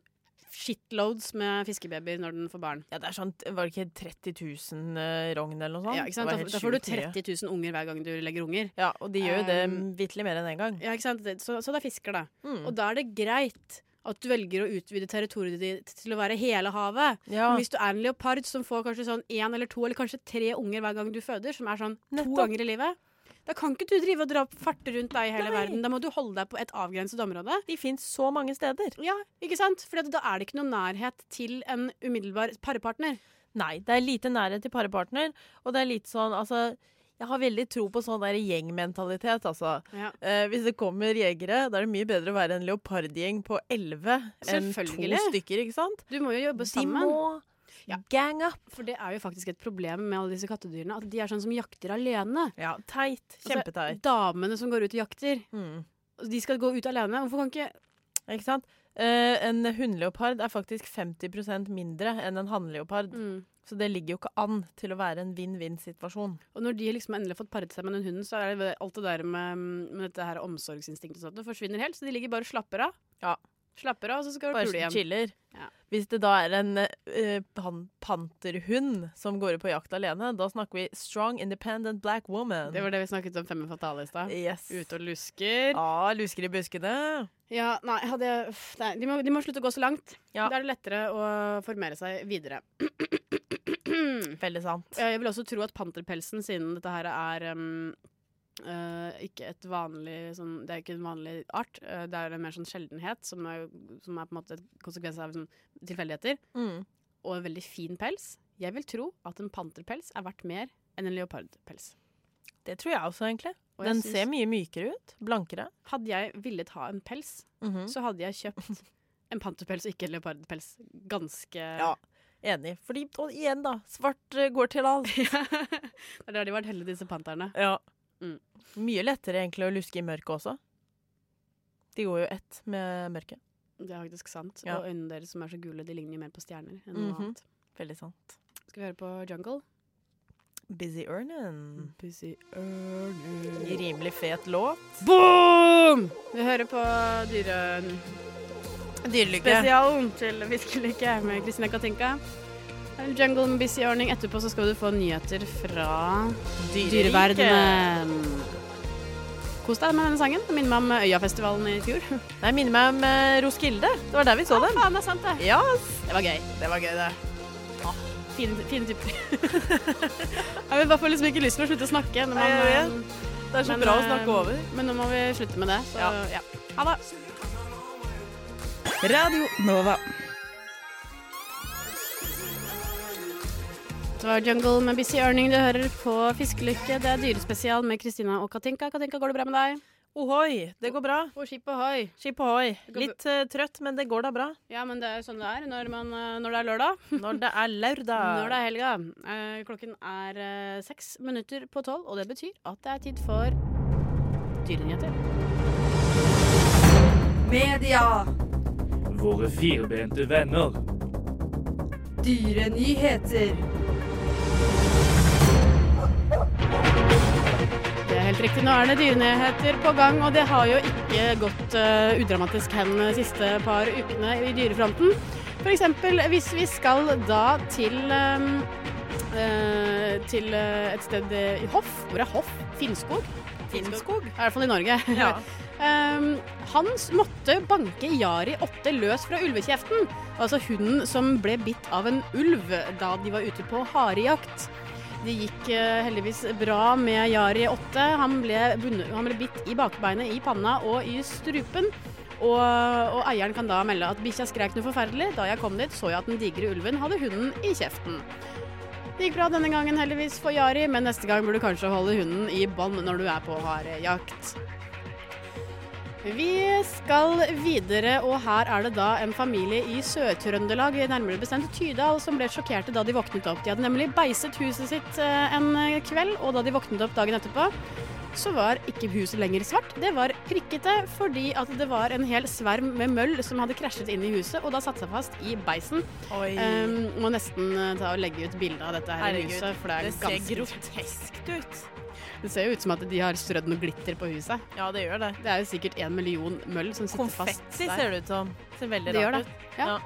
[SPEAKER 1] shitloads med fiskebabyer når den får barn.
[SPEAKER 2] Ja, det er sånn, var det ikke 30 000 eh, rogn eller noe sånt?
[SPEAKER 1] Ja, ikke sant?
[SPEAKER 2] Det var
[SPEAKER 1] Da,
[SPEAKER 2] helt
[SPEAKER 1] da får du
[SPEAKER 2] sjukt mye.
[SPEAKER 1] 30 000 unger hver gang du legger unger.
[SPEAKER 2] Ja, og de gjør jo det
[SPEAKER 1] Um,
[SPEAKER 2] vitterlig mer enn én gang.
[SPEAKER 1] Ja, ikke sant? Det- Så, så det er fisker, da.
[SPEAKER 2] Mm.
[SPEAKER 1] Og da er det greit at du velger å utvide territoriet ditt til å være hele havet.
[SPEAKER 2] Ja.
[SPEAKER 1] Men hvis du er en leopard som får kanskje sånn én eller to eller kanskje tre unger hver gang du føder, som er sånn to
[SPEAKER 2] Nettopp.
[SPEAKER 1] ganger i livet, da kan ikke du drive og dra farte rundt deg i hele
[SPEAKER 2] Nei.
[SPEAKER 1] verden. Da må du holde deg på et avgrenset område.
[SPEAKER 2] De fins så mange steder.
[SPEAKER 1] Ja, ikke sant? For da er det ikke noen nærhet til en umiddelbar parepartner.
[SPEAKER 2] Nei, det er lite nærhet til parepartner, og det er litt sånn, altså jeg har veldig tro på sånn der gjengmentalitet, altså.
[SPEAKER 1] Ja.
[SPEAKER 2] Eh, hvis det kommer jegere, da er det mye bedre å være en leopardgjeng på elleve enn to
[SPEAKER 1] Selvfølgelig.
[SPEAKER 2] stykker, ikke sant?
[SPEAKER 1] Du må jo jobbe sammen.
[SPEAKER 2] må gang up.
[SPEAKER 1] For det er jo faktisk et problem med alle disse kattedyrene. At de er sånn som jakter alene.
[SPEAKER 2] Ja, teit. Kjempeteit.
[SPEAKER 1] Altså, damene som går ut og jakter. Altså, De skal gå ut alene. Hvorfor kan ikke
[SPEAKER 2] Ikke sant? Eh, en hundleopard er faktisk 50 mindre enn en hannleopard.
[SPEAKER 1] Mm.
[SPEAKER 2] Så det ligger jo ikke an til å være en vinn-vinn-situasjon.
[SPEAKER 1] Og når de liksom endelig har fått paret seg med den hunden, så er det alt det der med, med dette her omsorgsinstinktet og sånt, det forsvinner helt. Så de ligger bare og slapper av.
[SPEAKER 2] Ja.
[SPEAKER 1] Slapper av, og så skal de
[SPEAKER 2] Bare
[SPEAKER 1] pule hjem.
[SPEAKER 2] chiller.
[SPEAKER 1] Ja.
[SPEAKER 2] Hvis det da er en eh, pan panterhund som går ut på jakt alene, da snakker vi strong, independent black woman.
[SPEAKER 1] Det var det vi snakket om femme fatale i stad.
[SPEAKER 2] Yes.
[SPEAKER 1] Ute og lusker.
[SPEAKER 2] Ja, lusker i buskene.
[SPEAKER 1] Ja, nei, hadde jeg, uff, nei de, må, de må slutte å gå så langt.
[SPEAKER 2] Ja.
[SPEAKER 1] Da er det lettere å formere seg videre.
[SPEAKER 2] Veldig sant.
[SPEAKER 1] Eh, Jeg vil også tro at panterpelsen, siden dette her er em, eh, ikke et vanlig sånn, Det er ikke en vanlig art. eh, det er en mer sånn sjeldenhet, som er, som er på en måte en konsekvens av sånn, tilfeldigheter.
[SPEAKER 2] Mm.
[SPEAKER 1] Og en veldig fin pels. Jeg vil tro at en panterpels er verdt mer enn en leopardpels.
[SPEAKER 2] Det tror jeg også, egentlig.
[SPEAKER 1] Og jeg
[SPEAKER 2] Den
[SPEAKER 1] syns-
[SPEAKER 2] ser mye mykere ut. Blankere.
[SPEAKER 1] Hadde jeg villet ha en pels,
[SPEAKER 2] Mhm.
[SPEAKER 1] så hadde jeg kjøpt en panterpels og ikke en leopardpels. Ganske
[SPEAKER 2] Ja, enig. Fordi, og igjen, da. Svart eh, går til alt.
[SPEAKER 1] Det er der de har vært heldige, disse panterne.
[SPEAKER 2] Ja.
[SPEAKER 1] Mm.
[SPEAKER 2] Mye lettere egentlig å luske i mørket også. De går jo ett med mørket.
[SPEAKER 1] Det er faktisk sant.
[SPEAKER 2] Ja.
[SPEAKER 1] Og øynene deres som er så gule, de ligner jo mer på stjerner enn noe
[SPEAKER 2] Mhm.
[SPEAKER 1] annet.
[SPEAKER 2] Veldig sant.
[SPEAKER 1] Skal vi høre på Jungle?
[SPEAKER 2] Busy Earnin.
[SPEAKER 1] Busy Earnin.
[SPEAKER 2] Rimelig fet låt.
[SPEAKER 1] Boom! Vi hører på dyre...
[SPEAKER 2] Dyrelykke.
[SPEAKER 1] Spesialen til Fiskelykke med Kristina Katinka. Jungle med Busy Earning. Etterpå så skal du få nyheter fra
[SPEAKER 2] Dyreriket.
[SPEAKER 1] dyreverdenen. Kos deg med denne sangen. Det minner meg om Øyafestivalen i fjor.
[SPEAKER 2] Nei, minner meg om eh, Roskilde. Det var der vi så
[SPEAKER 1] Ah. Ja,
[SPEAKER 2] dem.
[SPEAKER 1] faen, det er sant, det.
[SPEAKER 2] Yes.
[SPEAKER 1] Det var gøy.
[SPEAKER 2] Sånn. Det var gøy, det.
[SPEAKER 1] Fine, fine typer. Jeg vil bare få liksom ikke lyst til å slutte å snakke. Når man,
[SPEAKER 2] Nei, jeg vet.
[SPEAKER 1] eh,
[SPEAKER 2] Det er så
[SPEAKER 1] men,
[SPEAKER 2] bra å
[SPEAKER 1] eh,
[SPEAKER 2] snakke over.
[SPEAKER 1] Men nå må vi slutte med det. Så,
[SPEAKER 2] Ja.
[SPEAKER 1] ja. Ha det.
[SPEAKER 10] Radio Nova.
[SPEAKER 1] Det var Jungle med Busy Earning du hører på Fiskelykke. Det er dyrespesial med Kristina og Katinka. Katinka, går det bra med deg?
[SPEAKER 2] Ohoi, det går bra.
[SPEAKER 1] På skip ohoi.
[SPEAKER 2] Skip ohoi.
[SPEAKER 1] går
[SPEAKER 2] Litt eh, trøtt, men det går da bra.
[SPEAKER 1] Ja, men det er jo sånn det er når, man, eh, når det er lørdag.
[SPEAKER 2] Når det er lørdag.
[SPEAKER 1] Når det er helga. Eh, klokken er eh, seks minutter på tolv, og det betyr at det er tid for dyrenyheter.
[SPEAKER 11] Media.
[SPEAKER 9] Våre firbente venner.
[SPEAKER 11] Dyrenyheter.
[SPEAKER 1] Helt riktig. Nå er det dyrenyheter på gang, og det har jo ikke gått eh, udramatisk hen de siste par ukene i dyrefronten. F.eks. hvis vi skal da til eh, eh, til eh, et sted i Hoff. Hvor er Hoff? Finnskog? Finnskog? I hvert fall i Norge.
[SPEAKER 2] Ja.
[SPEAKER 1] Ehm, Hans måtte banke Jari åtte løs fra ulvekjeften, altså hunden som ble bitt av en ulv da de var ute på harejakt. Det gikk eh, heldigvis bra med Jari åtte. Han ble, bundet, han ble bitt i bakbeinet, i panna og i strupen. Og, og eieren kan da melde at bikkja skrek noe forferdelig. Da jeg kom dit, så jeg at den digre ulven hadde hunden i kjeften. Det gikk bra denne gangen heldigvis for Jari, men neste gang burde du kanskje holde hunden i bånd når du er på harejakt. Vi skal videre, og her er det da en familie i Sør-Trøndelag, nærmere bestemt Tydal, som ble sjokkerte da de våknet opp. De hadde nemlig beiset huset sitt eh, en kveld, og da de våknet opp dagen etterpå, så var ikke huset lenger svart. Det var prikkete fordi at det var en hel sverm med møll som hadde krasjet inn i huset og da satt seg fast i beisen.
[SPEAKER 2] Oi.
[SPEAKER 1] Em, må nesten eh, ta og legge ut bilde av dette her i
[SPEAKER 2] Herregud,
[SPEAKER 1] huset, for Um, det er
[SPEAKER 2] det ser
[SPEAKER 1] ganske
[SPEAKER 2] groteskt ut.
[SPEAKER 1] Det ser jo ut som at de har strødd noe glitter på huset.
[SPEAKER 2] Ja, det gjør det.
[SPEAKER 1] Det er jo sikkert en million møll som sitter fast
[SPEAKER 2] Konfetti ser det ut som. Ser veldig
[SPEAKER 1] Det gjør
[SPEAKER 2] rart
[SPEAKER 1] det.
[SPEAKER 2] ut.
[SPEAKER 1] Ja.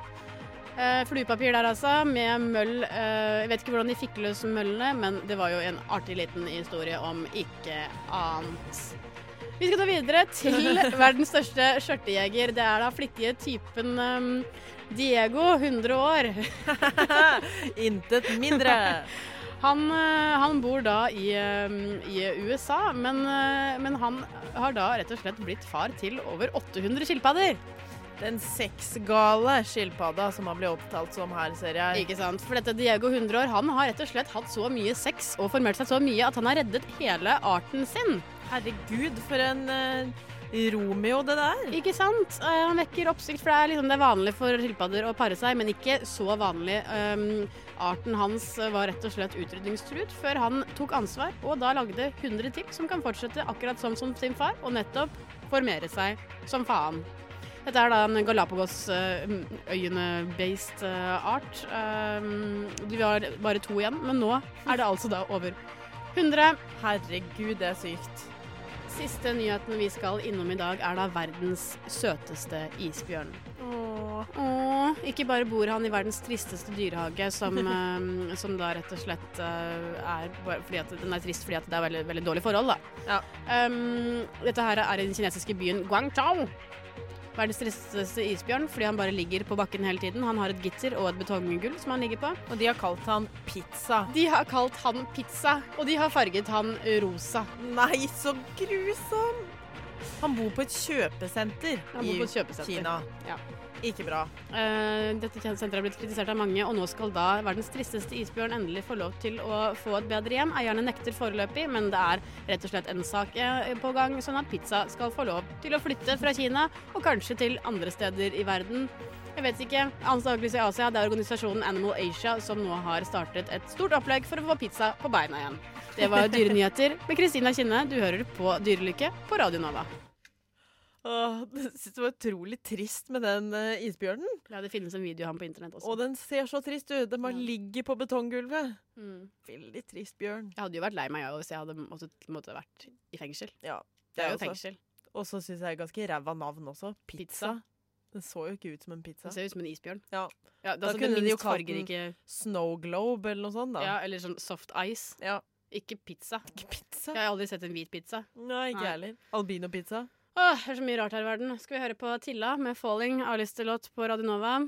[SPEAKER 1] Eh, fluepapir der altså, med møll. Eh, jeg vet ikke hvordan de fikk løs møllene, men det var jo en artig liten historie om ikke annet. Vi skal gå videre til verdens største skjørtejeger. Det er da flittige typen ehm, Diego, 100 år.
[SPEAKER 2] Intet mindre.
[SPEAKER 1] Han, eh, han bor da i, ehm, i USA, men, eh, men han har da rett og slett blitt far til over 800 skilpadder.
[SPEAKER 2] Den sexgale skilpadda som han blir opptalt som her, ser jeg.
[SPEAKER 1] Ikke sant? For dette Diego 100 år, han har rett og slett hatt så mye sex og formert seg så mye at han har reddet hele arten sin.
[SPEAKER 2] Herregud, for en eh, Romeo det der.
[SPEAKER 1] Ikke sant? Eh, han vekker oppsikt, for det er, liksom, det er vanlig for skilpadder å pare seg, men ikke så vanlig. Um, arten hans eh, var rett og slett utrydningstruet før han tok ansvar, og da lagde 100 til som kan fortsette akkurat sånn som, som sin far, og nettopp formere seg som faen. Dette er da en eh, Galapagos-øyene-based eh, art. Um, det var bare to igjen, men nå er det altså da over 100.
[SPEAKER 2] Herregud, det er sykt.
[SPEAKER 1] Siste nyheten vi skal innom i dag, er da verdens søteste isbjørn. Åh, ikke bare bor han i verdens tristeste dyrehage, som, eh, som da rett og slett eh, er bare fordi at den er trist fordi at det er veldig, veldig dårlige forhold, da.
[SPEAKER 2] Ja.
[SPEAKER 1] Um, dette her er i den kinesiske byen Guangzhou. Verdens tristeste isbjørn fordi han bare ligger på bakken hele tiden. Han har et gitter og et betonggulv som han ligger på.
[SPEAKER 2] Og de har kalt han Pizza.
[SPEAKER 1] De har kalt han Pizza, og de har farget han rosa.
[SPEAKER 2] Nei, så grusom! Han bor på et kjøpesenter
[SPEAKER 1] Han bor
[SPEAKER 2] i
[SPEAKER 1] på et kjøpesenter.
[SPEAKER 2] Kina.
[SPEAKER 1] Ja.
[SPEAKER 2] Ikke bra.
[SPEAKER 1] Eh, dette senteret har blitt kritisert av mange, og nå skal da verdens tristeste isbjørn endelig få lov til å få et bedre hjem. Eierne nekter foreløpig, men det er rett og slett en sak eh, på gang, sånn at pizza skal få lov til å flytte fra Kina, og kanskje til andre steder i verden. Jeg vet ikke. Antakeligvis i Asia. Det er organisasjonen Animal Asia som nå har startet et stort opplegg for å få pizza på beina igjen. Det var Dyrenyheter med Kristina Kinne. Du hører på Dyrelykke på Radio Nova.
[SPEAKER 2] Åh, det synes det var utrolig trist med den eh, isbjørnen.
[SPEAKER 1] Ja, det finnes en video av ham på internett også.
[SPEAKER 2] Og den ser så trist ut. Den bare
[SPEAKER 1] Ja.
[SPEAKER 2] ligger på betonggulvet.
[SPEAKER 1] Mm.
[SPEAKER 2] Veldig trist bjørn.
[SPEAKER 1] Jeg hadde jo vært lei meg jeg også, hvis jeg hadde måttet, måtte vært i fengsel.
[SPEAKER 2] Ja,
[SPEAKER 1] Det er jo
[SPEAKER 2] også-
[SPEAKER 1] fengsel.
[SPEAKER 2] Altså, Og så syns jeg ganske ræva navn også. Pizza.
[SPEAKER 1] Pizza.
[SPEAKER 2] Den så jo ikke ut som en pizza.
[SPEAKER 1] Det ser ut som en isbjørn.
[SPEAKER 2] Ja.
[SPEAKER 1] Ja, det
[SPEAKER 2] Da
[SPEAKER 1] er altså
[SPEAKER 2] kunne
[SPEAKER 1] det
[SPEAKER 2] de jo
[SPEAKER 1] minst
[SPEAKER 2] kalt den-
[SPEAKER 1] fargerike
[SPEAKER 2] Snow Globe eller noe sånt, da.
[SPEAKER 1] ja, Eller sånn soft ice.
[SPEAKER 2] Ja.
[SPEAKER 1] Ikke pizza.
[SPEAKER 2] Ikke pizza.
[SPEAKER 1] Jeg har aldri sett en hvit pizza.
[SPEAKER 2] Nei, ikke
[SPEAKER 1] Nei.
[SPEAKER 2] jeg heller. Albino-pizza.
[SPEAKER 1] Åh, det er så mye rart her i verden. Skal vi høre på Tilla med 'Falling' av Listerlot på Radio Nova.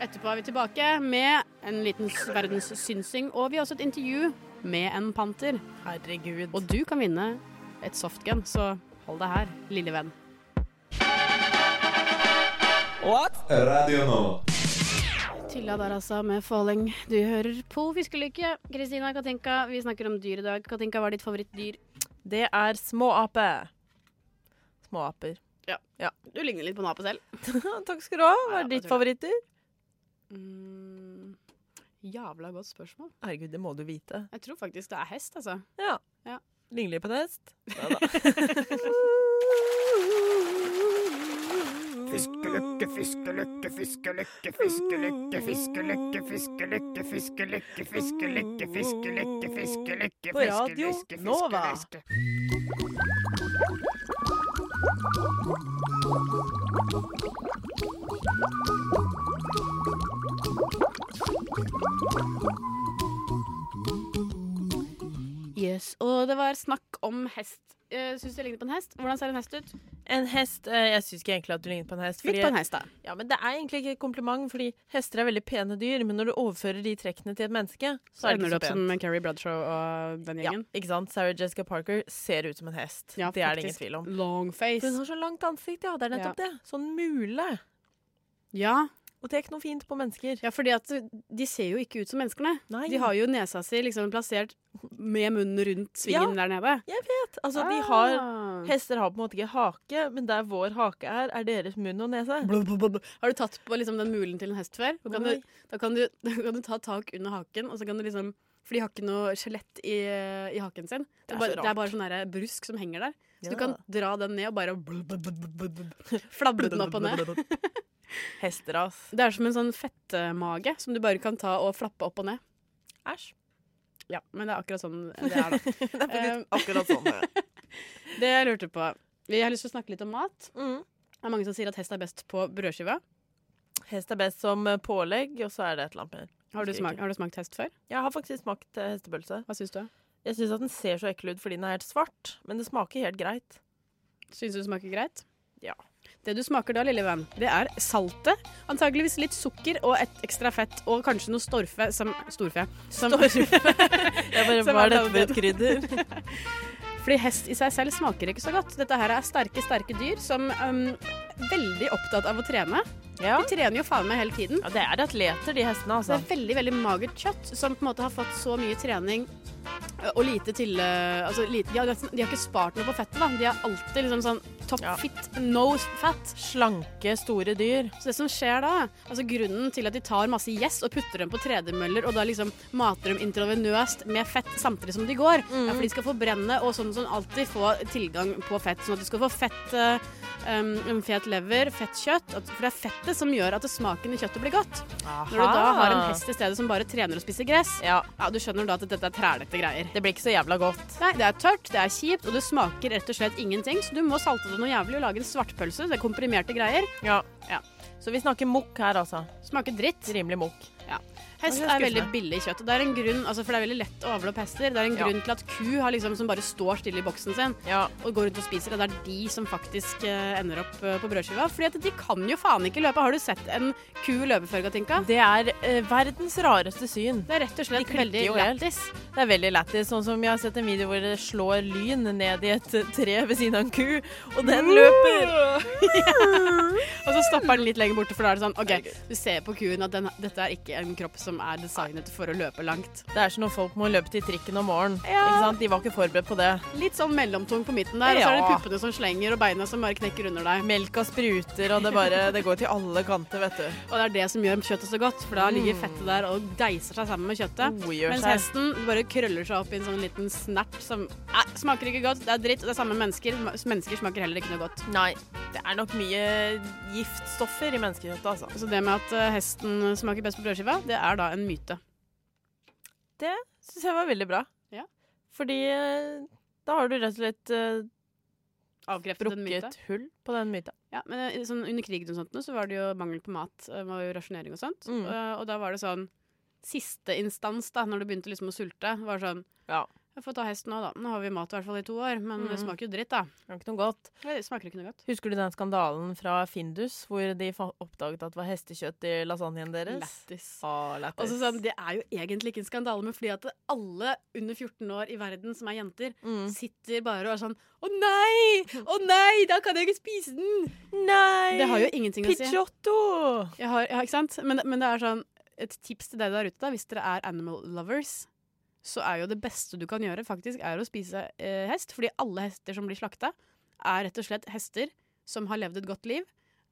[SPEAKER 1] Etterpå er vi tilbake med en liten s- verdenssynsing, og vi har også et intervju med en panter.
[SPEAKER 2] Herregud.
[SPEAKER 1] Og du kan vinne et softgun, så hold deg her, lille venn.
[SPEAKER 11] Radio Nova.
[SPEAKER 1] Tylla der altså, med Falling. Du hører på Fiskelykke. Kristina Katinka, vi snakker om dyr i dag. Katinka, hva er ditt favorittdyr?
[SPEAKER 2] Det er småape. Småaper.
[SPEAKER 1] Du ligner litt på en ape selv.
[SPEAKER 2] Takk skal du ha.
[SPEAKER 1] Ja,
[SPEAKER 2] Hva er ditt
[SPEAKER 1] jeg tror
[SPEAKER 2] favorittdyr?
[SPEAKER 1] Mm, jævla godt spørsmål.
[SPEAKER 2] Herregud, det må du vite.
[SPEAKER 1] Jeg tror faktisk det er hest, altså.
[SPEAKER 2] Ja.
[SPEAKER 1] Ja.
[SPEAKER 2] Ligner de på en hest? Ja da.
[SPEAKER 6] Fiskelykke, fiskelykke, fiskelykke, fiskelykke, fiskelykke, fiskelykke, fiskelykke, fiskelykke, fiskelykke, fiskelykke,
[SPEAKER 2] På Radio
[SPEAKER 6] fiskelykke,
[SPEAKER 2] Nova.
[SPEAKER 6] fiskelykke.
[SPEAKER 1] Yes, Og det var snakk om hest. Uh, Syns du det ligner på en hest? Hvordan ser en hest ut?
[SPEAKER 2] En hest eh, Jeg syns ikke egentlig at du ligner på en hest.
[SPEAKER 1] Litt på en hest, da.
[SPEAKER 2] Ja, men Det er egentlig ikke et kompliment, fordi hester er veldig pene dyr. Men når du overfører de trekkene til et menneske, så er det
[SPEAKER 1] Ender du
[SPEAKER 2] ikke
[SPEAKER 1] opp
[SPEAKER 2] så
[SPEAKER 1] som
[SPEAKER 2] pent.
[SPEAKER 1] Carrie Bradshaw og den
[SPEAKER 2] Ja,
[SPEAKER 1] gjengen?
[SPEAKER 2] ikke sant? Sarah Jessica Parker ser ut som en hest.
[SPEAKER 1] Ja,
[SPEAKER 2] det er det ingen
[SPEAKER 1] faktisk.
[SPEAKER 2] tvil om.
[SPEAKER 1] Long face.
[SPEAKER 2] For Hun har så langt ansikt, ja. Det er nettopp
[SPEAKER 1] Ja.
[SPEAKER 2] det. Sånn mule.
[SPEAKER 1] Ja.
[SPEAKER 2] Og det er ikke noe fint på mennesker.
[SPEAKER 1] Ja, fordi at de ser jo ikke ut som menneskene.
[SPEAKER 2] Nei.
[SPEAKER 1] De har jo nesa si liksom plassert med munnen rundt svingen
[SPEAKER 2] Ja,
[SPEAKER 1] der nede.
[SPEAKER 2] Jeg vet. Altså, de
[SPEAKER 1] Ah.
[SPEAKER 2] har Hester har på en måte ikke hake, men der vår hake er, er deres munn og nese.
[SPEAKER 1] Har du tatt på liksom den mulen til en hest før? Da kan,
[SPEAKER 2] Nei.
[SPEAKER 1] du, da, kan du, da kan du ta tak under haken, og så kan du liksom For de har ikke noe skjelett i, i haken sin. Det
[SPEAKER 2] er
[SPEAKER 1] er, bare,
[SPEAKER 2] så rart.
[SPEAKER 1] det er bare sånn derre brusk som henger der. Så
[SPEAKER 2] Ja.
[SPEAKER 1] du kan dra den ned og bare flabbe den opp og ned.
[SPEAKER 2] Hester, ass.
[SPEAKER 1] Det er som en sånn fettemage som du bare kan ta og flappe opp og ned.
[SPEAKER 2] Æsj.
[SPEAKER 1] Ja, men det er akkurat sånn det er, da.
[SPEAKER 2] det er
[SPEAKER 1] Eh,
[SPEAKER 2] faktisk akkurat sånn det er.
[SPEAKER 1] Det jeg lurte på Vi har lyst til å snakke litt om mat.
[SPEAKER 2] Mm.
[SPEAKER 1] Det er mange som sier at hest er best på brødskiva.
[SPEAKER 2] Hest er best som eh, pålegg, og så er det et eller annet mer.
[SPEAKER 1] Har du,
[SPEAKER 2] Husker
[SPEAKER 1] smak,
[SPEAKER 2] ikke.
[SPEAKER 1] har du smakt hest før?
[SPEAKER 2] Jeg har faktisk smakt eh, hestepølse.
[SPEAKER 1] Hva syns du?
[SPEAKER 2] Jeg syns at den ser så ekkel ut fordi den er helt svart, men det smaker helt greit.
[SPEAKER 1] Syns du det smaker greit?
[SPEAKER 2] Ja.
[SPEAKER 1] Det du smaker da, lille venn, det er saltet. Antageligvis litt sukker og et ekstra fett, og kanskje noe storfe som Storfe. Som,
[SPEAKER 2] Jeg bare,
[SPEAKER 1] Som er
[SPEAKER 2] Hva er dette for et
[SPEAKER 1] navnet.
[SPEAKER 2] krydder?
[SPEAKER 1] Fordi hest i seg selv smaker ikke så godt. Dette her er sterke, sterke dyr som um, er veldig opptatt av å trene.
[SPEAKER 2] Ja.
[SPEAKER 1] De trener jo faen meg hele tiden.
[SPEAKER 2] Ja, det er atleter, de hestene,
[SPEAKER 1] Så
[SPEAKER 2] altså.
[SPEAKER 1] det er veldig veldig magert kjøtt som på en måte har fått så mye trening ø, og lite til ø, altså, lite, de, har, nesten- de har ikke spart noe på fettet. da. De er alltid liksom sånn top fit, no fat.
[SPEAKER 2] Slanke, store dyr.
[SPEAKER 1] Så det som skjer da, altså Grunnen til at de tar masse gjess og putter dem på tredemøller og da liksom mater dem intravenøst med fett samtidig som de går,
[SPEAKER 2] Mm.
[SPEAKER 1] er fordi de skal forbrenne og sånn som alltid få tilgang på fett. Sånn at du skal få fett, ø, um, fet lever, fett kjøtt. at- For det er fettet som gjør at smaken i kjøttet blir godt. Når du da har en hest i stedet som bare trener og spiser gress,
[SPEAKER 2] ja.
[SPEAKER 1] du skjønner da at dette er trælete greier.
[SPEAKER 2] Det blir ikke så jævla godt.
[SPEAKER 1] Nei, det er tørt, det er kjipt, og det smaker rett og slett ingenting, så du må salte det noe jævlig og lage en svartpølse. Det er komprimerte greier.
[SPEAKER 2] Ja.
[SPEAKER 1] Ja.
[SPEAKER 2] Så vi snakker mokk her, altså.
[SPEAKER 1] Smaker dritt.
[SPEAKER 2] Rimelig mokk.
[SPEAKER 1] Ja. Hest
[SPEAKER 2] Det er
[SPEAKER 1] er veldig
[SPEAKER 2] skuffende.
[SPEAKER 1] billig kjøtt, og det er en grunn, altså for det er veldig lett å avle opp hester. Det er en
[SPEAKER 2] Ja.
[SPEAKER 1] grunn til at ku har liksom, som bare står stille i boksen sin
[SPEAKER 2] Ja.
[SPEAKER 1] og går rundt og spiser, og det er de som faktisk eh, ender opp eh, på brødskiva. Fordi at de kan jo faen ikke løpe. Har du sett en ku løpe før, Katinka?
[SPEAKER 2] Det er eh, verdens rareste syn.
[SPEAKER 1] Det er rett og
[SPEAKER 2] De
[SPEAKER 1] slett
[SPEAKER 2] klikker
[SPEAKER 1] veldig
[SPEAKER 2] jo helt.
[SPEAKER 1] lættis.
[SPEAKER 2] Det er veldig lættis. Sånn som jeg har sett en video hvor det slår lyn ned i et eh, tre ved siden av en ku, og den løper.
[SPEAKER 1] Og så stopper den litt lenger borte, for da er det sånn OK, du ser på kuen at den, dette er ikke en kropp som er designet for å løpe langt.
[SPEAKER 2] Det er som når folk må løpe til trikken om morgenen.
[SPEAKER 1] Ja.
[SPEAKER 2] Ikke sant? De var ikke forberedt på det.
[SPEAKER 1] Litt sånn mellomtung på midten der, og så er det
[SPEAKER 2] Ja.
[SPEAKER 1] puppene som slenger, og beina som bare knekker under deg.
[SPEAKER 2] Melka spruter, og det bare Det går til alle kanter, vet du.
[SPEAKER 1] Og det er det som gjør kjøttet så godt, for da ligger fettet der og deiser seg sammen med kjøttet.
[SPEAKER 2] Oh, Mm. gjør
[SPEAKER 1] Mens
[SPEAKER 2] seg.
[SPEAKER 1] hesten bare krøller seg opp i en sånn liten snert som eh, smaker ikke godt, det er dritt, og det er samme mennesker. Mennesker smaker heller ikke noe godt.
[SPEAKER 2] Nei. Det er nok mye giftstoffer i menneskekjøttet, altså.
[SPEAKER 1] Så det med at eh, hesten smaker best på brødskiva, det er da en myte.
[SPEAKER 2] Det syns jeg var veldig bra.
[SPEAKER 1] Ja.
[SPEAKER 2] Fordi eh, da har du rett og slett eh,
[SPEAKER 1] Avkreftet en myte.
[SPEAKER 2] brukket hull på den myta.
[SPEAKER 1] Ja, men eh, sånn, under krigen og sånt nå, så var det jo mangel på mat. eh, var jo rasjonering og sånt.
[SPEAKER 2] Mm.
[SPEAKER 1] Eh, og da var det sånn Siste instans, da, når du begynte liksom å sulte, var sånn
[SPEAKER 2] Ja.
[SPEAKER 1] Jeg får ta hest nå, da. Nå har vi mat i hvert fall i to år, men det
[SPEAKER 2] Mm.
[SPEAKER 1] smaker jo dritt, da.
[SPEAKER 2] Det var ikke noe godt.
[SPEAKER 1] Nei, Det smaker ikke noe godt.
[SPEAKER 2] Husker du den skandalen fra Findus, hvor de fa- oppdaget at det var hestekjøtt i lasagnen deres?
[SPEAKER 1] Lættis.
[SPEAKER 2] Ah, lættis.
[SPEAKER 1] Og så sånn, Det er jo egentlig ikke en skandale, men fordi at alle under 14 år i verden som er jenter,
[SPEAKER 2] Mm.
[SPEAKER 1] sitter bare og er sånn Å nei! Å nei! Da kan jeg ikke spise den!
[SPEAKER 2] Nei!
[SPEAKER 1] Det har jo ingenting å si.
[SPEAKER 2] Picciotto!
[SPEAKER 1] Jeg har, ja, ikke sant? Men, men det er sånn, et tips til deg der ute, da, hvis dere er animal lovers, så er jo det beste du kan gjøre, faktisk, er å spise eh, hest. Fordi alle hester som blir slakta, er rett og slett hester som har levd et godt liv,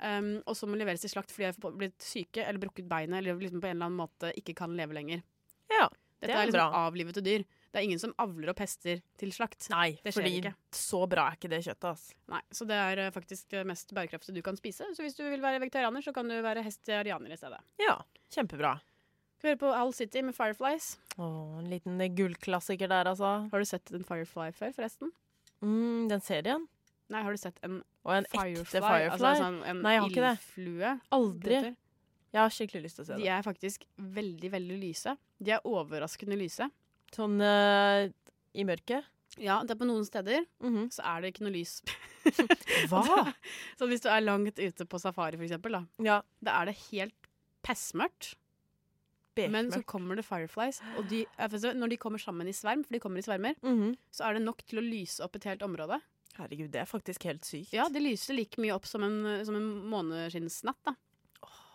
[SPEAKER 1] em, og som må leveres til slakt fordi de har blitt syke eller brukket beinet eller liksom på en eller annen måte ikke kan leve lenger.
[SPEAKER 2] Ja,
[SPEAKER 1] Dette
[SPEAKER 2] det
[SPEAKER 1] er,
[SPEAKER 2] er
[SPEAKER 1] liksom
[SPEAKER 2] bra.
[SPEAKER 1] avlivede dyr. Det er ingen som avler opp hester til slakt.
[SPEAKER 2] Nei,
[SPEAKER 1] det skjer
[SPEAKER 2] fordi
[SPEAKER 1] ikke.
[SPEAKER 2] så bra er ikke det kjøttet, ass.
[SPEAKER 1] Nei, Så det er eh, faktisk det mest bærekraftige du kan spise. Så hvis du vil være vegetarianer, så kan du være hestiarianer i stedet.
[SPEAKER 2] Ja, kjempebra.
[SPEAKER 1] Skal vi høre på Owl City med Fireflies.
[SPEAKER 2] Åh, en liten gullklassiker der, altså.
[SPEAKER 1] Har du sett en Firefly før, forresten?
[SPEAKER 2] Mm, den serien?
[SPEAKER 1] Nei, har du sett en
[SPEAKER 2] Og en ekte Firefly?
[SPEAKER 1] Altså sånn en
[SPEAKER 2] Nei, jeg har ikke det.
[SPEAKER 1] ildflue?
[SPEAKER 2] Aldri.
[SPEAKER 1] heter.
[SPEAKER 2] Jeg har skikkelig lyst til å se
[SPEAKER 1] De
[SPEAKER 2] det.
[SPEAKER 1] er faktisk veldig, veldig lyse. De er overraskende lyse.
[SPEAKER 2] Sånn eh, i mørket?
[SPEAKER 1] Ja, det er på noen steder så er det ikke noe lys. Altså,
[SPEAKER 2] Hva?
[SPEAKER 1] så hvis du er langt ute på safari, for eksempel, da,
[SPEAKER 2] Ja.
[SPEAKER 1] da er det helt pessmørkt. Men så kommer det fireflies, og de, eh, for så- når de kommer sammen i sverm, for de kommer i svermer, så er det nok til å lyse opp et helt område.
[SPEAKER 2] Mhm. Herregud, det er faktisk helt sykt.
[SPEAKER 1] Ja, de lyser like mye opp som en, som en måneskinnsnatt, da.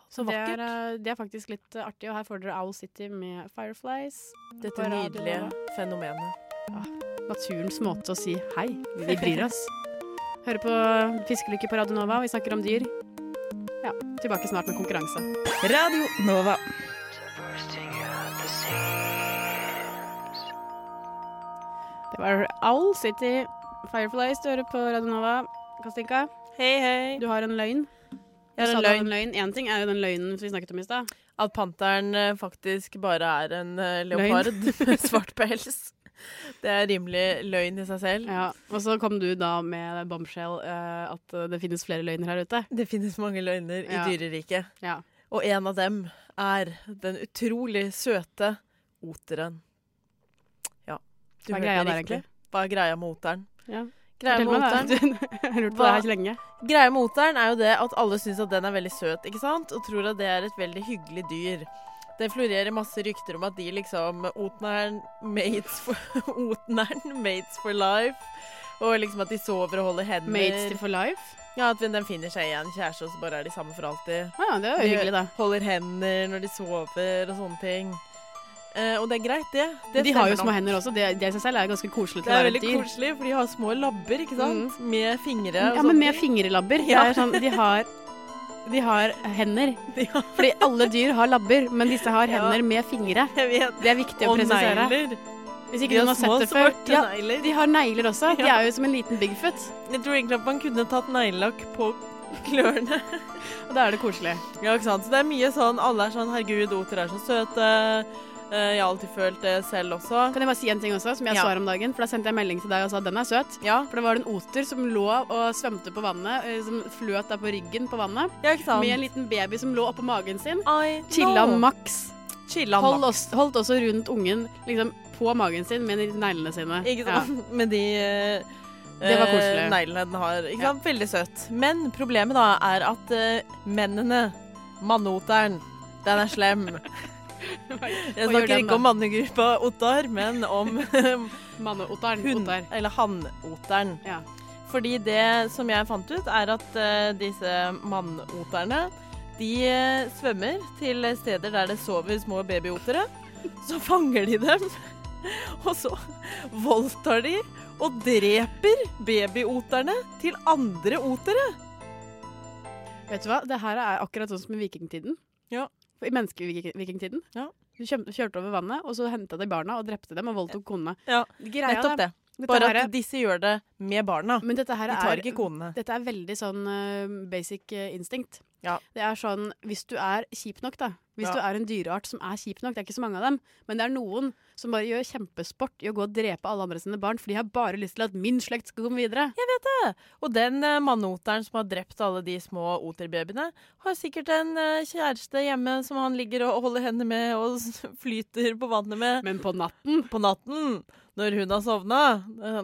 [SPEAKER 2] så
[SPEAKER 1] det er,
[SPEAKER 2] vakkert.
[SPEAKER 1] eh, det er faktisk litt eh, artig, og her får dere Owl City med Fireflies.
[SPEAKER 2] Dette
[SPEAKER 1] på radio.
[SPEAKER 2] nydelige fenomenet.
[SPEAKER 1] Naturens måte å si hei, vi bryr oss. Hører på Fiskelykke på Radio Nova, vi snakker om dyr. Ja, tilbake snart med konkurranse.
[SPEAKER 10] Radio Nova.
[SPEAKER 1] Det var Owl City Fireflies du hører på Radio Nova. Kastinka,
[SPEAKER 2] Hei, hei.
[SPEAKER 1] du har en løgn.
[SPEAKER 2] Jeg
[SPEAKER 1] Du
[SPEAKER 2] har en
[SPEAKER 1] sa du hadde
[SPEAKER 2] løgn.
[SPEAKER 1] løgn. Én ting er jo den løgnen som vi snakket om i stad.
[SPEAKER 2] At panteren eh, faktisk bare er en eh, leopard med svart pels. Det er rimelig løgn i seg selv.
[SPEAKER 1] Ja, og så kom du da med bombshell eh, at det finnes flere løgner her ute.
[SPEAKER 2] Det finnes mange løgner i
[SPEAKER 1] Ja.
[SPEAKER 2] dyreriket.
[SPEAKER 1] Ja.
[SPEAKER 2] Og en av dem er den utrolig søte oteren. Ja, du
[SPEAKER 1] Hva er
[SPEAKER 2] hørte
[SPEAKER 1] greia der,
[SPEAKER 2] riktig.
[SPEAKER 1] egentlig?
[SPEAKER 2] Hva er greia med oteren?
[SPEAKER 1] Ja.
[SPEAKER 2] Greia
[SPEAKER 1] Fortell
[SPEAKER 2] med
[SPEAKER 1] meg, da.
[SPEAKER 2] oteren
[SPEAKER 1] Jeg har lurt på det her så lenge.
[SPEAKER 2] Greia med oteren er jo det at alle syns at den er veldig søt, ikke sant? Og tror at det er et veldig hyggelig dyr. Det florerer masse rykter om at de liksom Otneren mates for, otneren, mates for life. Og liksom at de sover og holder hender.
[SPEAKER 1] Mates for life?
[SPEAKER 2] Ja, at den finner seg igjen kjæreste, og så bare er de sammen for alltid.
[SPEAKER 1] Ja, det er jo
[SPEAKER 2] De
[SPEAKER 1] hyggelig, da.
[SPEAKER 2] Holder hender når de sover og sånne ting. Eh, og det er greit, det. det
[SPEAKER 1] Men de har jo
[SPEAKER 2] stemmer
[SPEAKER 1] små
[SPEAKER 2] nok.
[SPEAKER 1] hender også. Det, det i seg selv er jo ganske koselig
[SPEAKER 2] Det
[SPEAKER 1] til å
[SPEAKER 2] er
[SPEAKER 1] være
[SPEAKER 2] veldig
[SPEAKER 1] et dyr. Mm.
[SPEAKER 2] koselig, for de har små labber, ikke sant? Med fingre og
[SPEAKER 1] Ja, men
[SPEAKER 2] sånne
[SPEAKER 1] med
[SPEAKER 2] ting.
[SPEAKER 1] fingerlabber.
[SPEAKER 2] sånn- Ja.
[SPEAKER 1] Det er sånn, de har de har hender. Fordi alle dyr har labber, men disse har hender med fingre.
[SPEAKER 2] Jeg vet.
[SPEAKER 1] Det er viktig å
[SPEAKER 2] Og
[SPEAKER 1] presisere.
[SPEAKER 2] negler.
[SPEAKER 1] Hvis
[SPEAKER 2] De
[SPEAKER 1] ikke noen har
[SPEAKER 2] har små,
[SPEAKER 1] sett det før.
[SPEAKER 2] svarte negler.
[SPEAKER 1] de har negler også. De
[SPEAKER 2] Ja.
[SPEAKER 1] er jo som en liten Bigfoot.
[SPEAKER 2] Jeg tror egentlig at man kunne tatt neglelakk på klørne.
[SPEAKER 1] Og da er det koselig.
[SPEAKER 2] Ja, ikke sant? Så det er mye sånn Alle er sånn Herregud, oter er så søte. Eh, Jeg har alltid følt det selv også.
[SPEAKER 1] Kan jeg bare si en ting også, som jeg
[SPEAKER 2] Ja.
[SPEAKER 1] så her om dagen? For da sendte jeg melding til deg og sa den er søt. For det var en oter som lå og svømte på vannet, eh, som fløt da på ryggen på vannet.
[SPEAKER 2] sant.
[SPEAKER 1] Med en liten baby som lå oppå magen sin.
[SPEAKER 2] I
[SPEAKER 1] Chilla
[SPEAKER 2] know.
[SPEAKER 1] maks.
[SPEAKER 2] Chilla
[SPEAKER 1] Hold
[SPEAKER 2] maks.
[SPEAKER 1] oss- holdt også rundt ungen liksom, på magen sin med neglene sine.
[SPEAKER 2] Ikke sant? Med de eh,
[SPEAKER 1] Det var koselig.
[SPEAKER 2] eh, neglene den har. Ikke sant? Veldig søtt. Men problemet da er at eh, mennene, mannoteren, den er slem. Jeg
[SPEAKER 1] hva gjør den
[SPEAKER 2] snakker
[SPEAKER 1] da?
[SPEAKER 2] ikke om mannegruppa Ottar, men om
[SPEAKER 1] Manneoteren.
[SPEAKER 2] hund-
[SPEAKER 1] Ottar.
[SPEAKER 2] Eller hannoteren.
[SPEAKER 1] Ja.
[SPEAKER 2] Fordi det som jeg fant ut, er at eh, disse mannoterne de eh, svømmer til steder der det sover små babyotere. Så fanger de dem, og så voldtar de og dreper babyoterne til andre otere.
[SPEAKER 1] Ja. Vet du hva, det her er akkurat sånn som i vikingtiden.
[SPEAKER 2] Ja.
[SPEAKER 1] I menneskevikingtiden.
[SPEAKER 2] Ja.
[SPEAKER 1] Du kjøm- kjørte over vannet, og så henta de barna og drepte dem og voldtok konene.
[SPEAKER 2] Ja,
[SPEAKER 1] Greia
[SPEAKER 2] nettopp
[SPEAKER 1] da-
[SPEAKER 2] det.
[SPEAKER 1] dette
[SPEAKER 2] Bare
[SPEAKER 1] her er-
[SPEAKER 2] at disse gjør det med barna.
[SPEAKER 1] Men dette her
[SPEAKER 2] de tar
[SPEAKER 1] er-
[SPEAKER 2] ikke konene.
[SPEAKER 1] Dette er veldig sånn eh, basic eh, instinct.
[SPEAKER 2] Ja.
[SPEAKER 1] Det er sånn, Hvis du er kjip nok, da. Hvis
[SPEAKER 2] Ja.
[SPEAKER 1] du er en dyreart som er kjip nok, det er ikke så mange av dem, men det er noen som bare gjør kjempesport i å gå og drepe alle andre sine barn, for de har bare lyst til at min slekt skal komme videre.
[SPEAKER 2] Og den eh, mannoteren som har drept alle de små oterbabyene, har sikkert en eh, kjæreste hjemme som han ligger og holder hendene med og s- flyter på vannet med
[SPEAKER 1] Men på natten
[SPEAKER 2] på natten når hun har sovna. Eh,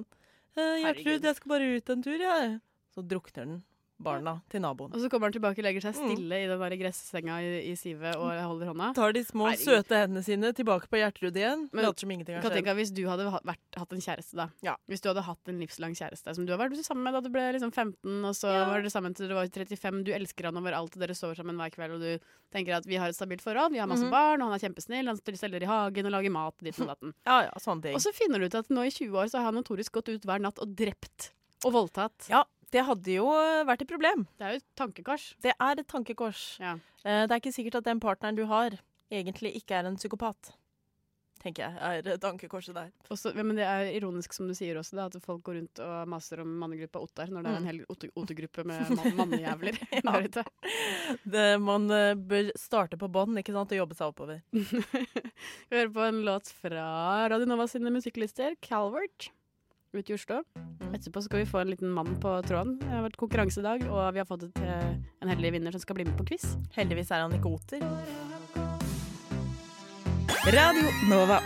[SPEAKER 2] eh, Gjertrud,
[SPEAKER 1] Herregud.
[SPEAKER 2] jeg skal bare ut en tur, jeg. Så drukner den barna til naboen.
[SPEAKER 1] Og så kommer han tilbake og legger seg
[SPEAKER 2] Mm.
[SPEAKER 1] stille i den der gressenga i, i sivet og holder hånda.
[SPEAKER 2] Tar de små,
[SPEAKER 1] Herregud.
[SPEAKER 2] søte hendene sine tilbake på Gjertrud igjen.
[SPEAKER 1] Men
[SPEAKER 2] Later som ingenting har skjedd.
[SPEAKER 1] Katinka, hvis du hadde ha- vært, hatt en kjæreste, da.
[SPEAKER 2] Ja.
[SPEAKER 1] Hvis du hadde hatt en livslang kjæreste som du har vært sammen med da du ble liksom 15, og så var dere sammen til dere var 35, du elsker han over alt, og dere sover sammen hver kveld, og du tenker at vi har et stabilt forhold, vi har masse
[SPEAKER 2] Mhm.
[SPEAKER 1] barn, og han er kjempesnill, han steller i hagen og lager mat, ditt og datten.
[SPEAKER 2] Ja, ja, sånne ting.
[SPEAKER 1] Og så finner du ut at nå i 20 år så har han notorisk gått ut hver natt og drept og voldtatt.
[SPEAKER 2] Ja, det hadde jo eh, vært et problem.
[SPEAKER 1] Det er jo et tankekors.
[SPEAKER 2] Det er et tankekors.
[SPEAKER 1] Ja.
[SPEAKER 2] Eh, Det er ikke sikkert at den partneren du har, egentlig ikke er en psykopat. tenker jeg er tankekorset der.
[SPEAKER 1] Også, ja, men det er ironisk som du sier også, da, at folk går rundt og maser om mannegruppa Ottar når det
[SPEAKER 2] Mm.
[SPEAKER 1] er en hel otte- otegruppe med man mannejævler der ute.
[SPEAKER 2] Det, man eh, bør starte på bånn, ikke sant, og jobbe seg oppover.
[SPEAKER 1] Vi hører på en låt fra Radio Nova sine musikklister, Calvert, ute i Oslo. Etterpå skal vi få en liten mann på tråden. Det har vært konkurransedag, og vi har fått et, eh, en heldig vinner som skal bli med på quiz.
[SPEAKER 2] Heldigvis er han ikke oter.
[SPEAKER 10] Radio Nova.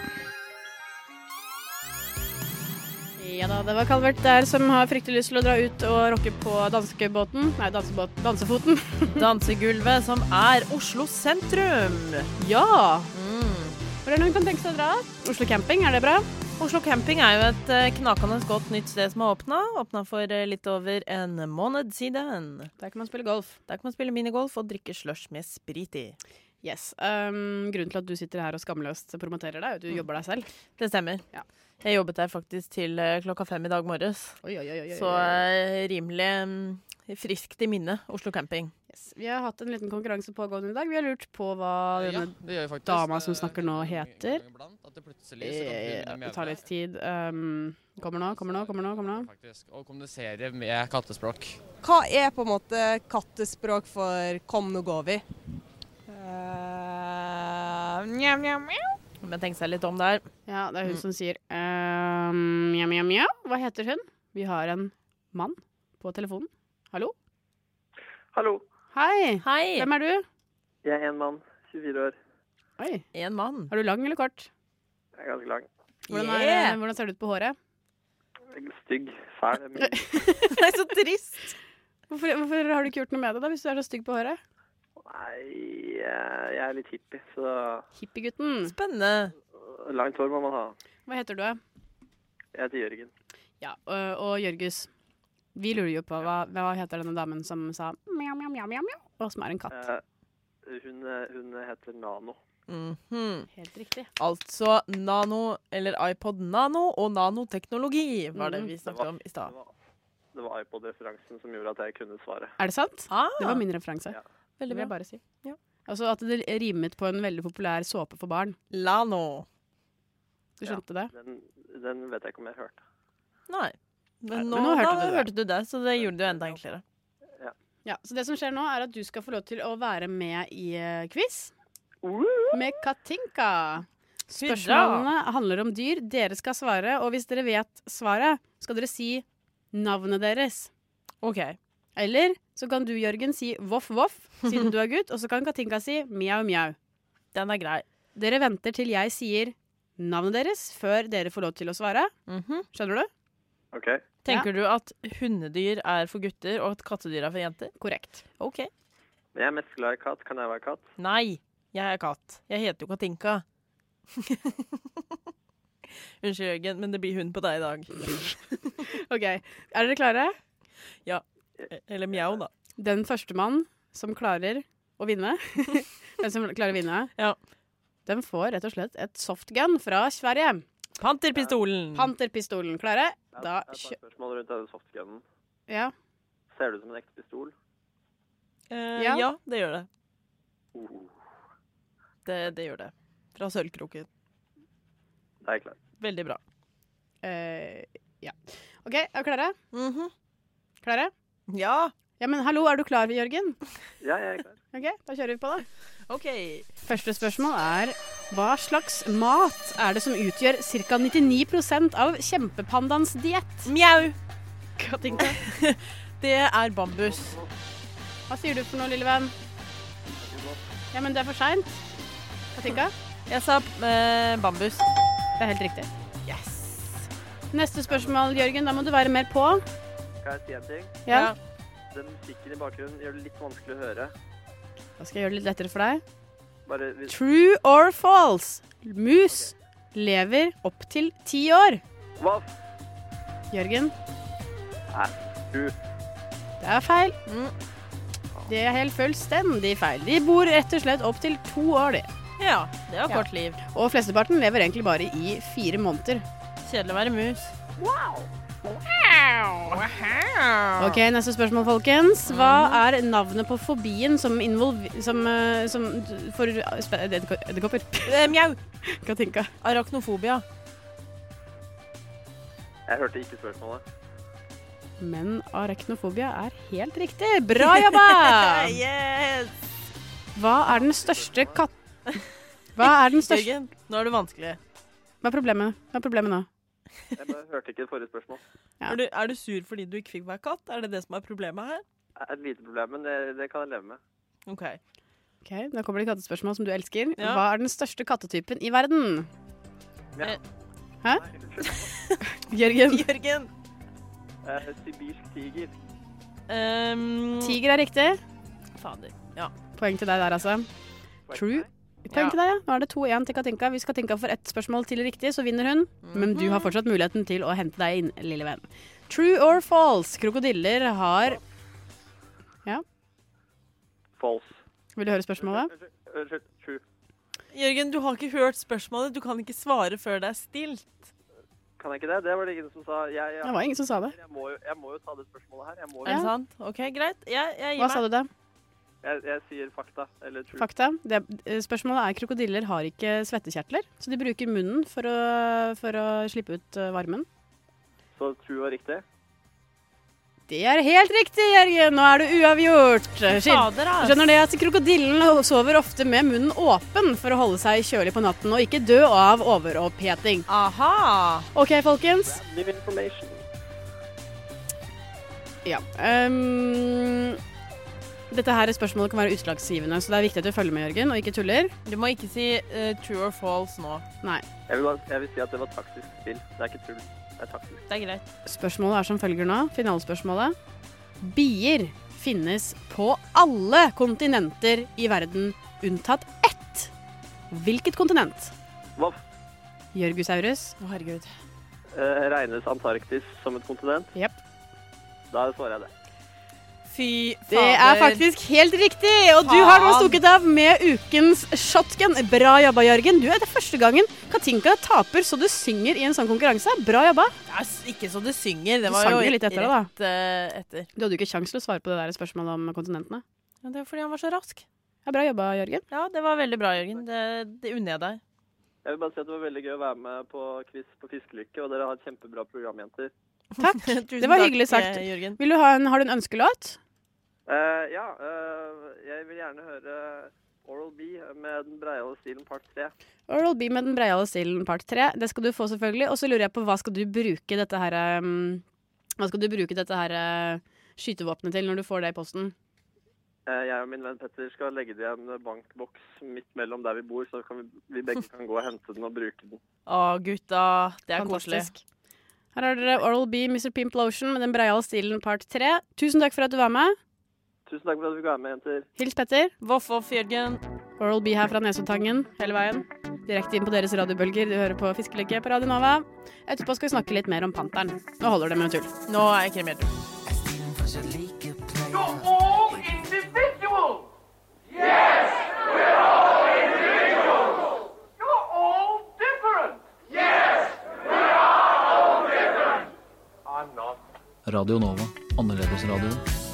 [SPEAKER 1] Ja da, det var Calvert der som har fryktelig lyst til å dra ut og rocke på danskebåten. Nei, dansebåt, dansefoten.
[SPEAKER 2] Dansegulvet, som er Oslo sentrum.
[SPEAKER 1] Ja! Hvor er Mm. det noen kan tenke seg å dra? Oslo camping, er det bra?
[SPEAKER 2] Oslo camping er jo et eh, knakende godt nytt sted som har åpna. Åpna for eh, litt over en måned siden.
[SPEAKER 1] Der kan man spille golf.
[SPEAKER 2] Der kan man spille minigolf og drikke slush med sprit i.
[SPEAKER 1] Yes. Um, grunnen til at du sitter her og skamløst promoterer deg, er jo at du jobber deg selv.
[SPEAKER 2] Det stemmer. Jeg jobbet der faktisk til eh, klokka fem i dag morges.
[SPEAKER 1] Oi, oi, oi, oi, oi.
[SPEAKER 2] Så eh, rimelig mm, friskt i minne, Oslo camping.
[SPEAKER 1] Vi har hatt en liten konkurranse pågående i dag. Vi har lurt på hva
[SPEAKER 7] Ja,
[SPEAKER 1] denne
[SPEAKER 7] det gjør vi faktisk. Eh,
[SPEAKER 1] dama som snakker nå, heter.
[SPEAKER 7] At det plutselig så kan hun
[SPEAKER 1] Eh,
[SPEAKER 7] begynne
[SPEAKER 1] Det
[SPEAKER 7] med
[SPEAKER 1] tar litt tid. Um, kommer nå, kommer nå, kommer nå. kommer nå.
[SPEAKER 7] faktisk, å kommunisere med kattespråk.
[SPEAKER 8] Hva er på en måte kattespråk for kom, nå går vi?
[SPEAKER 2] Mjau, mjau, mjau. Men tenk seg litt om der.
[SPEAKER 1] Ja, det er hun som sier um, mjau, mjau, mjau. Hva heter hun? Vi har en mann på telefonen. Hallo?
[SPEAKER 12] Hallo.
[SPEAKER 1] Hei.
[SPEAKER 2] Hei.
[SPEAKER 1] Hvem er du?
[SPEAKER 12] Jeg er en mann, 24 år.
[SPEAKER 1] Oi.
[SPEAKER 2] En mann.
[SPEAKER 1] Er du lang eller kort?
[SPEAKER 12] Jeg er ganske lang.
[SPEAKER 1] Hvordan,
[SPEAKER 12] Yeah.
[SPEAKER 1] er, eh, hvordan ser du ut på håret?
[SPEAKER 12] Stygg, fæl. men
[SPEAKER 1] Nei, så trist. Hvorfor, hvorfor har du ikke gjort noe med det da, hvis du er så stygg på håret?
[SPEAKER 12] Nei, eh, jeg er litt hippie, så
[SPEAKER 1] Hippiegutten.
[SPEAKER 2] Spennende.
[SPEAKER 12] langt hår må man ha.
[SPEAKER 1] Hva heter du?
[SPEAKER 12] Jeg heter Jørgen.
[SPEAKER 1] Ja, og, og Jørgus. Vi lurer jo på hva, hva heter denne damen som sa mjau, mjau, mjau, mjau, mjau, og som er en katt.
[SPEAKER 12] Eh, Hun, eh, hun heter Nano.
[SPEAKER 2] Mhm.
[SPEAKER 1] Helt riktig.
[SPEAKER 2] Altså nano, eller iPod Nano og nanoteknologi, var det
[SPEAKER 12] Mhm.
[SPEAKER 2] vi snakket om i stad.
[SPEAKER 12] Det var iPod-referansen som gjorde at jeg kunne svare.
[SPEAKER 1] Er det sant?
[SPEAKER 2] Ah.
[SPEAKER 1] Det var min referanse.
[SPEAKER 2] Veldig
[SPEAKER 1] Det vil jeg
[SPEAKER 2] bra.
[SPEAKER 1] bare si. Altså at det rimet på en veldig populær såpe for barn.
[SPEAKER 2] Lano.
[SPEAKER 1] Du skjønte det?
[SPEAKER 12] Den, den vet jeg ikke om jeg hørte.
[SPEAKER 2] Nei. Men
[SPEAKER 1] Nei,
[SPEAKER 2] nå,
[SPEAKER 1] men nå hørte
[SPEAKER 2] da
[SPEAKER 1] du det.
[SPEAKER 2] hørte du det, så det gjorde det jo enda enklere.
[SPEAKER 1] Ja, Så det som skjer nå, er at du skal få lov til å være med i eh, quiz med Katinka. Spørsmålene handler om dyr. Dere skal svare, og hvis dere vet svaret, skal dere si navnet deres.
[SPEAKER 2] Ok.
[SPEAKER 1] Eller så kan du, Jørgen, si voff voff, siden du er gutt, og så kan Katinka si mjau mjau.
[SPEAKER 2] Den er grei.
[SPEAKER 1] Dere venter til jeg sier navnet deres, før dere får lov til å svare. Skjønner du?
[SPEAKER 12] OK.
[SPEAKER 2] Mhm. Tenker du at hundedyr er for gutter, og at kattedyr er for jenter?
[SPEAKER 1] Korrekt.
[SPEAKER 2] Ok.
[SPEAKER 12] Men jeg er mest glad i katt. Kan jeg være katt?
[SPEAKER 2] Nei, jeg er katt. Jeg heter jo Katinka. Unnskyld, Jørgen, men det blir hund på deg i dag.
[SPEAKER 1] OK. Er dere klare?
[SPEAKER 2] Ja. E- Eller mjau, da.
[SPEAKER 1] Den førstemann som klarer å vinne, den som klarer å vinne, den får rett og slett et softgun fra Sverige.
[SPEAKER 2] Panterpistolen.
[SPEAKER 1] Panterpistolen. Klare? Da
[SPEAKER 12] Jeg har
[SPEAKER 1] kjø...
[SPEAKER 12] et par spørsmål rundt denne softgunen.
[SPEAKER 1] Ja.
[SPEAKER 12] Ser det ut som en ekte pistol?
[SPEAKER 2] Eh,
[SPEAKER 1] Ja.
[SPEAKER 2] ja. det gjør det.
[SPEAKER 12] Uh.
[SPEAKER 2] det. Det gjør det. Fra sølvkroken.
[SPEAKER 12] Det er klart.
[SPEAKER 2] Veldig bra.
[SPEAKER 1] Eh, ja. OK, er dere klare? Klare?
[SPEAKER 2] Ja.
[SPEAKER 1] Ja, men hallo, er du klar, Jørgen?
[SPEAKER 12] Ja, jeg er klar.
[SPEAKER 1] OK, da kjører vi på, da.
[SPEAKER 2] OK.
[SPEAKER 1] Første spørsmål er hva slags mat er det som utgjør ca. 99 av kjempepandaens diett?
[SPEAKER 2] Mjau.
[SPEAKER 1] Katinka.
[SPEAKER 2] Det er bambus.
[SPEAKER 1] Hva sier du for noe, lille venn? Ja, men det er for seint. Katinka?
[SPEAKER 2] Jeg sa eh, bambus.
[SPEAKER 1] Det er helt riktig.
[SPEAKER 2] Yes.
[SPEAKER 1] Neste spørsmål, Jørgen. Da må du være mer på.
[SPEAKER 12] Kan jeg si en ting?
[SPEAKER 1] Ja.
[SPEAKER 12] Den musikken i bakgrunnen gjør det litt vanskelig å høre.
[SPEAKER 1] Da skal jeg gjøre det litt lettere for deg.
[SPEAKER 12] Bare hvis
[SPEAKER 1] True or false? Mus lever opp til ti år.
[SPEAKER 12] Hva?
[SPEAKER 1] Jørgen,
[SPEAKER 12] Nei, du.
[SPEAKER 1] det er feil. Mm. Det er helt fullstendig feil. De bor rett og slett opp til to år, de.
[SPEAKER 2] Ja, det
[SPEAKER 1] Ja.
[SPEAKER 2] var kort liv.
[SPEAKER 1] Og flesteparten lever egentlig bare i fire måneder.
[SPEAKER 2] Kjedelig å være mus.
[SPEAKER 1] Wow!
[SPEAKER 2] Ah.
[SPEAKER 1] Ok, Neste spørsmål, folkens.
[SPEAKER 2] Mm.
[SPEAKER 1] Hva er navnet på fobien som involver... Som, eh, som for spe- edderko- edderkopper?
[SPEAKER 2] Eh, Mjau.
[SPEAKER 1] Katinka.
[SPEAKER 2] Arachnofobia.
[SPEAKER 12] Jeg hørte ikke spørsmålet.
[SPEAKER 1] Men arachnofobia er helt riktig. Bra jobba! Ah.
[SPEAKER 2] yes!
[SPEAKER 1] Hva er den største katt... Hva er den største
[SPEAKER 2] Jørgen, nå er det vanskelig.
[SPEAKER 1] Hva er problemet? Hva er problemet nå?
[SPEAKER 12] Jeg bare hørte ikke forrige spørsmål.
[SPEAKER 2] Er, du, er du sur fordi du ikke fikk være katt? Er det det som er problemet her?
[SPEAKER 12] Det er Et lite problem, men det, det kan jeg leve med.
[SPEAKER 2] OK.
[SPEAKER 1] Ok, Da kommer det kattespørsmål som du elsker.
[SPEAKER 2] Ja.
[SPEAKER 1] Hva er den største kattetypen i verden?
[SPEAKER 12] Mjau.
[SPEAKER 1] Hæ? Jørgen.
[SPEAKER 2] Jørgen.
[SPEAKER 12] Eh, sibirsk tiger.
[SPEAKER 2] Ehm,
[SPEAKER 1] Tiger er riktig.
[SPEAKER 2] Fader. Ja.
[SPEAKER 1] Poeng til deg der, altså. True. Poeng
[SPEAKER 2] Ja.
[SPEAKER 1] til deg, ja. Nå er det 2-1 til Katinka. Hvis Katinka får ett spørsmål til riktig, så vinner hun.
[SPEAKER 2] Mhm.
[SPEAKER 1] Men du har fortsatt muligheten til å hente deg inn, lille venn. True or false? Krokodiller har Ja,
[SPEAKER 12] False.
[SPEAKER 1] vil du høre spørsmålet?
[SPEAKER 12] Unnskyld. True.
[SPEAKER 2] Jørgen, du har ikke hørt spørsmålet. Du kan ikke svare før det er stilt.
[SPEAKER 12] Kan jeg ikke det? Det var det ingen som sa. Jeg, jeg,
[SPEAKER 1] Det var ingen som sa det.
[SPEAKER 12] Jeg må jo, jeg må jo ta det spørsmålet her. Jeg må jo.
[SPEAKER 2] Er det sant? OK, greit. Jeg, jeg gir
[SPEAKER 1] Hva sa du
[SPEAKER 2] meg.
[SPEAKER 1] da?
[SPEAKER 12] Jeg, jeg sier fakta. Eller true.
[SPEAKER 1] Fakta. Det, eh, spørsmålet er krokodiller har ikke svettekjertler, så de bruker munnen for å, for å slippe ut eh, varmen.
[SPEAKER 12] Så true var riktig.
[SPEAKER 1] Det er helt riktig, Jørgen. Nå er det uavgjort.
[SPEAKER 2] Fader, ass.
[SPEAKER 1] Skjønner det at krokodillen sover ofte med munnen åpen for å holde seg kjølig på natten, og ikke dø av overoppheting.
[SPEAKER 2] Aha!
[SPEAKER 1] OK, folkens.
[SPEAKER 12] New information.
[SPEAKER 1] Ja. ehm, dette her spørsmålet kan være utslagsgivende, så det er viktig at du følger med, Jørgen, og ikke tuller.
[SPEAKER 2] Du må ikke si eh, true or false nå.
[SPEAKER 1] Nei.
[SPEAKER 12] Jeg vil, bare- jeg vil si at det var taktisk spill. Det er ikke tull. Det er taktisk.
[SPEAKER 2] Det er greit.
[SPEAKER 1] Spørsmålet er som følger nå. Finalespørsmålet. Bier finnes på alle kontinenter i verden unntatt ett. Hvilket kontinent?
[SPEAKER 12] Hva
[SPEAKER 1] Jørgusaurus.
[SPEAKER 2] Å, herregud.
[SPEAKER 12] eh, regnes Antarktis som et kontinent?
[SPEAKER 1] Jepp.
[SPEAKER 12] Da svarer jeg det.
[SPEAKER 2] Fy fader.
[SPEAKER 1] Det er faktisk helt riktig, og du har nå
[SPEAKER 2] Faen.
[SPEAKER 1] stukket av med ukens shotgun. Bra jobba, Jørgen. Du er det første gangen Katinka taper så du synger i en sånn konkurranse. Bra jobba.
[SPEAKER 2] Det er s- ikke så det synger. Det
[SPEAKER 1] Du
[SPEAKER 2] var
[SPEAKER 1] sang
[SPEAKER 2] jo
[SPEAKER 1] jo litt etter det, da.
[SPEAKER 2] rett eh, etter.
[SPEAKER 1] Du hadde jo ikke kjangs til å svare på det der spørsmålet om kontinentene.
[SPEAKER 2] Ja, det er fordi han var så rask.
[SPEAKER 1] Ja, bra jobba, Jørgen.
[SPEAKER 2] Ja, det var veldig bra, Jørgen. Det, det unner jeg deg.
[SPEAKER 12] Jeg vil bare si at det var veldig gøy å være med på quiz på Fiskelykke, og dere har et kjempebra program, jenter.
[SPEAKER 1] Takk.
[SPEAKER 2] Tusen
[SPEAKER 1] Det var
[SPEAKER 2] takk,
[SPEAKER 1] hyggelig sagt.
[SPEAKER 2] eh, Jørgen.
[SPEAKER 1] Vil du ha en, har du en ønskelåt?
[SPEAKER 12] Eh, ja, eh, jeg vil gjerne høre Oral B med Den breiale stilen part 3.
[SPEAKER 1] Oral B med Den breiale stilen part tre. Det skal du få, selvfølgelig. Og så lurer jeg på hva skal du bruke dette her um, Hva skal du bruke dette her uh, skytevåpenet til når du får det i posten?
[SPEAKER 12] Eh, jeg og min venn Petter skal legge det i en bankboks midt mellom der vi bor, så kan vi, vi begge kan gå og hente den og bruke den.
[SPEAKER 2] Å, gutta. Det er koselig.
[SPEAKER 1] Fantastisk. Her har dere Oral B, Mr. Pimp Lotion med Den breiale stilen part 3. Tusen takk for at du var med.
[SPEAKER 12] Tusen takk for at du fikk være med, jenter.
[SPEAKER 1] Hils Petter.
[SPEAKER 2] Voff, voff, Jørgen.
[SPEAKER 1] Oral B her fra Nesoddtangen hele veien. Direkte inn på deres radiobølger. Du hører på Fiskelykke på Radio Nova. Etterpå skal vi snakke litt mer om panteren. Nå holder det med tull.
[SPEAKER 2] Nå er jeg kremert.
[SPEAKER 4] Radio Nova. Annerledesradio.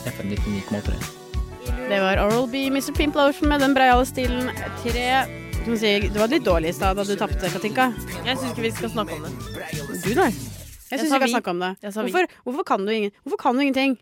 [SPEAKER 4] FM 99,3.
[SPEAKER 1] Det var Oral B, Mr. Pimp Lotion med Den breiale stilen 3. Som sier, du var litt dårlig i stad da du tapte, Katinka.
[SPEAKER 2] Jeg syns ikke vi skal snakke om det.
[SPEAKER 1] Du, nei. Jeg
[SPEAKER 2] Jeg
[SPEAKER 1] syns
[SPEAKER 2] sa
[SPEAKER 1] vi kan
[SPEAKER 2] vi.
[SPEAKER 1] snakke om det.
[SPEAKER 2] Jeg sa vi.
[SPEAKER 1] Hvorfor, hvorfor, kan du ingen, hvorfor kan du ingenting?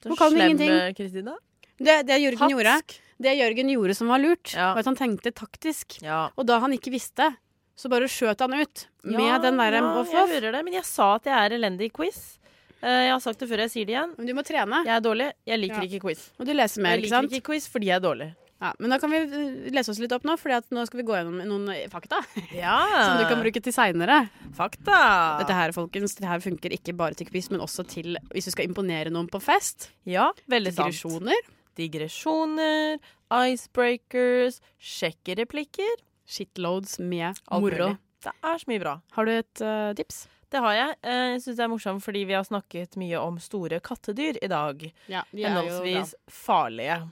[SPEAKER 2] Så
[SPEAKER 1] Hvorfor kan du
[SPEAKER 2] slem,
[SPEAKER 1] ingenting?
[SPEAKER 2] eh, Kristina.
[SPEAKER 1] Det, det Jørgen
[SPEAKER 2] Hatsk.
[SPEAKER 1] gjorde Det Jørgen gjorde som var lurt,
[SPEAKER 2] Ja.
[SPEAKER 1] var at han tenkte taktisk.
[SPEAKER 2] Ja.
[SPEAKER 1] Og da han ikke visste, så bare skjøt han ut med
[SPEAKER 2] Ja,
[SPEAKER 1] den derre
[SPEAKER 2] ja,
[SPEAKER 1] voff
[SPEAKER 2] Jeg
[SPEAKER 1] voff.
[SPEAKER 2] hører det, men jeg sa at jeg er elendig i quiz. Eh, Jeg har sagt det før, jeg sier det igjen.
[SPEAKER 1] Men du må trene,
[SPEAKER 2] Jeg er dårlig. Jeg
[SPEAKER 1] Ja.
[SPEAKER 2] liker ikke quiz.
[SPEAKER 1] og du leser mer,
[SPEAKER 2] Jeg
[SPEAKER 1] ikke
[SPEAKER 2] liker
[SPEAKER 1] sant?
[SPEAKER 2] ikke quiz fordi jeg er dårlig.
[SPEAKER 1] Ja, men da kan vi eh, lese oss litt opp nå, for nå skal vi gå gjennom noen eh, fakta
[SPEAKER 2] Ja.
[SPEAKER 1] som du kan bruke til seinere.
[SPEAKER 2] Fakta.
[SPEAKER 1] Dette her, folkens, det her funker ikke bare til quiz, men også til hvis du skal imponere noen på fest.
[SPEAKER 2] Ja, veldig sant.
[SPEAKER 1] Digresjoner.
[SPEAKER 2] Digresjoner, icebreakers, sjekke replikker.
[SPEAKER 1] Shitloads med
[SPEAKER 2] alt
[SPEAKER 1] moro.
[SPEAKER 2] mulig. Det er så mye bra.
[SPEAKER 1] Har du et eh, tips?
[SPEAKER 2] Det har jeg. Eh, Jeg syns det er morsomt fordi vi har snakket mye om store kattedyr i dag.
[SPEAKER 1] Ja, de
[SPEAKER 2] henholdsvis farlige.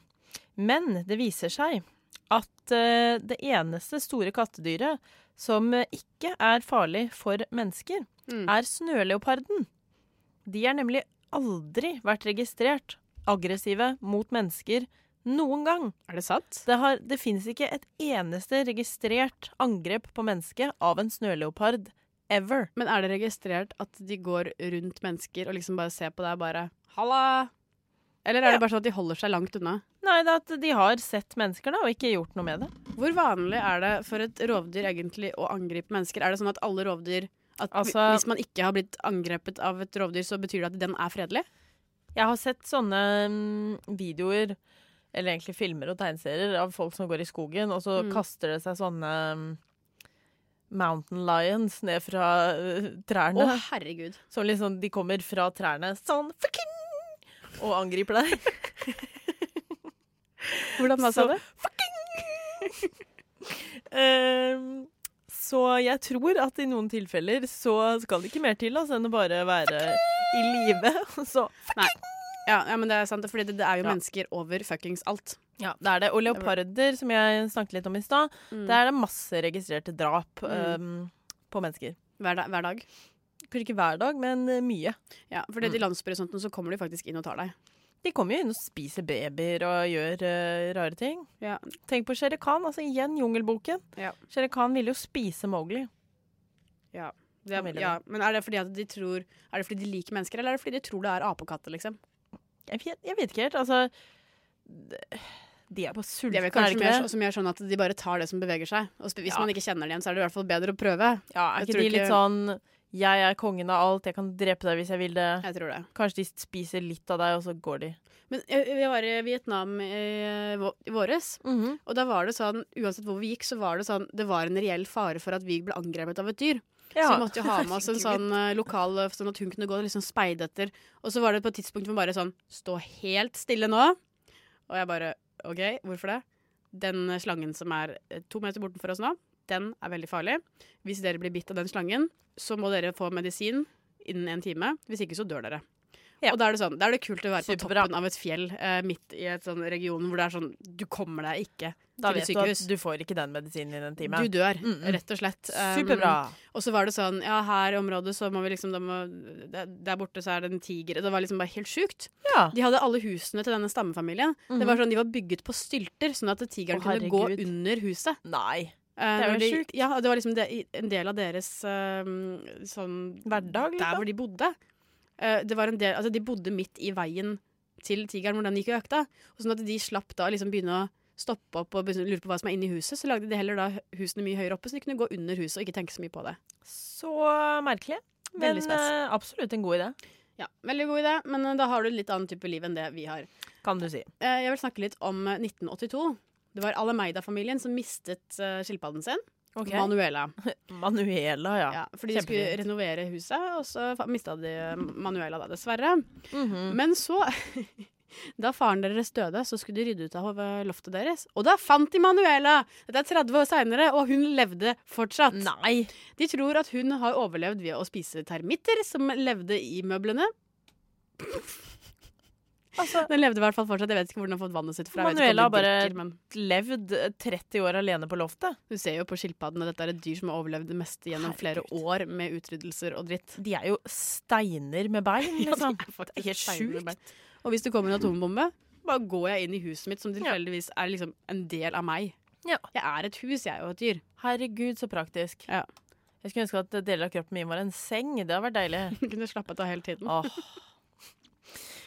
[SPEAKER 2] Men det viser seg at eh, det eneste store kattedyret som eh, ikke er farlig for mennesker,
[SPEAKER 1] Mm.
[SPEAKER 2] er snøleoparden. De er nemlig aldri vært registrert aggressive mot mennesker noen gang.
[SPEAKER 1] Er det sant?
[SPEAKER 2] Det, har, det fins ikke et eneste registrert angrep på mennesket av en snøleopard ever.
[SPEAKER 1] Men er det registrert at de går rundt mennesker og liksom bare ser på deg og bare Halla! Eller er det bare sånn at de holder seg langt unna?
[SPEAKER 2] Nei, det er at de har sett mennesker da, og ikke gjort noe med det.
[SPEAKER 1] Hvor vanlig er det for et rovdyr egentlig å angripe mennesker? Er det sånn at alle rovdyr at
[SPEAKER 2] Altså-
[SPEAKER 1] hvi- Hvis man ikke har blitt angrepet av et rovdyr, så betyr det at den er fredelig?
[SPEAKER 2] Jeg har sett sånne mm, videoer, eller egentlig filmer og tegneserier, av folk som går i skogen, og så
[SPEAKER 1] Mm.
[SPEAKER 2] kaster det seg sånne mm, mountain lions ned fra eh,
[SPEAKER 1] Å,
[SPEAKER 2] trærne.
[SPEAKER 1] herregud.
[SPEAKER 2] Som liksom, de kommer fra trærne sånn fucking, og angriper deg.
[SPEAKER 1] Hvordan da, sa
[SPEAKER 2] Så-
[SPEAKER 1] du?
[SPEAKER 2] Ehm, så jeg tror at i noen tilfeller så skal det ikke mer til altså, enn å bare være i live. og Så
[SPEAKER 1] Nei. Ja, ja, men det er sant, fordi det, det er jo
[SPEAKER 2] Ja.
[SPEAKER 1] mennesker over fuckings alt.
[SPEAKER 2] Ja, det er det. Og leoparder, som jeg snakket litt om i stad,
[SPEAKER 1] Mm.
[SPEAKER 2] der er det masse registrerte drap
[SPEAKER 1] Mm.
[SPEAKER 2] ehm, på mennesker.
[SPEAKER 1] Hver, da, hver dag.
[SPEAKER 2] Kanskje ikke hver dag, men eh, mye.
[SPEAKER 1] Ja, fordi
[SPEAKER 2] Mm.
[SPEAKER 1] i landsbyhorisonten så kommer de faktisk inn og tar deg.
[SPEAKER 2] De kommer jo inn og spiser babyer og gjør eh, rare ting. Tenk på Shere Khan, altså igjen Jungelboken.
[SPEAKER 1] Ja.
[SPEAKER 2] Shere Khan ville jo spise Mowgli.
[SPEAKER 1] Ja. Det
[SPEAKER 2] Familien.
[SPEAKER 1] er, ja. Men er det fordi at de tror Er det fordi de liker mennesker, eller er det fordi de tror det er apekatter, liksom?
[SPEAKER 2] Jeg vet, jeg vet ikke helt, altså d- De er bare
[SPEAKER 1] Det er vel
[SPEAKER 2] sultne, Mm. er det
[SPEAKER 1] kanskje
[SPEAKER 2] ikke
[SPEAKER 1] mer,
[SPEAKER 2] det?
[SPEAKER 1] så- som gjør sånn at de bare tar det som beveger seg. Og sp- hvis
[SPEAKER 2] Ja.
[SPEAKER 1] man ikke kjenner det igjen, så er det i hvert fall bedre å prøve.
[SPEAKER 2] Ja, er
[SPEAKER 1] Jeg
[SPEAKER 2] ikke
[SPEAKER 1] tror
[SPEAKER 2] de litt sånn Jeg er kongen av alt, jeg kan drepe deg hvis jeg vil det.
[SPEAKER 1] Jeg tror det.
[SPEAKER 2] Kanskje de spiser litt av deg, og så går de.
[SPEAKER 1] Men jeg, jeg var i Vietnam eh, vå- i våres, og da var det sånn Uansett hvor vi gikk, så var det sånn Det var en reell fare for at vi ble angrepet av et dyr. Så
[SPEAKER 2] Ja.
[SPEAKER 1] vi måtte jo ha med oss en
[SPEAKER 2] Herregud.
[SPEAKER 1] sånn eh, lokal eh, sånn at hun kunne gå og liksom speide etter. Og så var det på et tidspunkt hvor hun bare sånn Stå helt stille nå. Og jeg bare OK, hvorfor det? Den eh, slangen som er eh, to meter bortenfor oss nå, den er veldig farlig. Hvis dere blir bitt av den slangen, så må dere få medisin innen en time. Hvis ikke så dør dere. Og da er det sånn, da er det kult å være på toppen av et fjell eh, midt i et sånn region hvor det er sånn Du kommer deg ikke
[SPEAKER 2] Da
[SPEAKER 1] til
[SPEAKER 2] vet
[SPEAKER 1] et
[SPEAKER 2] du at
[SPEAKER 1] sykehus.
[SPEAKER 2] du får ikke den medisinen i den timen.
[SPEAKER 1] Du dør,
[SPEAKER 2] Mm, mm.
[SPEAKER 1] rett og slett. Um,
[SPEAKER 2] Superbra.
[SPEAKER 1] Og så var det sånn, ja, her i området så må vi liksom da må, der- Der borte så er det en tiger. Det var liksom bare helt sjukt.
[SPEAKER 2] Ja.
[SPEAKER 1] De hadde alle husene til denne stammefamilien. Det var sånn, De var bygget på stylter, sånn at tigeren
[SPEAKER 2] Mhm. Å,
[SPEAKER 1] kunne gå
[SPEAKER 2] herregud.
[SPEAKER 1] under huset.
[SPEAKER 2] Nei.
[SPEAKER 1] Eh,
[SPEAKER 2] Det er
[SPEAKER 1] når
[SPEAKER 2] jo
[SPEAKER 1] de-
[SPEAKER 2] sjukt.
[SPEAKER 1] Ja, det var liksom det, i- en del av deres ehm, sånn
[SPEAKER 2] Hverdag, liksom.
[SPEAKER 1] Der hvor de bodde. Eh, det var en del, altså De bodde midt i veien til tigeren hvor den gikk og økta. Og sånn at de slapp da å liksom begynne å stoppe opp og begynne å lure på hva som er inni huset, så lagde de heller da husene mye høyere oppe, så de kunne gå under huset og ikke tenke så mye på det.
[SPEAKER 2] Så merkelig. Men
[SPEAKER 1] Veldig spes.
[SPEAKER 2] eh, absolutt en god idé,
[SPEAKER 1] Ja, Veldig god idé, men eh, da har du litt annen type liv enn det vi har.
[SPEAKER 2] kan du si.
[SPEAKER 1] Eh, Jeg vil snakke litt om eh, 1982. Det var Alameida-familien som mistet eh, skilpadden sin.
[SPEAKER 2] Ok.
[SPEAKER 1] Manuela.
[SPEAKER 2] Manuela, ja.
[SPEAKER 1] Fordi de skulle
[SPEAKER 2] Kjempefint.
[SPEAKER 1] renovere huset, og så fa- mista de eh, Manuela da, dessverre.
[SPEAKER 2] Mhm.
[SPEAKER 1] Men så Da faren deres døde, så skulle de rydde ut av eh, loftet deres. Og da fant de Manuela! Dette er 30 år seinere, og hun levde fortsatt.
[SPEAKER 2] Nei.
[SPEAKER 1] De tror at hun har overlevd ved å spise termitter som levde i møblene.
[SPEAKER 2] Altså,
[SPEAKER 1] den levde i hvert fall fortsatt. Jeg vet ikke hvor den har fått vannet sitt fra. Jeg vet ikke om
[SPEAKER 2] Manuela har
[SPEAKER 1] de
[SPEAKER 2] bare
[SPEAKER 1] drikker, men-
[SPEAKER 2] levd eh, 30 år alene på loftet.
[SPEAKER 1] Du ser jo på skilpadden, og dette er et dyr som har overlevd det meste gjennom flere år med utryddelser og dritt.
[SPEAKER 2] De er jo steiner med bein, liksom.
[SPEAKER 1] det
[SPEAKER 2] er helt sjukt.
[SPEAKER 1] Og hvis det kommer en atombombe, bare går jeg inn i huset mitt, som tilfeldigvis er liksom en del av meg. Jeg er et hus, jeg, og et dyr.
[SPEAKER 2] Herregud, så praktisk. Jeg skulle ønske at deler av kroppen min var en seng. Det hadde vært deilig.
[SPEAKER 1] Kunne slappet av hele tiden.
[SPEAKER 2] Åh.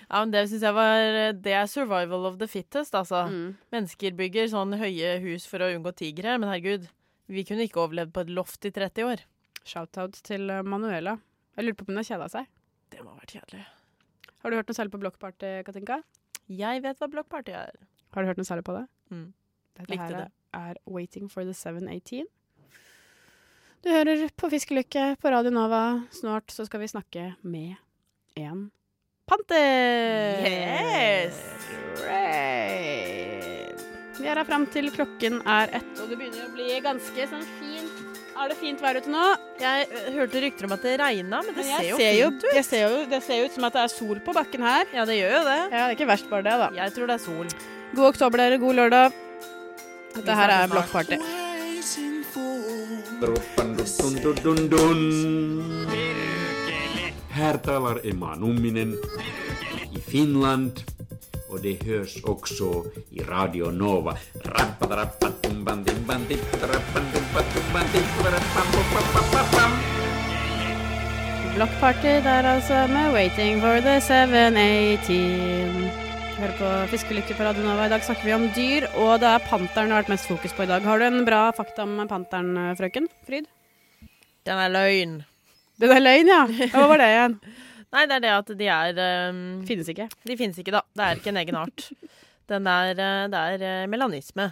[SPEAKER 2] Ja, men Det synes jeg var Det er survival of the fittest, altså.
[SPEAKER 1] Mm.
[SPEAKER 2] Mennesker bygger sånn høye hus for å unngå tigre, men herregud, vi kunne ikke overlevd på et loft i 30 år.
[SPEAKER 1] Shoutout til eh, Manuela. Jeg lurer på om hun har kjeda seg.
[SPEAKER 2] Det må ha vært kjedelig.
[SPEAKER 1] Har du hørt noe særlig på Block Party, Katinka?
[SPEAKER 2] Jeg vet hva Block Party er.
[SPEAKER 1] Har du hørt noe særlig på det?
[SPEAKER 2] Mm.
[SPEAKER 1] Dette
[SPEAKER 2] Likte
[SPEAKER 1] her
[SPEAKER 2] det.
[SPEAKER 1] er Waiting for the 718. Du hører på Fiskelykke på Radio Nova. Snart så skal vi snakke med en panter.
[SPEAKER 2] Yes!
[SPEAKER 1] Right. Vi er her fram til klokken er ett, og det begynner å bli ganske sånn fint. Er det fint vær ute nå?
[SPEAKER 2] Jeg eh, hørte rykter om at det regna, men det
[SPEAKER 1] Men jeg
[SPEAKER 2] ser jo
[SPEAKER 1] ser jo-
[SPEAKER 2] fint ut.
[SPEAKER 1] jeg ser jo, det ser jo ut som at det er sol på bakken her.
[SPEAKER 2] Ja, det gjør jo det.
[SPEAKER 1] Ja, det er ikke verst bare det, da.
[SPEAKER 2] Jeg tror det er sol.
[SPEAKER 1] God oktober, dere. God lørdag.
[SPEAKER 2] Vi
[SPEAKER 1] Dette her
[SPEAKER 2] snakkes
[SPEAKER 1] er Block
[SPEAKER 2] snart.
[SPEAKER 1] Party.
[SPEAKER 13] Dun, dun, dun, dun. Her talar Emma Numminen. Finland. Och det hörs också i Radio Nova.
[SPEAKER 1] Block Party der altså med 'Waiting for the 718'. Hører på Fiskelykke på Radio Nova. I dag snakker vi om dyr, og det er panteren det har vært mest fokus på i dag. Har du en bra fakta om panteren, frøken Fryd?
[SPEAKER 2] Den er løgn.
[SPEAKER 1] Den er løgn, ja. Hva var det igjen?
[SPEAKER 2] Nei, det er det at de er ehm,
[SPEAKER 1] Finnes ikke.
[SPEAKER 2] De finnes ikke, da. Det er ikke en egen art. Den er, eh, det er eh, melanisme.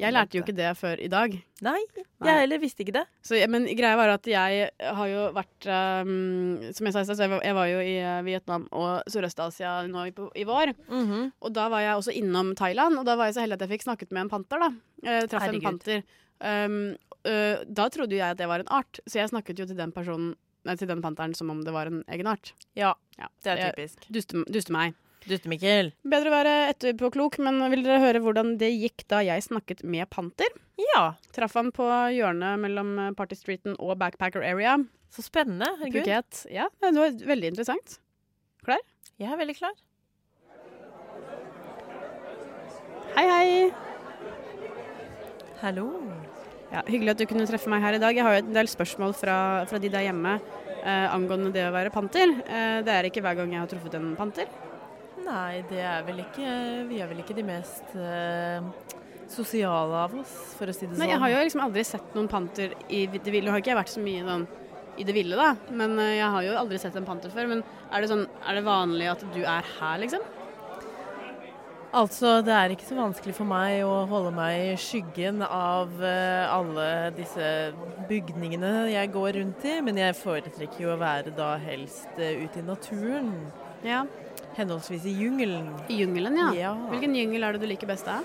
[SPEAKER 1] Jeg lærte jo ikke det før i dag.
[SPEAKER 2] Nei, jeg heller visste ikke det.
[SPEAKER 1] Så, ja, men greia var at jeg har jo vært ehm, Som jeg sa i stad, så jeg var- jeg var jo i eh, Vietnam og Sørøst-Asia nå i, på- i vår.
[SPEAKER 2] Mhm,
[SPEAKER 1] Og da var jeg også innom Thailand, og da var jeg så heldig at jeg fikk snakket med en panter, da. Jeg traff en
[SPEAKER 2] Herregud.
[SPEAKER 1] panter. Ehm, øh, da trodde jo jeg at det var en art, så jeg snakket jo til den personen Nei, til den panteren som om det var en egen art.
[SPEAKER 2] Ja, det er
[SPEAKER 1] jeg
[SPEAKER 2] typisk.
[SPEAKER 1] Duste, duste meg.
[SPEAKER 2] Duste Mikkel.
[SPEAKER 1] Bedre å være etterpåklok, men vil dere høre hvordan det gikk da jeg snakket med Panter?
[SPEAKER 2] Ja.
[SPEAKER 1] Traff han på hjørnet mellom Party Streeten og Backpacker Area.
[SPEAKER 2] Så spennende. herregud.
[SPEAKER 1] Phuket. Ja, det var veldig interessant. Klar?
[SPEAKER 2] Jeg er veldig klar.
[SPEAKER 1] Hei, hei.
[SPEAKER 2] Hallo.
[SPEAKER 1] Ja, hyggelig at du kunne treffe meg her i dag. Jeg har jo en del spørsmål fra, fra de der hjemme eh, angående det å være panter. Eh, det er ikke hver gang jeg har truffet en panter.
[SPEAKER 2] Nei, det er vel ikke Vi er vel ikke de mest eh, sosiale av oss, for å si det sånn.
[SPEAKER 1] Nei, jeg har jo liksom aldri sett noen panter i det ville. Jeg har ikke vært så mye sånn i det ville, da. Men eh, jeg har jo aldri sett en panter før. Men er det, sånn, er det vanlig at du er her, liksom?
[SPEAKER 2] Altså, det er ikke så vanskelig for meg å holde meg i skyggen av eh, alle disse bygningene jeg går rundt i, men jeg foretrekker jo å være da helst eh, ute i naturen.
[SPEAKER 1] Ja.
[SPEAKER 2] Henholdsvis i jungelen.
[SPEAKER 1] I jungelen, ja.
[SPEAKER 2] ja.
[SPEAKER 1] Hvilken jungel er det du liker best av?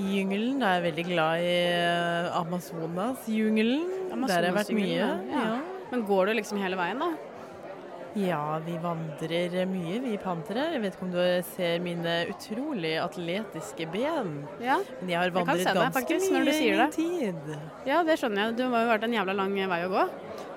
[SPEAKER 2] I jungelen er jeg veldig glad i eh, Amazonas-jungelen. Der har jeg vært
[SPEAKER 1] Amazonasjungelen,
[SPEAKER 2] mye.
[SPEAKER 1] ja.
[SPEAKER 2] Ja.
[SPEAKER 1] Men går du liksom hele veien, da?
[SPEAKER 2] Ja, vi vandrer mye, vi pantere. Jeg vet ikke om du ser mine utrolig atletiske ben.
[SPEAKER 1] Ja.
[SPEAKER 2] Men jeg
[SPEAKER 1] Jeg
[SPEAKER 2] har
[SPEAKER 1] kan
[SPEAKER 2] vandret
[SPEAKER 1] se det,
[SPEAKER 2] ganske
[SPEAKER 1] faktisk,
[SPEAKER 2] mye
[SPEAKER 1] når du
[SPEAKER 2] i
[SPEAKER 1] sier det.
[SPEAKER 2] min tid.
[SPEAKER 1] Ja, det skjønner jeg. Det har jo vært en jævla lang vei å gå.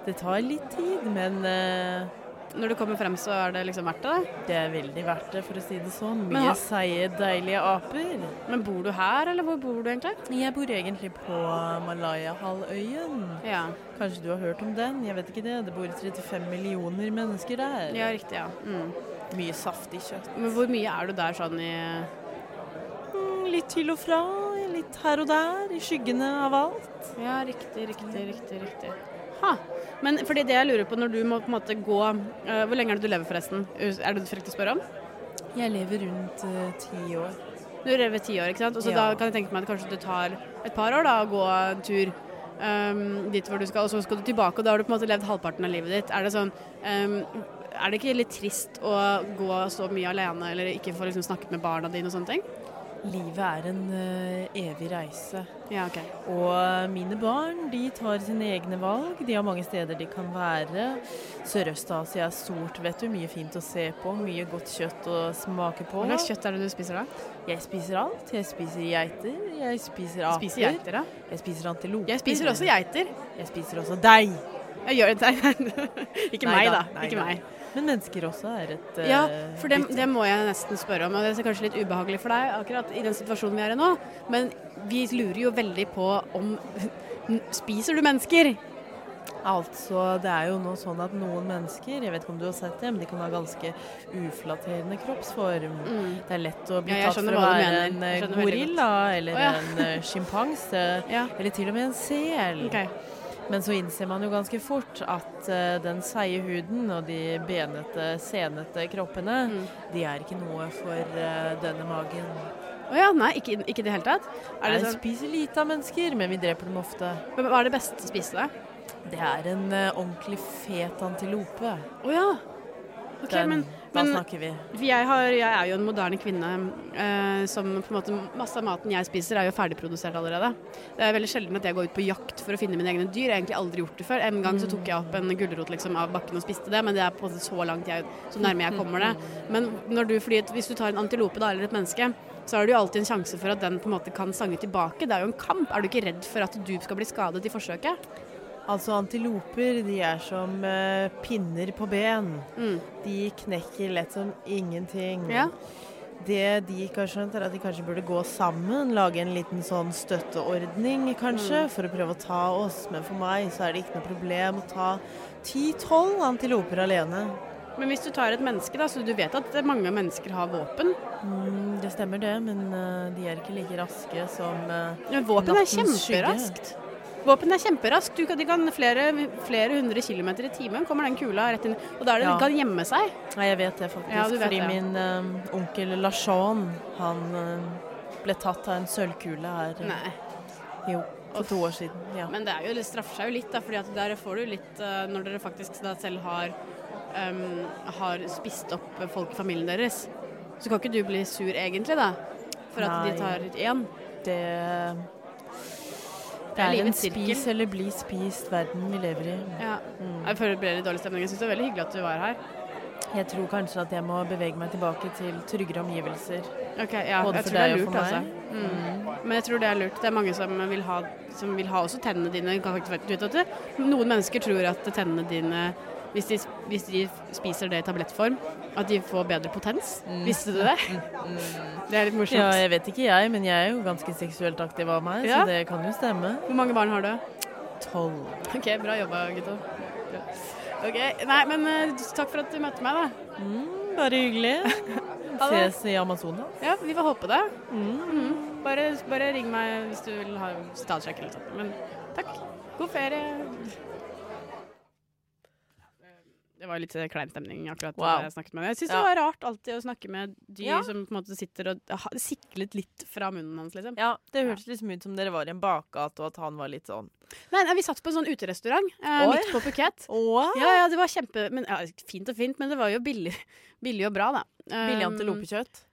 [SPEAKER 2] Det tar litt tid, men eh,
[SPEAKER 1] Når du kommer frem, så er det liksom verdt det?
[SPEAKER 2] Det er veldig verdt det, for å si det sånn.
[SPEAKER 1] Men
[SPEAKER 2] Mye
[SPEAKER 1] ha-
[SPEAKER 2] seige, deilige aper.
[SPEAKER 1] Men bor du her, eller hvor bor du egentlig?
[SPEAKER 2] Jeg bor egentlig på Malaya-halvøyen.
[SPEAKER 1] Ja.
[SPEAKER 2] Kanskje du har hørt om den? Jeg vet ikke det. Det bor 35 millioner mennesker der.
[SPEAKER 1] Ja, riktig, ja. Mm.
[SPEAKER 2] Mye saftig kjøtt.
[SPEAKER 1] Men hvor mye er du der sånn i
[SPEAKER 2] Mm, Litt til og fra, litt her og der, i skyggene av alt.
[SPEAKER 1] Ja, riktig, riktig, riktig. riktig. Ha. Men fordi det jeg lurer på når du må på en måte gå eh, Hvor lenge er det du lever, forresten? Er det du frykter å spørre om?
[SPEAKER 2] Jeg lever rundt eh, ti år.
[SPEAKER 1] Du lever ti år, ikke sant? Og så
[SPEAKER 2] Ja.
[SPEAKER 1] da kan jeg tenke meg at kanskje du tar et par år da, og gå en tur ehm, dit hvor du skal, og så skal du tilbake, og da har du på en måte levd halvparten av livet ditt. Er det sånn ehm, Er det ikke litt trist å gå så mye alene, eller ikke få liksom, snakket med barna dine og sånne ting?
[SPEAKER 2] Livet er en eh, evig reise.
[SPEAKER 1] Ja, ok.
[SPEAKER 2] Og mine barn de tar sine egne valg. De har mange steder de kan være. Sørøst-Asia er stort, vet du. Mye fint å se på. Mye godt kjøtt å smake på.
[SPEAKER 1] Hva slags kjøtt er det du spiser da?
[SPEAKER 2] Jeg spiser alt. Jeg spiser geiter. Jeg spiser aper.
[SPEAKER 1] Spiser geiter, da?
[SPEAKER 2] Jeg spiser antiloper.
[SPEAKER 1] Jeg spiser også geiter.
[SPEAKER 2] Jeg spiser også deg.
[SPEAKER 1] Jeg gjør det Ikke meg, da. Ikke meg.
[SPEAKER 2] Men mennesker også er et eh,
[SPEAKER 1] Ja, for det,
[SPEAKER 2] bytte.
[SPEAKER 1] det må jeg nesten spørre om. og Det er kanskje litt ubehagelig for deg akkurat i den situasjonen vi er i nå, men vi lurer jo veldig på om Spiser du mennesker?
[SPEAKER 2] Altså, det er jo nå sånn at noen mennesker, jeg vet ikke om du har sett det, men de kan ha ganske uflatterende kroppsform.
[SPEAKER 1] Mm.
[SPEAKER 2] Det er lett å bli
[SPEAKER 1] Ja, jeg
[SPEAKER 2] tatt
[SPEAKER 1] skjønner
[SPEAKER 2] for å
[SPEAKER 1] hva du mener.
[SPEAKER 2] være en
[SPEAKER 1] Jeg
[SPEAKER 2] eh,
[SPEAKER 1] skjønner veldig
[SPEAKER 2] gorilla
[SPEAKER 1] godt. Å,
[SPEAKER 2] eller
[SPEAKER 1] ja.
[SPEAKER 2] en eh, sjimpanse, eller til og med en sel.
[SPEAKER 1] Ok.
[SPEAKER 2] Men så innser man jo ganske fort at eh, den seige huden og de benete, senete kroppene,
[SPEAKER 1] Mm.
[SPEAKER 2] de er ikke noe for eh, denne magen.
[SPEAKER 1] Å ja, nei, ikke i det hele tatt? Er det
[SPEAKER 2] Jeg
[SPEAKER 1] sånn-
[SPEAKER 2] spiser lite av mennesker, men vi dreper dem ofte.
[SPEAKER 1] Men Hva er det beste å spise, da?
[SPEAKER 2] Det er en eh, ordentlig fet antilope.
[SPEAKER 1] Å ja. Ok,
[SPEAKER 2] Den-
[SPEAKER 1] men,
[SPEAKER 2] da
[SPEAKER 1] men-
[SPEAKER 2] snakker vi.
[SPEAKER 1] For Jeg, har, jeg er jo en moderne kvinne eh, som på en måte Masse av maten jeg spiser, er jo ferdigprodusert allerede. Det er veldig sjelden at jeg går ut på jakt for å finne mine egne dyr. Jeg har egentlig aldri gjort det før. En gang så tok jeg opp en gulrot liksom, av bakken og spiste det, men det er på en måte så langt jeg, så nærme jeg kommer det. Men når du, fordi at hvis du tar en antilope da, eller et menneske, så har du jo alltid en sjanse for at den på en måte kan sange tilbake. Det er jo en kamp. Er du ikke redd for at du skal bli skadet i forsøket?
[SPEAKER 2] Altså, antiloper de er som eh, pinner på ben. De knekker lett som ingenting.
[SPEAKER 1] Ja.
[SPEAKER 2] Det de ikke har skjønt, er at de kanskje burde gå sammen, lage en liten sånn støtteordning, kanskje,
[SPEAKER 1] Mm.
[SPEAKER 2] for å prøve å ta oss. Men for meg så er det ikke noe problem å ta 10-12 antiloper alene.
[SPEAKER 1] Men hvis du tar et menneske, da, så du vet at mange mennesker har våpen.
[SPEAKER 2] Mm, det stemmer det, men eh, de er ikke like raske som uh,
[SPEAKER 1] Men våpen er kjemperaskt. Våpen er kjemperaskt. Du kan, de kan flere, flere hundre kilometer i timen kommer den kula rett inn. Og da er det
[SPEAKER 2] Ja.
[SPEAKER 1] de kan gjemme seg.
[SPEAKER 2] Nei, jeg vet det faktisk.
[SPEAKER 1] Ja, du vet
[SPEAKER 2] fordi
[SPEAKER 1] det.
[SPEAKER 2] min eh, onkel Lachon, han eh, ble tatt av en sølvkule her. eh,
[SPEAKER 1] Nei.
[SPEAKER 2] Jo, for to år siden. Ja.
[SPEAKER 1] Men det, er jo, det straffer seg jo litt, da, fordi at der får du litt eh, Når dere faktisk da selv har, ehm, har spist opp folk i familien deres, så kan ikke du bli sur egentlig, da? For at
[SPEAKER 2] Nei.
[SPEAKER 1] de tar ut én?
[SPEAKER 2] Det,
[SPEAKER 1] Det
[SPEAKER 2] eh, det
[SPEAKER 1] er
[SPEAKER 2] er en
[SPEAKER 1] livets sirkel.
[SPEAKER 2] spis eller bli spist verden vi lever i.
[SPEAKER 1] Ja.
[SPEAKER 2] Mm.
[SPEAKER 1] Jeg føler det ble litt dårlig stemning. Jeg syns det var veldig hyggelig at du var her.
[SPEAKER 2] Jeg tror kanskje at jeg må bevege meg tilbake til tryggere omgivelser.
[SPEAKER 1] Ok, ja, jeg
[SPEAKER 2] Både for
[SPEAKER 1] tror det er
[SPEAKER 2] deg
[SPEAKER 1] lurt,
[SPEAKER 2] og for meg.
[SPEAKER 1] altså. Mm. Men jeg tror det er lurt. Det er mange som vil ha, som vil ha også tennene dine. Du Kan faktisk, du vet at det, noen mennesker tror at tennene dine, hvis de, hvis de spiser det i tablettform, at de får bedre potens.
[SPEAKER 2] Mm.
[SPEAKER 1] Visste du det? Det er litt morsomt.
[SPEAKER 2] Ja, jeg vet ikke jeg, men jeg er jo ganske seksuelt aktiv av meg,
[SPEAKER 1] Ja.
[SPEAKER 2] så det kan jo stemme.
[SPEAKER 1] Hvor mange barn har du?
[SPEAKER 2] Tolv.
[SPEAKER 1] Ok, bra jobba, gutta. Ja. Ok, Nei, men eh, takk for at du møtte meg, da.
[SPEAKER 2] Bare hyggelig.
[SPEAKER 1] Ha det.
[SPEAKER 2] Ses i Amazonas.
[SPEAKER 1] Ja, vi får håpe det. Mhm. Bare, bare ring meg hvis du vil ha statsjekk eller noe sånt. Men takk. God ferie. Det var litt eh, klein stemning akkurat
[SPEAKER 2] Wow.
[SPEAKER 1] da jeg snakket med henne. Jeg syns
[SPEAKER 2] Ja.
[SPEAKER 1] det var rart alltid å snakke med dyr
[SPEAKER 2] Ja.
[SPEAKER 1] som på en måte sitter og ha- siklet litt fra munnen hans, liksom.
[SPEAKER 2] Ja, det hørtes liksom ut som dere var i en bakgate, og at han var litt sånn
[SPEAKER 1] Nei, nei, vi satt på en sånn uterestaurant eh,
[SPEAKER 2] Oi.
[SPEAKER 1] midt på Phuket. Ja, ja, det var kjempe men, ja, Fint og fint, men det var jo billig, billig og bra, da.
[SPEAKER 2] Billig
[SPEAKER 1] Um,
[SPEAKER 2] antilopekjøtt.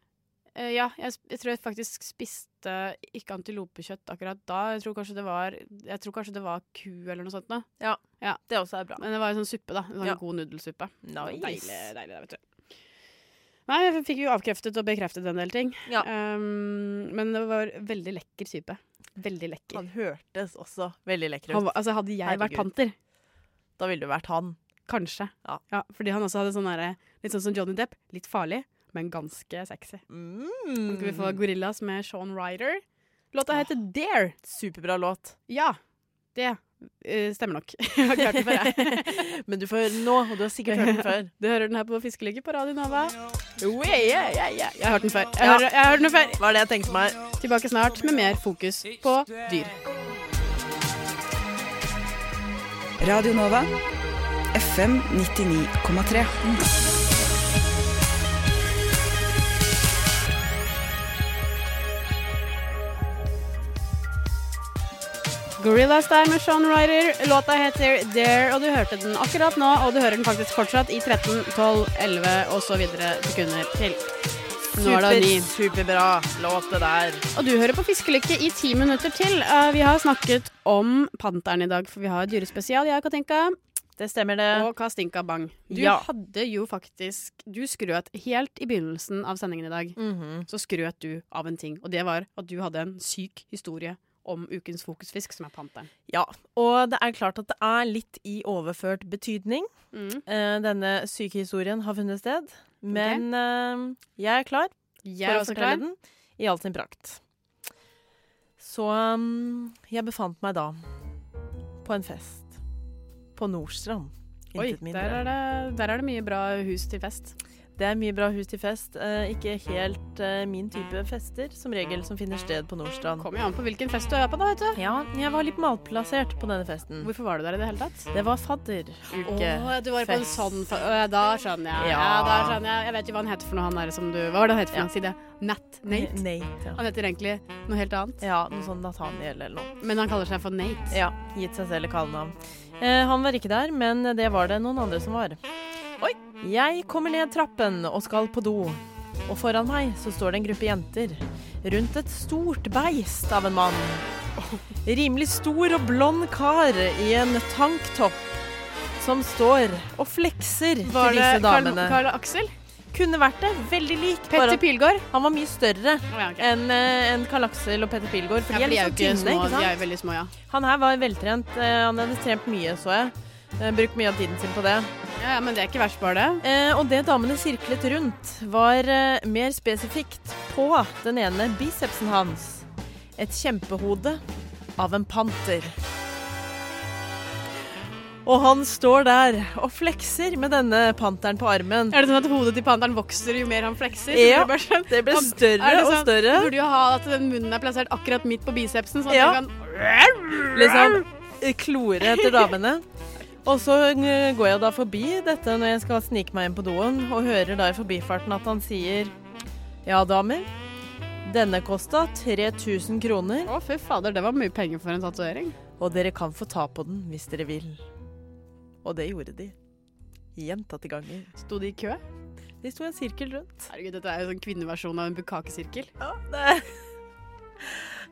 [SPEAKER 1] Eh, ja, jeg, sp- jeg tror jeg faktisk spiste ikke antilopekjøtt akkurat da. Jeg tror kanskje det var, jeg tror kanskje det var ku eller noe sånt. Da.
[SPEAKER 2] Ja,
[SPEAKER 1] det også er bra. Men det var en sånn suppe, da. En sånn
[SPEAKER 2] Ja.
[SPEAKER 1] god nudelsuppe. Det var
[SPEAKER 2] Nice.
[SPEAKER 1] Deilig, deilig, det, vet du. Nei, jeg fikk jo avkreftet og bekreftet en del ting. Um, men det var veldig lekker type. Veldig lekker.
[SPEAKER 2] Han hørtes også veldig lekker ut.
[SPEAKER 1] Han var- altså, hadde jeg vært panter
[SPEAKER 2] Da ville du vært han.
[SPEAKER 1] Kanskje.
[SPEAKER 2] Ja.
[SPEAKER 1] fordi han også hadde sånn derre Litt sånn som Johnny Depp. Litt farlig, men ganske sexy.
[SPEAKER 2] Mm.
[SPEAKER 1] Nå skal vi få Gorillas med Sean Ryder. Låta heter Dare.
[SPEAKER 2] Superbra låt.
[SPEAKER 1] Ja. Det eh, stemmer nok. Jeg har ikke hørt den før, jeg.
[SPEAKER 2] Men du får høre den nå, og du har sikkert hørt den før.
[SPEAKER 1] Du hører den her på Fiskelykke på Radio Nova. Jo, ja, ja, ja, ja. Jeg har hørt den før. Jeg,
[SPEAKER 2] Ja.
[SPEAKER 1] hører, jeg har hørt den før.
[SPEAKER 2] Var det jeg tenkte meg.
[SPEAKER 1] Tilbake snart med mer fokus på dyr.
[SPEAKER 10] Radio Nova. FM 99,3.
[SPEAKER 1] Gorillas der med Sean Ryder. Låta heter Dare, og du hørte den akkurat nå. Og du hører den faktisk fortsatt i 13, 12, 11 og så videre sekunder til. Nå er det ni.
[SPEAKER 2] superbra låt, det der.
[SPEAKER 1] Og du hører på Fiskelykke i ti minutter til. Eh, vi har snakket om panteren i dag, for vi har dyrespesial, jeg og Katinka.
[SPEAKER 2] Det stemmer, det.
[SPEAKER 1] Og Kastinka Bang. Du
[SPEAKER 2] Ja.
[SPEAKER 1] hadde jo faktisk Du skrøt helt i begynnelsen av sendingen i dag.
[SPEAKER 2] Mhm.
[SPEAKER 1] Så skrøt du av en ting, og det var at du hadde en syk historie om ukens fokusfisk, som er panteren.
[SPEAKER 2] Ja, og det er klart at det er litt i overført betydning.
[SPEAKER 1] Mm.
[SPEAKER 2] Eh, denne sykehistorien har funnet sted. Men eh, jeg er klar
[SPEAKER 1] Jeg er
[SPEAKER 2] for å
[SPEAKER 1] også
[SPEAKER 2] fortelle
[SPEAKER 1] klar.
[SPEAKER 2] den i all sin prakt. Så um, jeg befant meg da på en fest på Nordstrand.
[SPEAKER 1] Oi,
[SPEAKER 2] Intet mindre.
[SPEAKER 1] der er, det, der er det mye bra hus til fest.
[SPEAKER 2] Det er mye bra hus til fest. Eh, ikke helt eh, min type fester, som regel, som finner sted på Nordstrand.
[SPEAKER 1] Kommer jo an på hvilken fest du er på, da, vet du.
[SPEAKER 2] Ja, jeg var litt malplassert på denne festen.
[SPEAKER 1] Hvorfor var du der i det hele tatt?
[SPEAKER 2] Det var fadderuke.
[SPEAKER 1] Å, du var på en
[SPEAKER 2] fest.
[SPEAKER 1] sånn fe- Å, ja, Da skjønner jeg. Ja.
[SPEAKER 2] Ja.
[SPEAKER 1] da skjønner Jeg Jeg vet jo hva han heter for noe, han der som du Hva var det han het for
[SPEAKER 2] Ja.
[SPEAKER 1] noe? Si det. Nat? Nate?
[SPEAKER 2] Nate, ja.
[SPEAKER 1] Han heter egentlig noe helt annet.
[SPEAKER 2] Ja, noe sånn Nathaniel eller noe.
[SPEAKER 1] Men han kaller seg for Nate.
[SPEAKER 2] Ja, gitt seg selv kallenavn. Eh, han var ikke der, men det var det noen andre som var. Oi! Jeg kommer ned trappen og skal på do. Og foran meg så står det en gruppe jenter rundt et stort beist av en mann. Rimelig stor og blond kar i en tanktopp som står og flekser
[SPEAKER 1] Var
[SPEAKER 2] til
[SPEAKER 1] det
[SPEAKER 2] disse
[SPEAKER 1] Carl,
[SPEAKER 2] damene.
[SPEAKER 1] Carl Aksel?
[SPEAKER 2] Kunne vært det. Veldig lik.
[SPEAKER 1] Petter
[SPEAKER 2] bare at
[SPEAKER 1] Pilgaard?
[SPEAKER 2] Han var mye større
[SPEAKER 1] ja, ok.
[SPEAKER 2] enn eh, enn Karl Aksel og Petter Pilgaard. For
[SPEAKER 1] Ja, for
[SPEAKER 2] de er litt
[SPEAKER 1] de er jo ikke
[SPEAKER 2] sånn tynne,
[SPEAKER 1] små,
[SPEAKER 2] ikke sant?
[SPEAKER 1] de er jo veldig små, ja.
[SPEAKER 2] Han her var veltrent. eh, Han hadde trent mye, så jeg. Eh, Brukt mye av tiden sin på det.
[SPEAKER 1] Ja, Men det er ikke verst, bare det.
[SPEAKER 2] Eh, og det damene sirklet rundt, var eh, mer spesifikt på den ene bicepsen hans. Et kjempehode av en panter. Og han står der og flekser med denne panteren på armen.
[SPEAKER 1] Er det sånn at hodet til panteren vokser jo mer han flekser?
[SPEAKER 2] Ja,
[SPEAKER 1] Så blir det bare sånn-
[SPEAKER 2] det blir
[SPEAKER 1] Han-
[SPEAKER 2] større
[SPEAKER 1] er det
[SPEAKER 2] og
[SPEAKER 1] sånn-
[SPEAKER 2] større.
[SPEAKER 1] Burde jo ha at den munnen er plassert akkurat midt på bicepsen, sånn at
[SPEAKER 2] Ja.
[SPEAKER 1] du kan
[SPEAKER 2] Liksom eh, klore etter damene. Og så eh, går jeg da forbi dette når jeg skal snike meg inn på doen, og hører da i forbifarten at han sier Ja, damer. Denne kosta 3000 kroner.
[SPEAKER 1] Å, fy fader, det var mye penger for en tatovering.
[SPEAKER 2] Og dere kan få ta på den hvis dere vil. Og det gjorde de. Gjentatte ganger.
[SPEAKER 1] Sto de i kø?
[SPEAKER 2] De sto i en sirkel rundt.
[SPEAKER 1] Herregud, dette er jo sånn kvinneversjon av en bukakesirkel.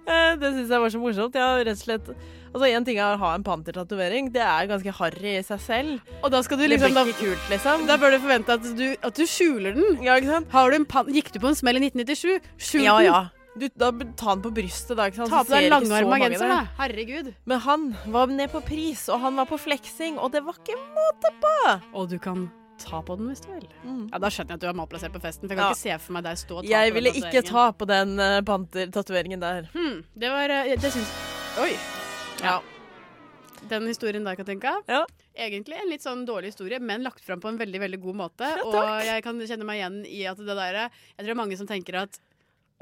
[SPEAKER 2] Eh, Det syns jeg var så morsomt. Jeg har rett og slett Altså, én ting er å ha en pantertatovering. Det er ganske harry i seg selv.
[SPEAKER 1] Og da skal du
[SPEAKER 2] Det blir
[SPEAKER 1] liksom da,
[SPEAKER 2] ikke kult, liksom.
[SPEAKER 1] da bør du forvente at du, at du skjuler den.
[SPEAKER 2] Ja, ikke sant?
[SPEAKER 1] Har du en pan Gikk du på en smell i 1997? Skjul
[SPEAKER 2] Ja,
[SPEAKER 1] den!
[SPEAKER 2] ja. Du, da ta den på brystet, da. ikke sant?
[SPEAKER 1] Ta
[SPEAKER 2] Så
[SPEAKER 1] på deg
[SPEAKER 2] ser ikke så
[SPEAKER 1] langarma
[SPEAKER 2] mange
[SPEAKER 1] genser,
[SPEAKER 2] det.
[SPEAKER 1] da. Herregud.
[SPEAKER 2] Men han var ned på pris, og han var på fleksing, og det var ikke måte på!
[SPEAKER 1] Og du kan ta på den hvis du vil. Ja, Da skjønner jeg at du er malplassert på festen. For jeg kan
[SPEAKER 2] Mm. Ja.
[SPEAKER 1] ikke se for meg deg stå og ta på
[SPEAKER 2] Jeg
[SPEAKER 1] den
[SPEAKER 2] ville ikke
[SPEAKER 1] tatoveringen.
[SPEAKER 2] ta på den eh, pantertatoveringen der.
[SPEAKER 1] Hmm, det var eh, Det syns Oi.
[SPEAKER 2] Ja.
[SPEAKER 1] Den historien der, Katinka.
[SPEAKER 2] Ja.
[SPEAKER 1] Egentlig en litt sånn dårlig historie, men lagt fram på en veldig veldig god måte. og
[SPEAKER 2] takk.
[SPEAKER 1] jeg kan kjenne meg igjen i at det der eh, Jeg tror det er mange som tenker at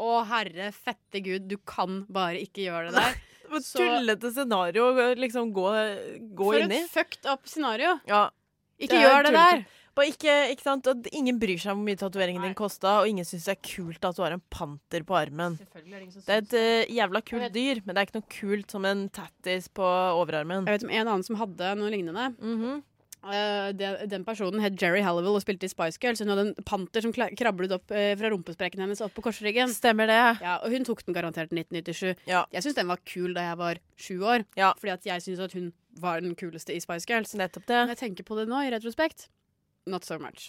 [SPEAKER 1] å, herre fette gud, du kan bare ikke gjøre det der.
[SPEAKER 2] Det var et
[SPEAKER 1] Så-
[SPEAKER 2] Tullete scenario å liksom gå, gå
[SPEAKER 1] For
[SPEAKER 2] inn i.
[SPEAKER 1] et fucked up scenario.
[SPEAKER 2] Ja.
[SPEAKER 1] Ikke gjør det der.
[SPEAKER 2] Bare ikke, ikke sant? Og ingen bryr seg om hvor mye tatoveringen din kosta, og ingen syns det er kult at du har en panter på armen. Det er et eh, jævla kult dyr, men det er ikke noe kult som en tattis på overarmen. Mhm.
[SPEAKER 1] Jeg vet om en annen som hadde noe lignende. Eh, det, den personen het Jerry Halliwell og spilte i Spice Girls. Hun hadde en panter som kla- krablet opp eh, fra rumpesprekken hennes opp på korsryggen.
[SPEAKER 2] Stemmer det.
[SPEAKER 1] Ja, og hun tok den garantert i 1997. Jeg syns den var kul da jeg var sju år, fordi at jeg syns at hun var den kuleste i Spice Girls.
[SPEAKER 2] det.
[SPEAKER 1] Når jeg tenker på det nå, i retrospekt, not so much.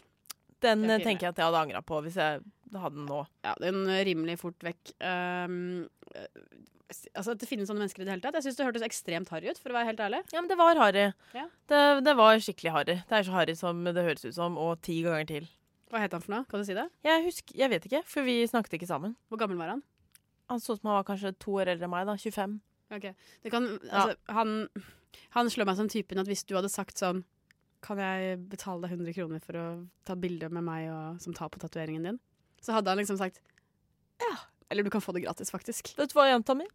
[SPEAKER 2] Den
[SPEAKER 1] Det er
[SPEAKER 2] eh,
[SPEAKER 1] fint,
[SPEAKER 2] tenker jeg at jeg hadde angra på hvis jeg hadde den nå.
[SPEAKER 1] Ja, den eh, rimelig fort vekk. Ehm, eh, altså At det finnes sånne mennesker i det hele tatt. Jeg syns det hørtes ekstremt harry ut, for å være helt ærlig.
[SPEAKER 2] Ja, men det var harry.
[SPEAKER 1] Ja.
[SPEAKER 2] Det, det var skikkelig harry. Det er så harry som det høres ut som, og ti ganger til.
[SPEAKER 1] Hva het han for noe? Kan du si det?
[SPEAKER 2] Jeg husker, jeg vet ikke, for vi snakket ikke sammen.
[SPEAKER 1] Hvor gammel var han?
[SPEAKER 2] Han så ut som han var kanskje to år eldre enn meg, da. 25.
[SPEAKER 1] Ok. Det kan, altså, han, han slår meg som typen at hvis du hadde sagt sånn Kan jeg betale deg 100 kroner for å ta bilde med meg og, som tar på tatoveringen din? Så hadde han liksom sagt Ja. Eller du kan få det gratis, faktisk.
[SPEAKER 2] Vet du hva, jenta mi?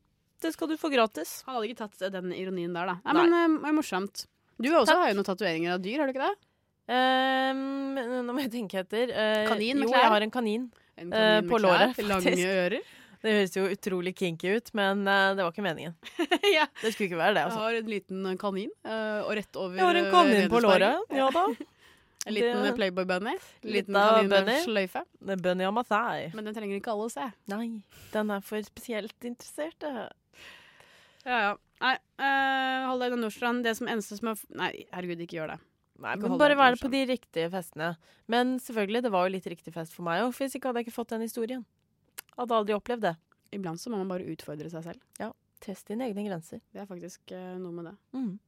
[SPEAKER 2] Det skal du få gratis.
[SPEAKER 1] Han hadde ikke tatt eh, den ironien der, da. Nei,
[SPEAKER 2] Nei.
[SPEAKER 1] men eh, morsomt. Du også har jo noen tatoveringer av dyr, har du ikke det?
[SPEAKER 2] Ehm, nå må jeg tenke etter. Eh,
[SPEAKER 1] Kanin med
[SPEAKER 2] jo,
[SPEAKER 1] klær?
[SPEAKER 2] jeg har en kanin,
[SPEAKER 1] En
[SPEAKER 2] eh,
[SPEAKER 1] kanin med
[SPEAKER 2] på
[SPEAKER 1] klær,
[SPEAKER 2] låret.
[SPEAKER 1] lange ører.
[SPEAKER 2] Det høres jo utrolig kinky ut, men eh, det var ikke meningen. Det skulle ikke være det,
[SPEAKER 1] Jeg
[SPEAKER 2] altså.
[SPEAKER 1] har en liten eh, kanin, eh, og rett over
[SPEAKER 2] Jeg har en
[SPEAKER 1] eh,
[SPEAKER 2] kanin på
[SPEAKER 1] Venusberg.
[SPEAKER 2] låret. Ja da.
[SPEAKER 1] En liten
[SPEAKER 2] Det-
[SPEAKER 1] Playboy-bunny.
[SPEAKER 2] Litt
[SPEAKER 1] Liten
[SPEAKER 2] av
[SPEAKER 1] kanin med
[SPEAKER 2] bunny.
[SPEAKER 1] sløyfe.
[SPEAKER 2] Det er Bunny on my thigh.
[SPEAKER 1] Men den trenger ikke alle å se.
[SPEAKER 2] Nei, den er for spesielt interessert. det.
[SPEAKER 1] Ja, ja. Nei, eh, hold deg unna Nordstrand. Det som eneste som er f- Nei, herregud, ikke gjør det.
[SPEAKER 2] Nei,
[SPEAKER 1] Ikke
[SPEAKER 2] men
[SPEAKER 1] hold
[SPEAKER 2] bare
[SPEAKER 1] deg
[SPEAKER 2] være
[SPEAKER 1] unna
[SPEAKER 2] på de riktige festene. Men selvfølgelig, det var jo litt riktig fest for meg òg, for hvis ikke hadde jeg ikke fått den historien. Hadde aldri opplevd det.
[SPEAKER 1] Iblant så må man bare utfordre seg selv.
[SPEAKER 2] Ja. Test dine egne grenser.
[SPEAKER 1] Det er faktisk eh, noe med det.
[SPEAKER 2] Mm.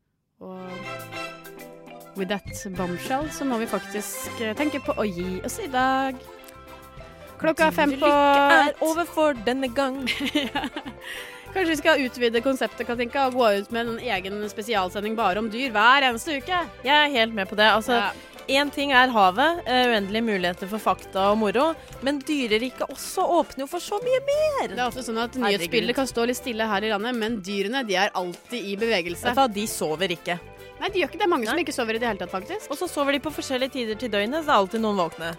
[SPEAKER 1] Og with that bombshell så må vi faktisk eh, tenke på å gi oss i dag. Klokka er fem på
[SPEAKER 2] Lykke er over for denne gang.
[SPEAKER 1] Kanskje vi skal utvide konseptet Katinka, og gå ut med en egen spesialsending bare om dyr hver eneste uke.
[SPEAKER 2] Jeg er helt med på det. Altså,
[SPEAKER 1] Ja.
[SPEAKER 2] én ting er havet, eh, uendelige muligheter for fakta og moro, men dyreriket også åpner jo for så mye mer!
[SPEAKER 1] Det er ofte sånn at
[SPEAKER 2] Herregud.
[SPEAKER 1] Nyhetsbildet kan stå litt stille her i landet, men dyrene de er alltid i bevegelse.
[SPEAKER 2] Vet du hva, de sover ikke.
[SPEAKER 1] Nei, de gjør ikke det. Det er mange som ikke sover i det hele tatt, faktisk.
[SPEAKER 2] Og så sover de på forskjellige tider til døgnet, så det er alltid noen våkne.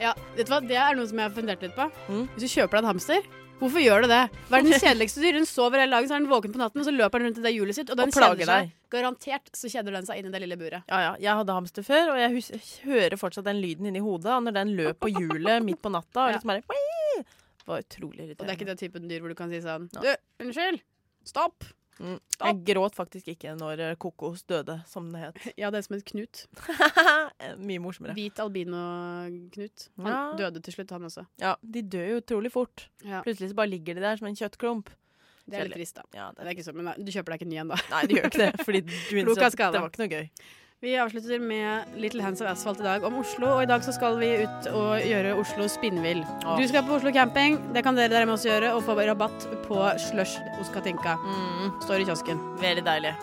[SPEAKER 1] Ja, vet du hva? Det er noe som jeg har fundert litt på. Hvis du kjøper deg en hamster, hvorfor gjør du det? Verdens kjedeligste dyr. Hun sover hele dagen, så er den våken på natten, og så løper den rundt i det hjulet sitt, og den
[SPEAKER 2] Og plager
[SPEAKER 1] kjeder seg.
[SPEAKER 2] deg.
[SPEAKER 1] Garantert så kjeder den seg inn i det lille buret.
[SPEAKER 2] Ja, ja. Jeg hadde hamster før, og jeg hus hører fortsatt den lyden inni hodet når den løp på hjulet midt på natta. Og liksom bare, «Wii!» det var utrolig
[SPEAKER 1] Og det er
[SPEAKER 2] irriterende.
[SPEAKER 1] ikke den typen dyr hvor du kan si sånn
[SPEAKER 2] Nei.
[SPEAKER 1] Du, unnskyld! Stopp!
[SPEAKER 2] Mm. Jeg gråt faktisk ikke når eh, Kokos døde, som det het. Eh,
[SPEAKER 1] Ja, det er som het Knut.
[SPEAKER 2] Mye morsommere.
[SPEAKER 1] Hvit albino-Knut. Han
[SPEAKER 2] Ja.
[SPEAKER 1] døde til slutt, han også.
[SPEAKER 2] Ja, de dør jo utrolig fort.
[SPEAKER 1] Ja.
[SPEAKER 2] Plutselig så bare ligger de der som en kjøttklump.
[SPEAKER 1] Det er litt trist, da. det er ikke så, men du kjøper deg ikke en ny en, da.
[SPEAKER 2] Nei, du gjør ikke det, fordi du
[SPEAKER 1] Klok av
[SPEAKER 2] innser at det
[SPEAKER 1] skade.
[SPEAKER 2] var ikke noe gøy.
[SPEAKER 1] Vi avslutter med Little Hands of Asphalt i dag om Oslo, og i dag så skal vi ut og gjøre Oslo spinnvill.
[SPEAKER 2] Åh.
[SPEAKER 1] Du skal på Oslo camping, det kan dere der med oss gjøre, og få rabatt på slush hos Katinka. Står i kiosken.
[SPEAKER 2] Mm, Veldig deilig.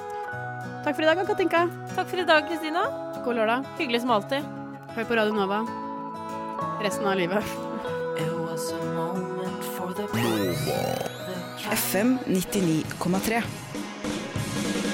[SPEAKER 1] Takk for i dag, Katinka.
[SPEAKER 2] Takk for i dag, Kristina.
[SPEAKER 1] God lørdag.
[SPEAKER 2] Hyggelig som alltid.
[SPEAKER 1] Hør på Radio Nova resten av livet.
[SPEAKER 10] FM 99,3.